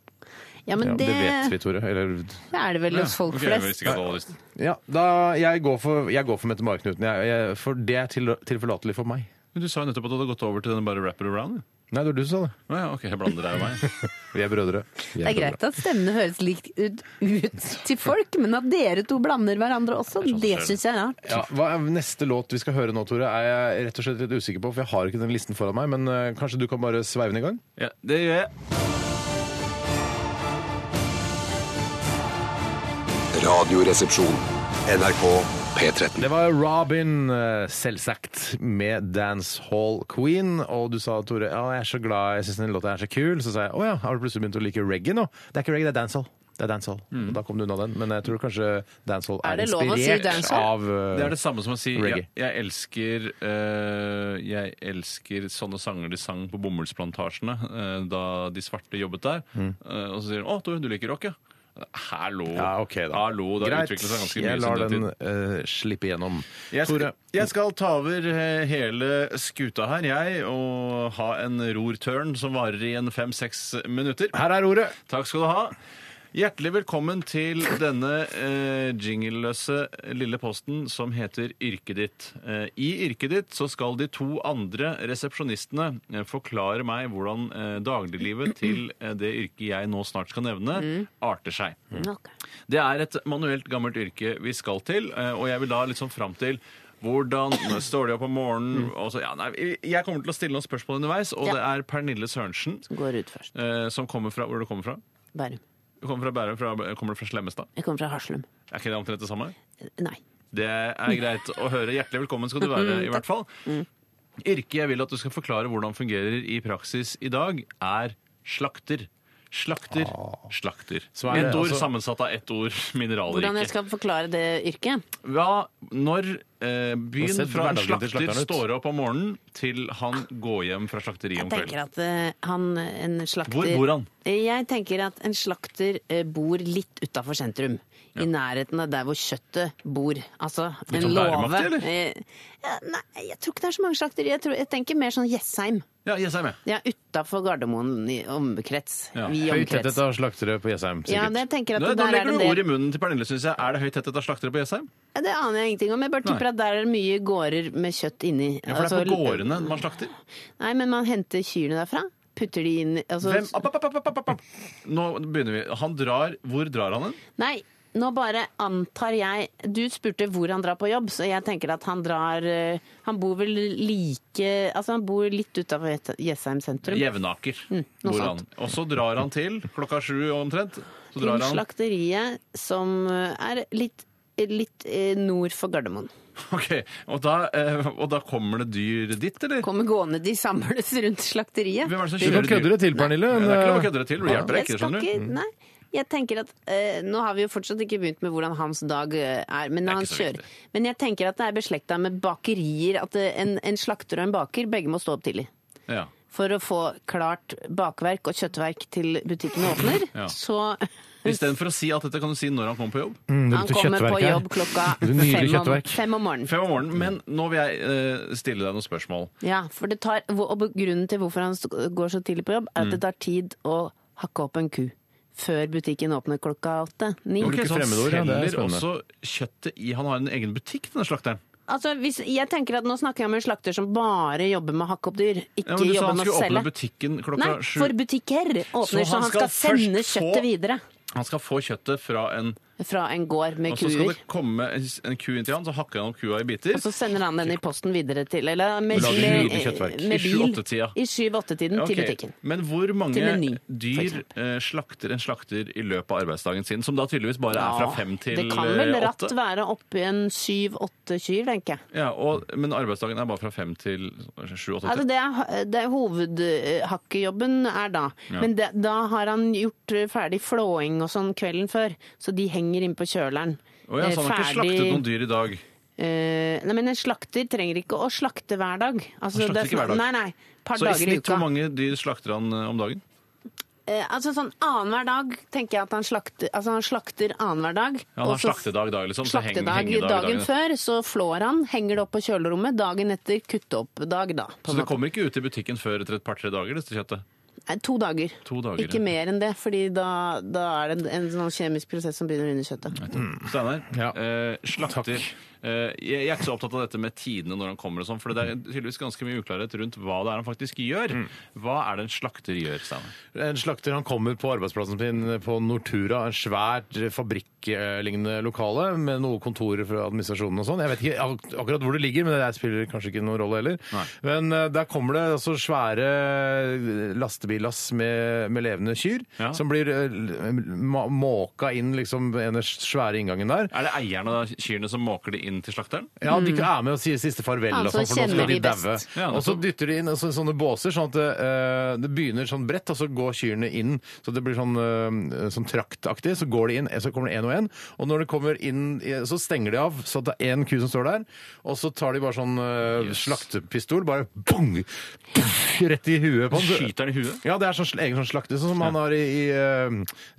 S3: Ja, men
S1: Ja,
S3: det,
S1: det vet vi, Tore. Eller
S3: er det vel hos folk
S2: Ok, jeg
S3: flest.
S2: visste ikke at alle visste.
S1: Ja, da, jeg går for, jeg går for Mette-Marit Knuten. Jeg, jeg, for det er til, tilforlatelig for meg.
S2: Men du sa jo nettopp at du hadde gått over til den bare wrap it around.
S1: Nei, det var du som sa det.
S2: Å ja, ok, jeg blander deg og meg.
S1: Vi er brødre. Vi
S3: Det er greit at stemmene høres likt ut, ut til folk, men at dere to blander hverandre
S2: Det
S3: også,
S2: er sånn
S3: det
S2: det
S3: syns jeg er rart.
S1: Ja, hva er neste låt vi skal høre nå, Tore, er jeg rett og slett litt usikker på, for jeg har ikke den listen foran meg. Men eh, kanskje du kan bare sveive den i gang?
S2: Ja, det gjør jeg.
S5: Radioresepsjon. NRK P13.
S1: Det var Robin, eh, selvsagt, med Dance Hall Queen. Og du sa, Tore, ja, jeg er så glad, jeg syns den låta er så kul. Så sa jeg, å ja, har du plutselig begynt å like reggae nå? Det er ikke reggae, det er dancehall. Det er dancehall. Og da kom du unna den. Men jeg tror kanskje dancehall
S3: Er
S1: er,
S3: det lov å si
S1: inspirert
S3: dancehall?
S1: av eh,
S2: Det er det samme som å si jeg,
S1: Reggae.
S2: jeg elsker eh, Jeg elsker sånne sanger de sang
S1: Mm.
S2: på bomullsplantasjene eh, da de svarte jobbet der. Eh, og så sier de 'Å, Tore, du liker rock, ja'. Hallo.
S1: Ja, ok da.
S2: Hallo, Det har utviklet seg ganske mye.
S1: jeg lar
S2: siden
S1: den
S2: den tid.
S1: eh, slippe gjennom.
S2: Jeg skal,
S1: Tore,
S2: jeg skal ta over eh, hele skuta her, jeg, og ha en rortørn som varer i en fem-seks minutter.
S1: her er ordet.
S2: Takk skal du ha. Hjertelig velkommen til denne eh, jingleløse lille posten som heter Yrket ditt. Eh, I Yrket ditt så skal de to andre resepsjonistene eh, forklare meg hvordan eh, dagliglivet til eh, det yrket jeg nå snart skal nevne, arter seg.
S3: Ok.
S2: Det er et manuelt gammelt yrke vi skal til, eh, og jeg vil da liksom fram til hvordan når står de opp om morgenen? Og så, ja, nei, jeg kommer til å stille noen spørsmål underveis, og
S3: Ja.
S2: det er Pernille Sørensen
S3: Går ut først.
S2: eh, som kommer fra Hvor er det du kommer fra?
S3: Bærum.
S2: Du kommer fra Bærum, fra, kommer du fra Slemmestad?
S3: Jeg kommer fra Haslum.
S2: Er ikke det omtrent det samme?
S3: Nei.
S2: Det er greit å høre. Hjertelig velkommen skal du
S3: Mm,
S2: være, i hvert fall. Yrket jeg vil at du skal forklare hvordan fungerer i praksis i dag, er slakter. Slakter,
S3: Ah.
S2: slakter.
S1: Så er det
S2: Ett ord
S1: altså-
S2: sammensatt av ett ord (laughs)
S3: Hvordan jeg
S2: mineralrike.
S3: skal forklare det yrket?
S2: Ja, når eh, byen
S1: ser
S2: fra en
S1: hverdagen til
S2: slakter
S1: slakteren ut?
S2: står opp om morgenen til han går hjem fra slakteriet
S3: Jeg
S2: om kvelden.
S3: tenker at eh, han, en slakter
S2: Hvor bor han?
S3: Jeg tenker at en slakter eh, bor litt utafor sentrum. I nærheten av der hvor kjøttet bor. Altså en
S2: sånn
S3: låve.
S2: Bærumaktig, eller?
S3: Eh, ja, Nei, jeg tror ikke det er så mange slakterier. Jeg, tror, jeg tenker mer sånn Jessheim.
S2: Ja, yes, jeg er med.
S3: Ja, utafor Gardermoen i omkrets.
S2: Ja.
S3: Vi
S1: Høyt
S3: omkrets.
S1: tettet av slaktere på Jessheim,
S3: Ja,
S1: sikkert.
S3: det tenker jeg
S2: Nå,
S3: at
S2: nå
S3: der er
S2: legger
S3: det
S2: du
S3: en
S2: ord
S3: del.
S2: i munnen til Pernille, syns jeg. Er det høyt tettet av slaktere på Jessheim?
S3: Ja, Det aner jeg ingenting om. Jeg bare tipper
S2: Nei.
S3: at der er det mye gårder med kjøtt inni.
S2: Ja, for det er
S3: Altså,
S2: på gårdene man slakter.
S3: Nei, men man henter kyrne derfra. Putter de inn altså,
S2: Hvem? App, app, app, app, app, app. Nå begynner vi. Han drar Hvor drar han hen?
S3: Nei, nå bare antar jeg Du spurte hvor han drar på jobb, så jeg tenker at han drar eh, Han bor vel like Altså, han bor litt utafor Jessheim sentrum.
S2: Jevnaker.
S3: Mm. noe
S2: Hvor han.
S3: sånt.
S2: Og så drar han til klokka sju omtrent. Så
S3: Til
S2: drar han
S3: slakteriet som eh, er litt, litt eh, nord for Gardermoen.
S2: Ok, og da, eh, og da kommer det dyr dit, eller?
S3: Kommer gående, de samles rundt slakteriet.
S2: Hvem er det som
S1: Du
S2: kjører
S1: kan kødde
S2: dyr?
S1: det til, Pernille.
S2: Ja,
S1: men,
S2: Det er ikke lov å
S1: eh,
S2: kødde det til. Det hjelper deg ikke,
S3: Jeg skal
S2: skjønner du. Mm.
S3: ikke- Nei. Jeg tenker at, eh, Nå har vi jo fortsatt ikke begynt med hvordan hans dag eh, er, men,
S2: er
S3: når han
S2: ikke så
S3: kjører,
S2: viktig.
S3: men jeg tenker at det er beslekta med bakerier. At eh, en, en slakter og en baker begge må stå opp tidlig.
S2: Ja.
S3: For å få klart bakverk og kjøttverk til butikken åpner.
S2: Ja. (laughs)
S3: Så
S2: Istedenfor å si alt dette, kan du si når han kommer på jobb.
S1: det
S3: han
S1: lukter
S3: kommer
S1: kjøttverk
S3: på
S1: her.
S3: jobb klokka
S2: (laughs)
S1: Det lukter nydelig
S3: fem om,
S1: kjøttverk.
S3: fem om morgenen.
S2: Fem om morgenen. Men nå vil jeg eh, stille deg noen spørsmål.
S3: Ja, for det tar, og grunnen til hvorfor han st- går så tidlig på jobb, er at
S2: Mm.
S3: det tar tid å hakke opp en ku. Før butikken åpner klokka åtte. Ni.
S2: Ok, så han
S1: fremmedord, ja, det er
S2: selger
S1: spennende.
S2: også kjøttet i Han har en egen butikk, denne slakteren.
S3: Altså, hvis, jeg tenker at Nå snakker jeg om en slakter som bare jobber med å hakke opp dyr.
S2: Ja,
S3: Ikke
S2: men du sa
S3: jobber
S2: han
S3: med å
S2: skulle åpne
S3: selge.
S2: butikken
S3: Nei,
S2: klokka sju.
S3: for butikker åpner, så han, skal,
S2: først
S3: sende
S2: få-
S3: kjøttet videre.
S2: Han skal få kjøttet fra en
S3: Fra en gård med
S2: Og så skal
S3: kuer.
S2: det komme en ku inn til han, så hakker han opp kua i biter.
S3: Og så sender han den i posten videre til Eller med,
S2: Lager
S3: med,
S2: nydelig kjøttverk. I
S3: med bil.
S2: sju-åtte-tida.
S3: I 7-8-tiden
S2: Ok,
S3: til butikken.
S2: Men hvor mange
S3: Til meny, for
S2: dyr
S3: eksempel.
S2: eh, slakter en slakter i løpet av arbeidsdagen sin, som da tydeligvis bare er fra
S3: Ja,
S2: fem til
S3: det kan vel
S2: eh,
S3: ratt
S2: åtte?
S3: være oppi en syv-åtte kyr, tenker jeg.
S2: Ja, og, men arbeidsdagen er bare fra fem til sju-åtte?
S3: Altså det er, det er hovedhakkejobben er da. Men det, da har han gjort ferdig flåing og sånn kvelden før, så de henger inn på kjøleren.
S2: Å ja, så han har ikke slaktet noen dyr i dag.
S3: Eh, nei, men en slakter trenger ikke å slakte hver dag. Altså,
S2: Han slakter
S3: det er
S2: ikke hver dag.
S3: Nei, nei. Par
S2: Så i
S3: dager i
S2: snitt
S3: uka.
S2: hvor mange dyr slakter han eh, om dagen?
S3: Eh, altså sånn annenhver dag tenker jeg at han slakter Altså han slakter annenhver dag.
S2: Ja, han
S3: og
S2: har
S3: så-
S2: slaktedag i dag, liksom. Så heng,
S3: Slaktedag
S2: hengedag i
S3: dagen
S2: dagen.
S3: før, så flår han, henger det opp på kjølerommet. Dagen etter kutte opp-dag, da. På
S2: Så
S3: en
S2: det
S3: måte.
S2: kommer ikke ut i butikken før etter et par-tre dager, dette kjøttet?
S3: Nei, To dager.
S2: To dager,
S3: Ikke
S2: ja.
S3: mer enn det, fordi da, da er det en, en sånn kjemisk prosess som begynner under kjøttet.
S2: Steinar,
S1: Ja.
S2: eh, slakter. Eh, jeg, jeg er ikke så opptatt av dette med tidene når han kommer og sånn, for det er tydeligvis ganske mye uklarhet rundt hva det er han faktisk gjør.
S1: Mm.
S2: Hva er det en slakter gjør, Steinar?
S1: En slakter han kommer på arbeidsplassen sin på Nortura, en svært fabrikklignende lokale med noe kontorer fra administrasjonen og sånn. Jeg vet ikke ak akkurat hvor det ligger, men det spiller kanskje ikke noen rolle heller.
S2: Nei.
S1: Men eh, der kommer det altså svære lastebillass med, med levende kyr,
S2: Ja.
S1: som blir eh, ma- måka inn liksom ved den svære inngangen der.
S2: Er det eierne av kyrne som måker det inn til slakteren?
S1: Ja, de er med og sier siste farvel,
S3: Mm. Ja,
S1: og
S3: så
S1: sånn, for nå
S3: kjenner
S1: skal de
S3: de
S1: daue.
S3: best.
S2: Ja,
S1: og så
S2: nettopp.
S1: dytter de inn så, sånne båser, sånn at eh, det begynner sånn bredt, og så går kyrne inn, så det blir sånn, eh, sånn traktaktig, så går de inn, så kommer det en og en, og når det kommer inn, eh, så stenger de av, så det er en ku som står der, og så tar de bare sånn eh,
S2: Yes.
S1: slaktepistol, bare bong, rett i huet på den.
S2: Skyter han i huet?
S1: Ja, det er sånn sl- egen sånn slakte, sånn som han har i, i, eh,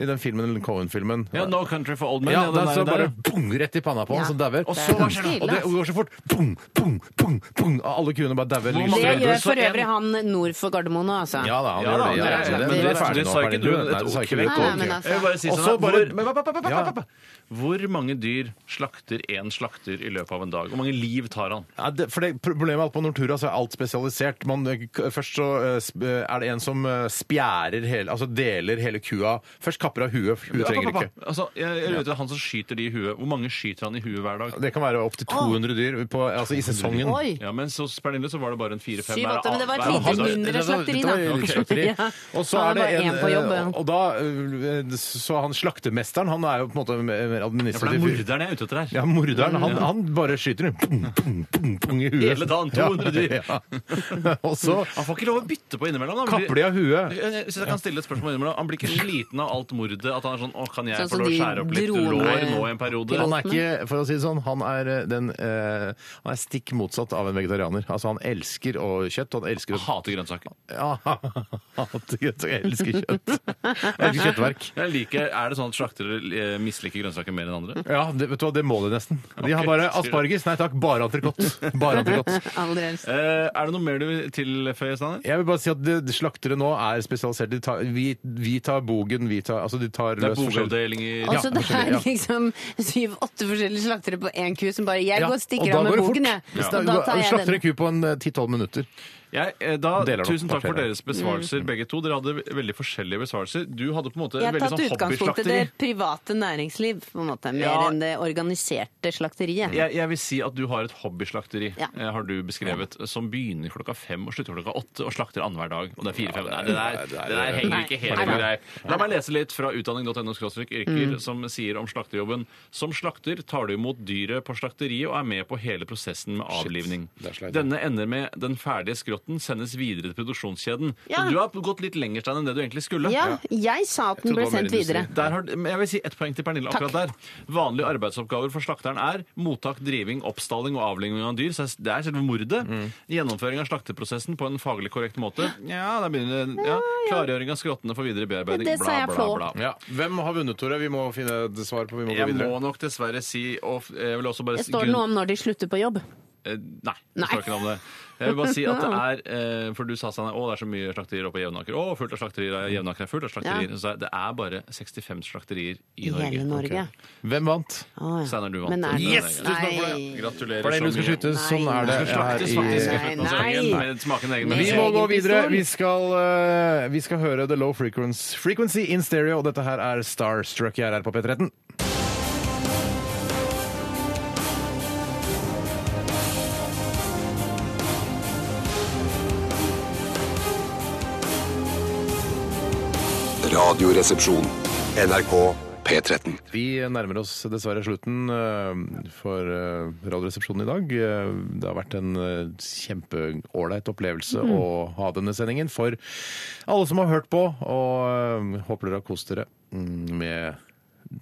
S1: i den filmen, den Cohen-filmen.
S2: Ja, No Country for Old Men.
S1: Ja,
S2: den
S1: det er
S2: der-
S1: så
S2: der,
S1: bare
S2: ja.
S1: bong, rett i panna på han,
S3: Ja.
S1: som dauer.
S3: Og
S1: Og så
S3: så- Det er ganske ille,
S1: og det
S3: ass.
S1: går så fort. Bong, bong, bong, bong. Og Alle kuene bare dauer.
S2: Hvor
S1: lyset
S2: mange
S3: Det
S1: rødt.
S3: gjør
S2: Så
S3: for
S2: en-
S3: øvrig han nord for Gardermoen nå, altså.
S1: Ja da, han
S2: Ja,
S1: gjør
S2: da,
S1: det. Ja,
S2: det er-
S1: altså,
S2: det er-
S1: men det er
S2: det
S1: ferdig nå,
S2: sa ikke
S1: Pernille.
S2: du,
S1: Nei,
S2: et
S1: det sa ikke
S2: ok.
S1: vi.
S3: Nei, nei, men altså.
S2: Jeg vil bare si
S1: Og
S2: sånn
S1: så
S2: her,
S1: bare-
S2: hvor, men, pa, pa, pa, pa, pa, pa, pa. hvor mange dyr slakter én slakter i løpet av en dag? Hvor mange liv tar han?
S1: Ja, det, for det, problemet er at på Nortura så er alt spesialisert. Man, k- først så eh, sp- eh, er det en som eh, spjærer hele, altså deler hele kua. Først kapper av huet, huet
S2: Ja, pa,
S1: trenger
S2: pa, pa.
S1: ikke.
S2: Altså, jeg, jeg vet, han som skyter de i huet, hvor mange skyter han i huet hver dag?
S1: Det kan være opptil 200 dyr på, altså i sesongen.
S3: Oi!
S2: Ja, men så Pernille så var det bare en fire-fem
S3: Syv,
S2: hver-
S3: åtte, men det var et
S2: hver
S3: lite
S2: andre dag.
S3: mindre
S1: Det var-
S3: slakteri,
S1: det var
S3: da.
S1: et lite slakteri.
S3: Ja.
S1: (laughs) Og så
S3: Han
S1: er
S3: har
S1: det
S3: bare
S1: en,
S3: én på jobb, ja.
S1: og da, øh, så han slaktermesteren, han er jo på en måte mer
S2: Ja, for det
S1: administrativ.
S2: er
S1: fyr.
S2: morderen jeg er ute etter her.
S1: Ja, morderen, han, han bare skyter den. Pung, pung, pung, pung i huet.
S2: Hele dagen, 200 dyr.
S1: Ja, (laughs) ja. Og så
S2: Han får ikke lov å bytte på innimellom. da. Han blir-
S1: kapper de av huet.
S2: Jeg- jeg- Hvis jeg kan stille et spørsmål innimellom Han blir ikke sliten av alt mordet? At han er sånn 'Å, kan jeg
S3: Sånn
S2: få
S3: som
S2: lov å
S3: de
S2: skjære opp litt
S3: drone-
S2: lår nå i en periode?'
S1: Han er ikke, for å si det sånn, han er, eh, den, eh, han er stikk motsatt av en vegetarianer. Altså, han elsker å kjøtt, og han elsker å...
S2: Hater grønnsaker.
S1: Ja, (laughs) hater kjøtt, og jeg elsker kjøtt. Jeg elsker kjøttverk.
S2: Jeg liker, Er det sånn at slaktere eh, misliker grønnsaker mer enn andre?
S1: Ja, det, vet du hva, det må de nesten. De har
S2: Ok,
S1: bare
S2: sier du.
S1: asparges, nei takk, bare antrikott. Bare antrikott.
S3: Aller helst.
S2: Eh, er det noe mer du vil tilføye, Steinar?
S1: Jeg vil bare si at det, det slaktere nå er spesialisert. De tar, vi, vi tar bogen, vi tar Altså, de tar
S2: Det er
S1: løs forskjell.
S2: bokavdeling i
S3: Og så det
S1: forskjellig,
S3: er
S1: ja.
S3: liksom syv-åtte forskjellige slaktere på én ku som bare 'Jeg
S1: Ja,
S3: går og
S1: og
S3: stikker
S1: da
S3: av med
S1: går det
S3: boken,
S1: fort.
S3: jeg'.
S1: Ja.
S3: Og da tar
S1: Du
S3: jeg
S1: slakter
S3: den.
S1: en ku på en eh, 10-12 minutter.
S2: Jeg, eh, da,
S1: Deler det opp,
S2: tusen takk for
S1: kvarterer.
S2: deres besvarelser, begge to. Dere hadde veldig forskjellige besvarelser. Du hadde på en måte
S3: Mm. Jeg har
S2: veldig
S3: tatt
S2: sånn
S3: utgangspunkt i
S2: hobbyslakteri.
S3: det private næringsliv, på en måte, mer
S2: Ja.
S3: enn det organiserte slakteriet.
S2: Jeg, jeg vil si at du har et hobbyslakteri,
S3: Ja.
S2: eh, har du beskrevet, som begynner klokka fem og slutter klokka åtte og slakter annenhver dag. Og det er fire-fem. Nei, det der, det der henger
S3: Nei.
S2: ikke helt
S3: Nei, Mm.
S2: på
S3: nei.
S2: greip. La meg lese litt fra utdanning.no yrker, som sier om slakterjobben. Som slakter tar du imot dyret på slakteriet og er med på hele prosessen med avlivning.
S1: det er sleit.
S2: Denne ender med den ferdige skrotten sendes videre til produksjonskjeden.
S3: Ja.
S2: Så du har gått litt lenger Stein, enn det du egentlig skulle.
S3: Ja, jeg sa at den ble
S1: det var mer
S3: sendt
S1: industri.
S3: videre.
S2: Der har, men jeg vil si ett poeng til Pernille akkurat der. Vanlige arbeidsoppgaver for slakteren er mottak, driving, oppstalling og avliving av dyr. Så det er selve mordet.
S3: Mm.
S2: Gjennomføring av slakteprosessen på en faglig korrekt måte. Ja, der begynner det. Ja, klargjøring av skrottene for videre bearbeiding.
S3: Det sa
S2: Bla,
S3: jeg
S2: bla,
S3: flå.
S2: bla.
S1: Ja. Hvem har vunnet, Tore? Vi må finne et svar på. Vi må gå
S2: Jeg
S1: videre.
S2: må nok dessverre si og f- jeg vil også bare
S3: Det
S2: si-
S3: står
S2: grunn-
S3: noe om når de slutter på jobb.
S2: Eh, Nei. Det
S3: Nei.
S2: står ikke noe om det. Jeg vil bare si
S3: (laughs)
S2: at det er eh, For du sa sånn Å, det er så mye slakterier oppe i Jevnaker. Å, fullt av slakterier. ja, Jevnaker er fullt av slakterier.
S3: Ja.
S2: Så det er bare 65 slakterier i
S3: I
S2: Norge.
S3: hele Norge.
S1: Hvem vant?
S3: Å, ja.
S2: Steinar, du vant.
S3: Men er det-
S2: Yes! Tusen takk for
S3: Nei.
S2: det. Gratulerer.
S1: For det du
S2: så
S1: skal
S2: mye.
S1: skyte, sånn
S3: Nei,
S1: er det
S3: nei.
S2: Det slaktes
S1: her
S2: faktisk
S1: i
S3: Nei,
S2: slutten av sangen
S3: nei.
S2: med smaken egen
S3: Nei.
S1: vi
S2: medicin.
S1: må gå
S3: Egen
S1: videre.
S3: pistol.
S1: Vi skal, eh, vi skal høre The Low Frequency, Frequency in Stereo, og dette her er Starstruck i RR på P13.
S5: Radioresepsjon. NRK P13.
S1: Vi nærmer oss dessverre slutten eh, for eh, Radioresepsjonen i dag. Eh, Det har vært en eh, kjempeålreit opplevelse å ha denne sendingen for alle som har hørt på, og eh, håper dere har kost dere mm, med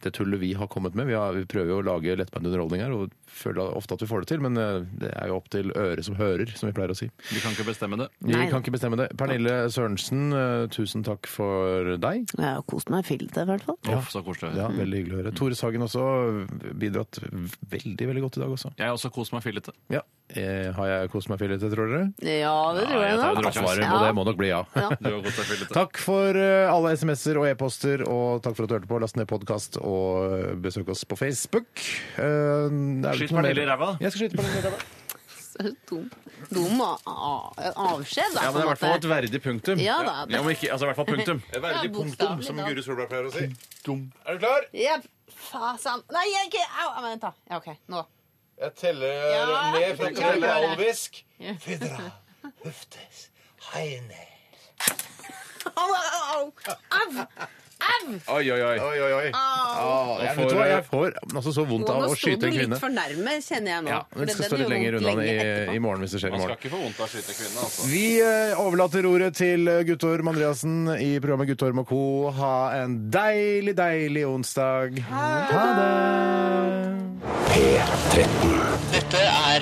S1: det tullet vi har kommet med. Vi, har, vi prøver jo å lage lettbeint underholdning her, og føler ofte at vi får det til, men eh, det er jo opp til øret som hører, som vi pleier å si.
S2: Vi kan ikke bestemme det.
S1: Vi
S3: Nei.
S1: kan ikke bestemme det. Pernille Sørensen, eh, tusen takk for deg.
S3: Jeg har kost meg fint, i hvert fall.
S2: Uff, så koselig.
S1: Ja, mm. veldig hyggelig å høre. Tore Sagen også bidratt veldig veldig godt i dag også.
S2: Jeg har også kost meg fillete.
S1: Ja. Eh, har jeg kost meg fillete, tror dere?
S3: Ja, det tror
S2: Ja, jeg
S3: jeg
S2: tar en
S3: nok.
S2: drosje. Svaret
S1: Og
S3: Ja.
S1: det må nok bli ja.
S2: Du har kost deg fillete.
S1: (laughs) Takk for eh, alle SMS-er og e-poster, og takk for at du hørte på. Last ned podkast og eh, besøk oss på Facebook. Eh, det er vel
S2: Skyt
S1: ikke noe mer-
S2: Pernille i ræva.
S1: Jeg skal skyte Pernille i ræva.
S3: Dum, dum a- a- avskjed,
S2: Ja, men
S3: da.
S2: det er i hvert fall et verdig punktum.
S3: Ja da, det-
S2: Ja, men ikke, altså i hvert fall punktum.
S3: verdig punktum, som Guri
S1: Solberg pleier å si. Er du klar?
S3: Jepp. Fasan. Nei, jeg ikke Au, au, vent, da. Ja, OK. Nå. (laughs)
S1: Jeg teller eh,
S3: Ja, ned fra jeg telle gjør det.
S1: alvisk.
S3: Au, au, au. Au! Au! Au!
S1: Oi, oi, oi.
S8: Oi, oi, oi.
S1: Å, jeg, vet du hva, jeg får altså, så vondt av
S3: Nå
S1: å
S3: sto du
S1: skyte en
S3: litt
S1: kvinne.
S3: for nærme, kjenner jeg nå.
S1: Ja,
S3: For
S1: Hun
S3: den-
S1: skal
S3: den
S1: stå litt
S3: gjorde
S1: lenger
S3: vondt
S1: unna i,
S3: etterpå.
S1: i morgen hvis det skjer i
S2: Man
S1: morgen.
S2: skal ikke få vondt av å skyte kvinne, altså.
S1: Vi eh, overlater ordet til eh, Guttorm Andreassen i programmet Guttorm og co. Ha en deilig, deilig onsdag. Ha det!
S6: Dette er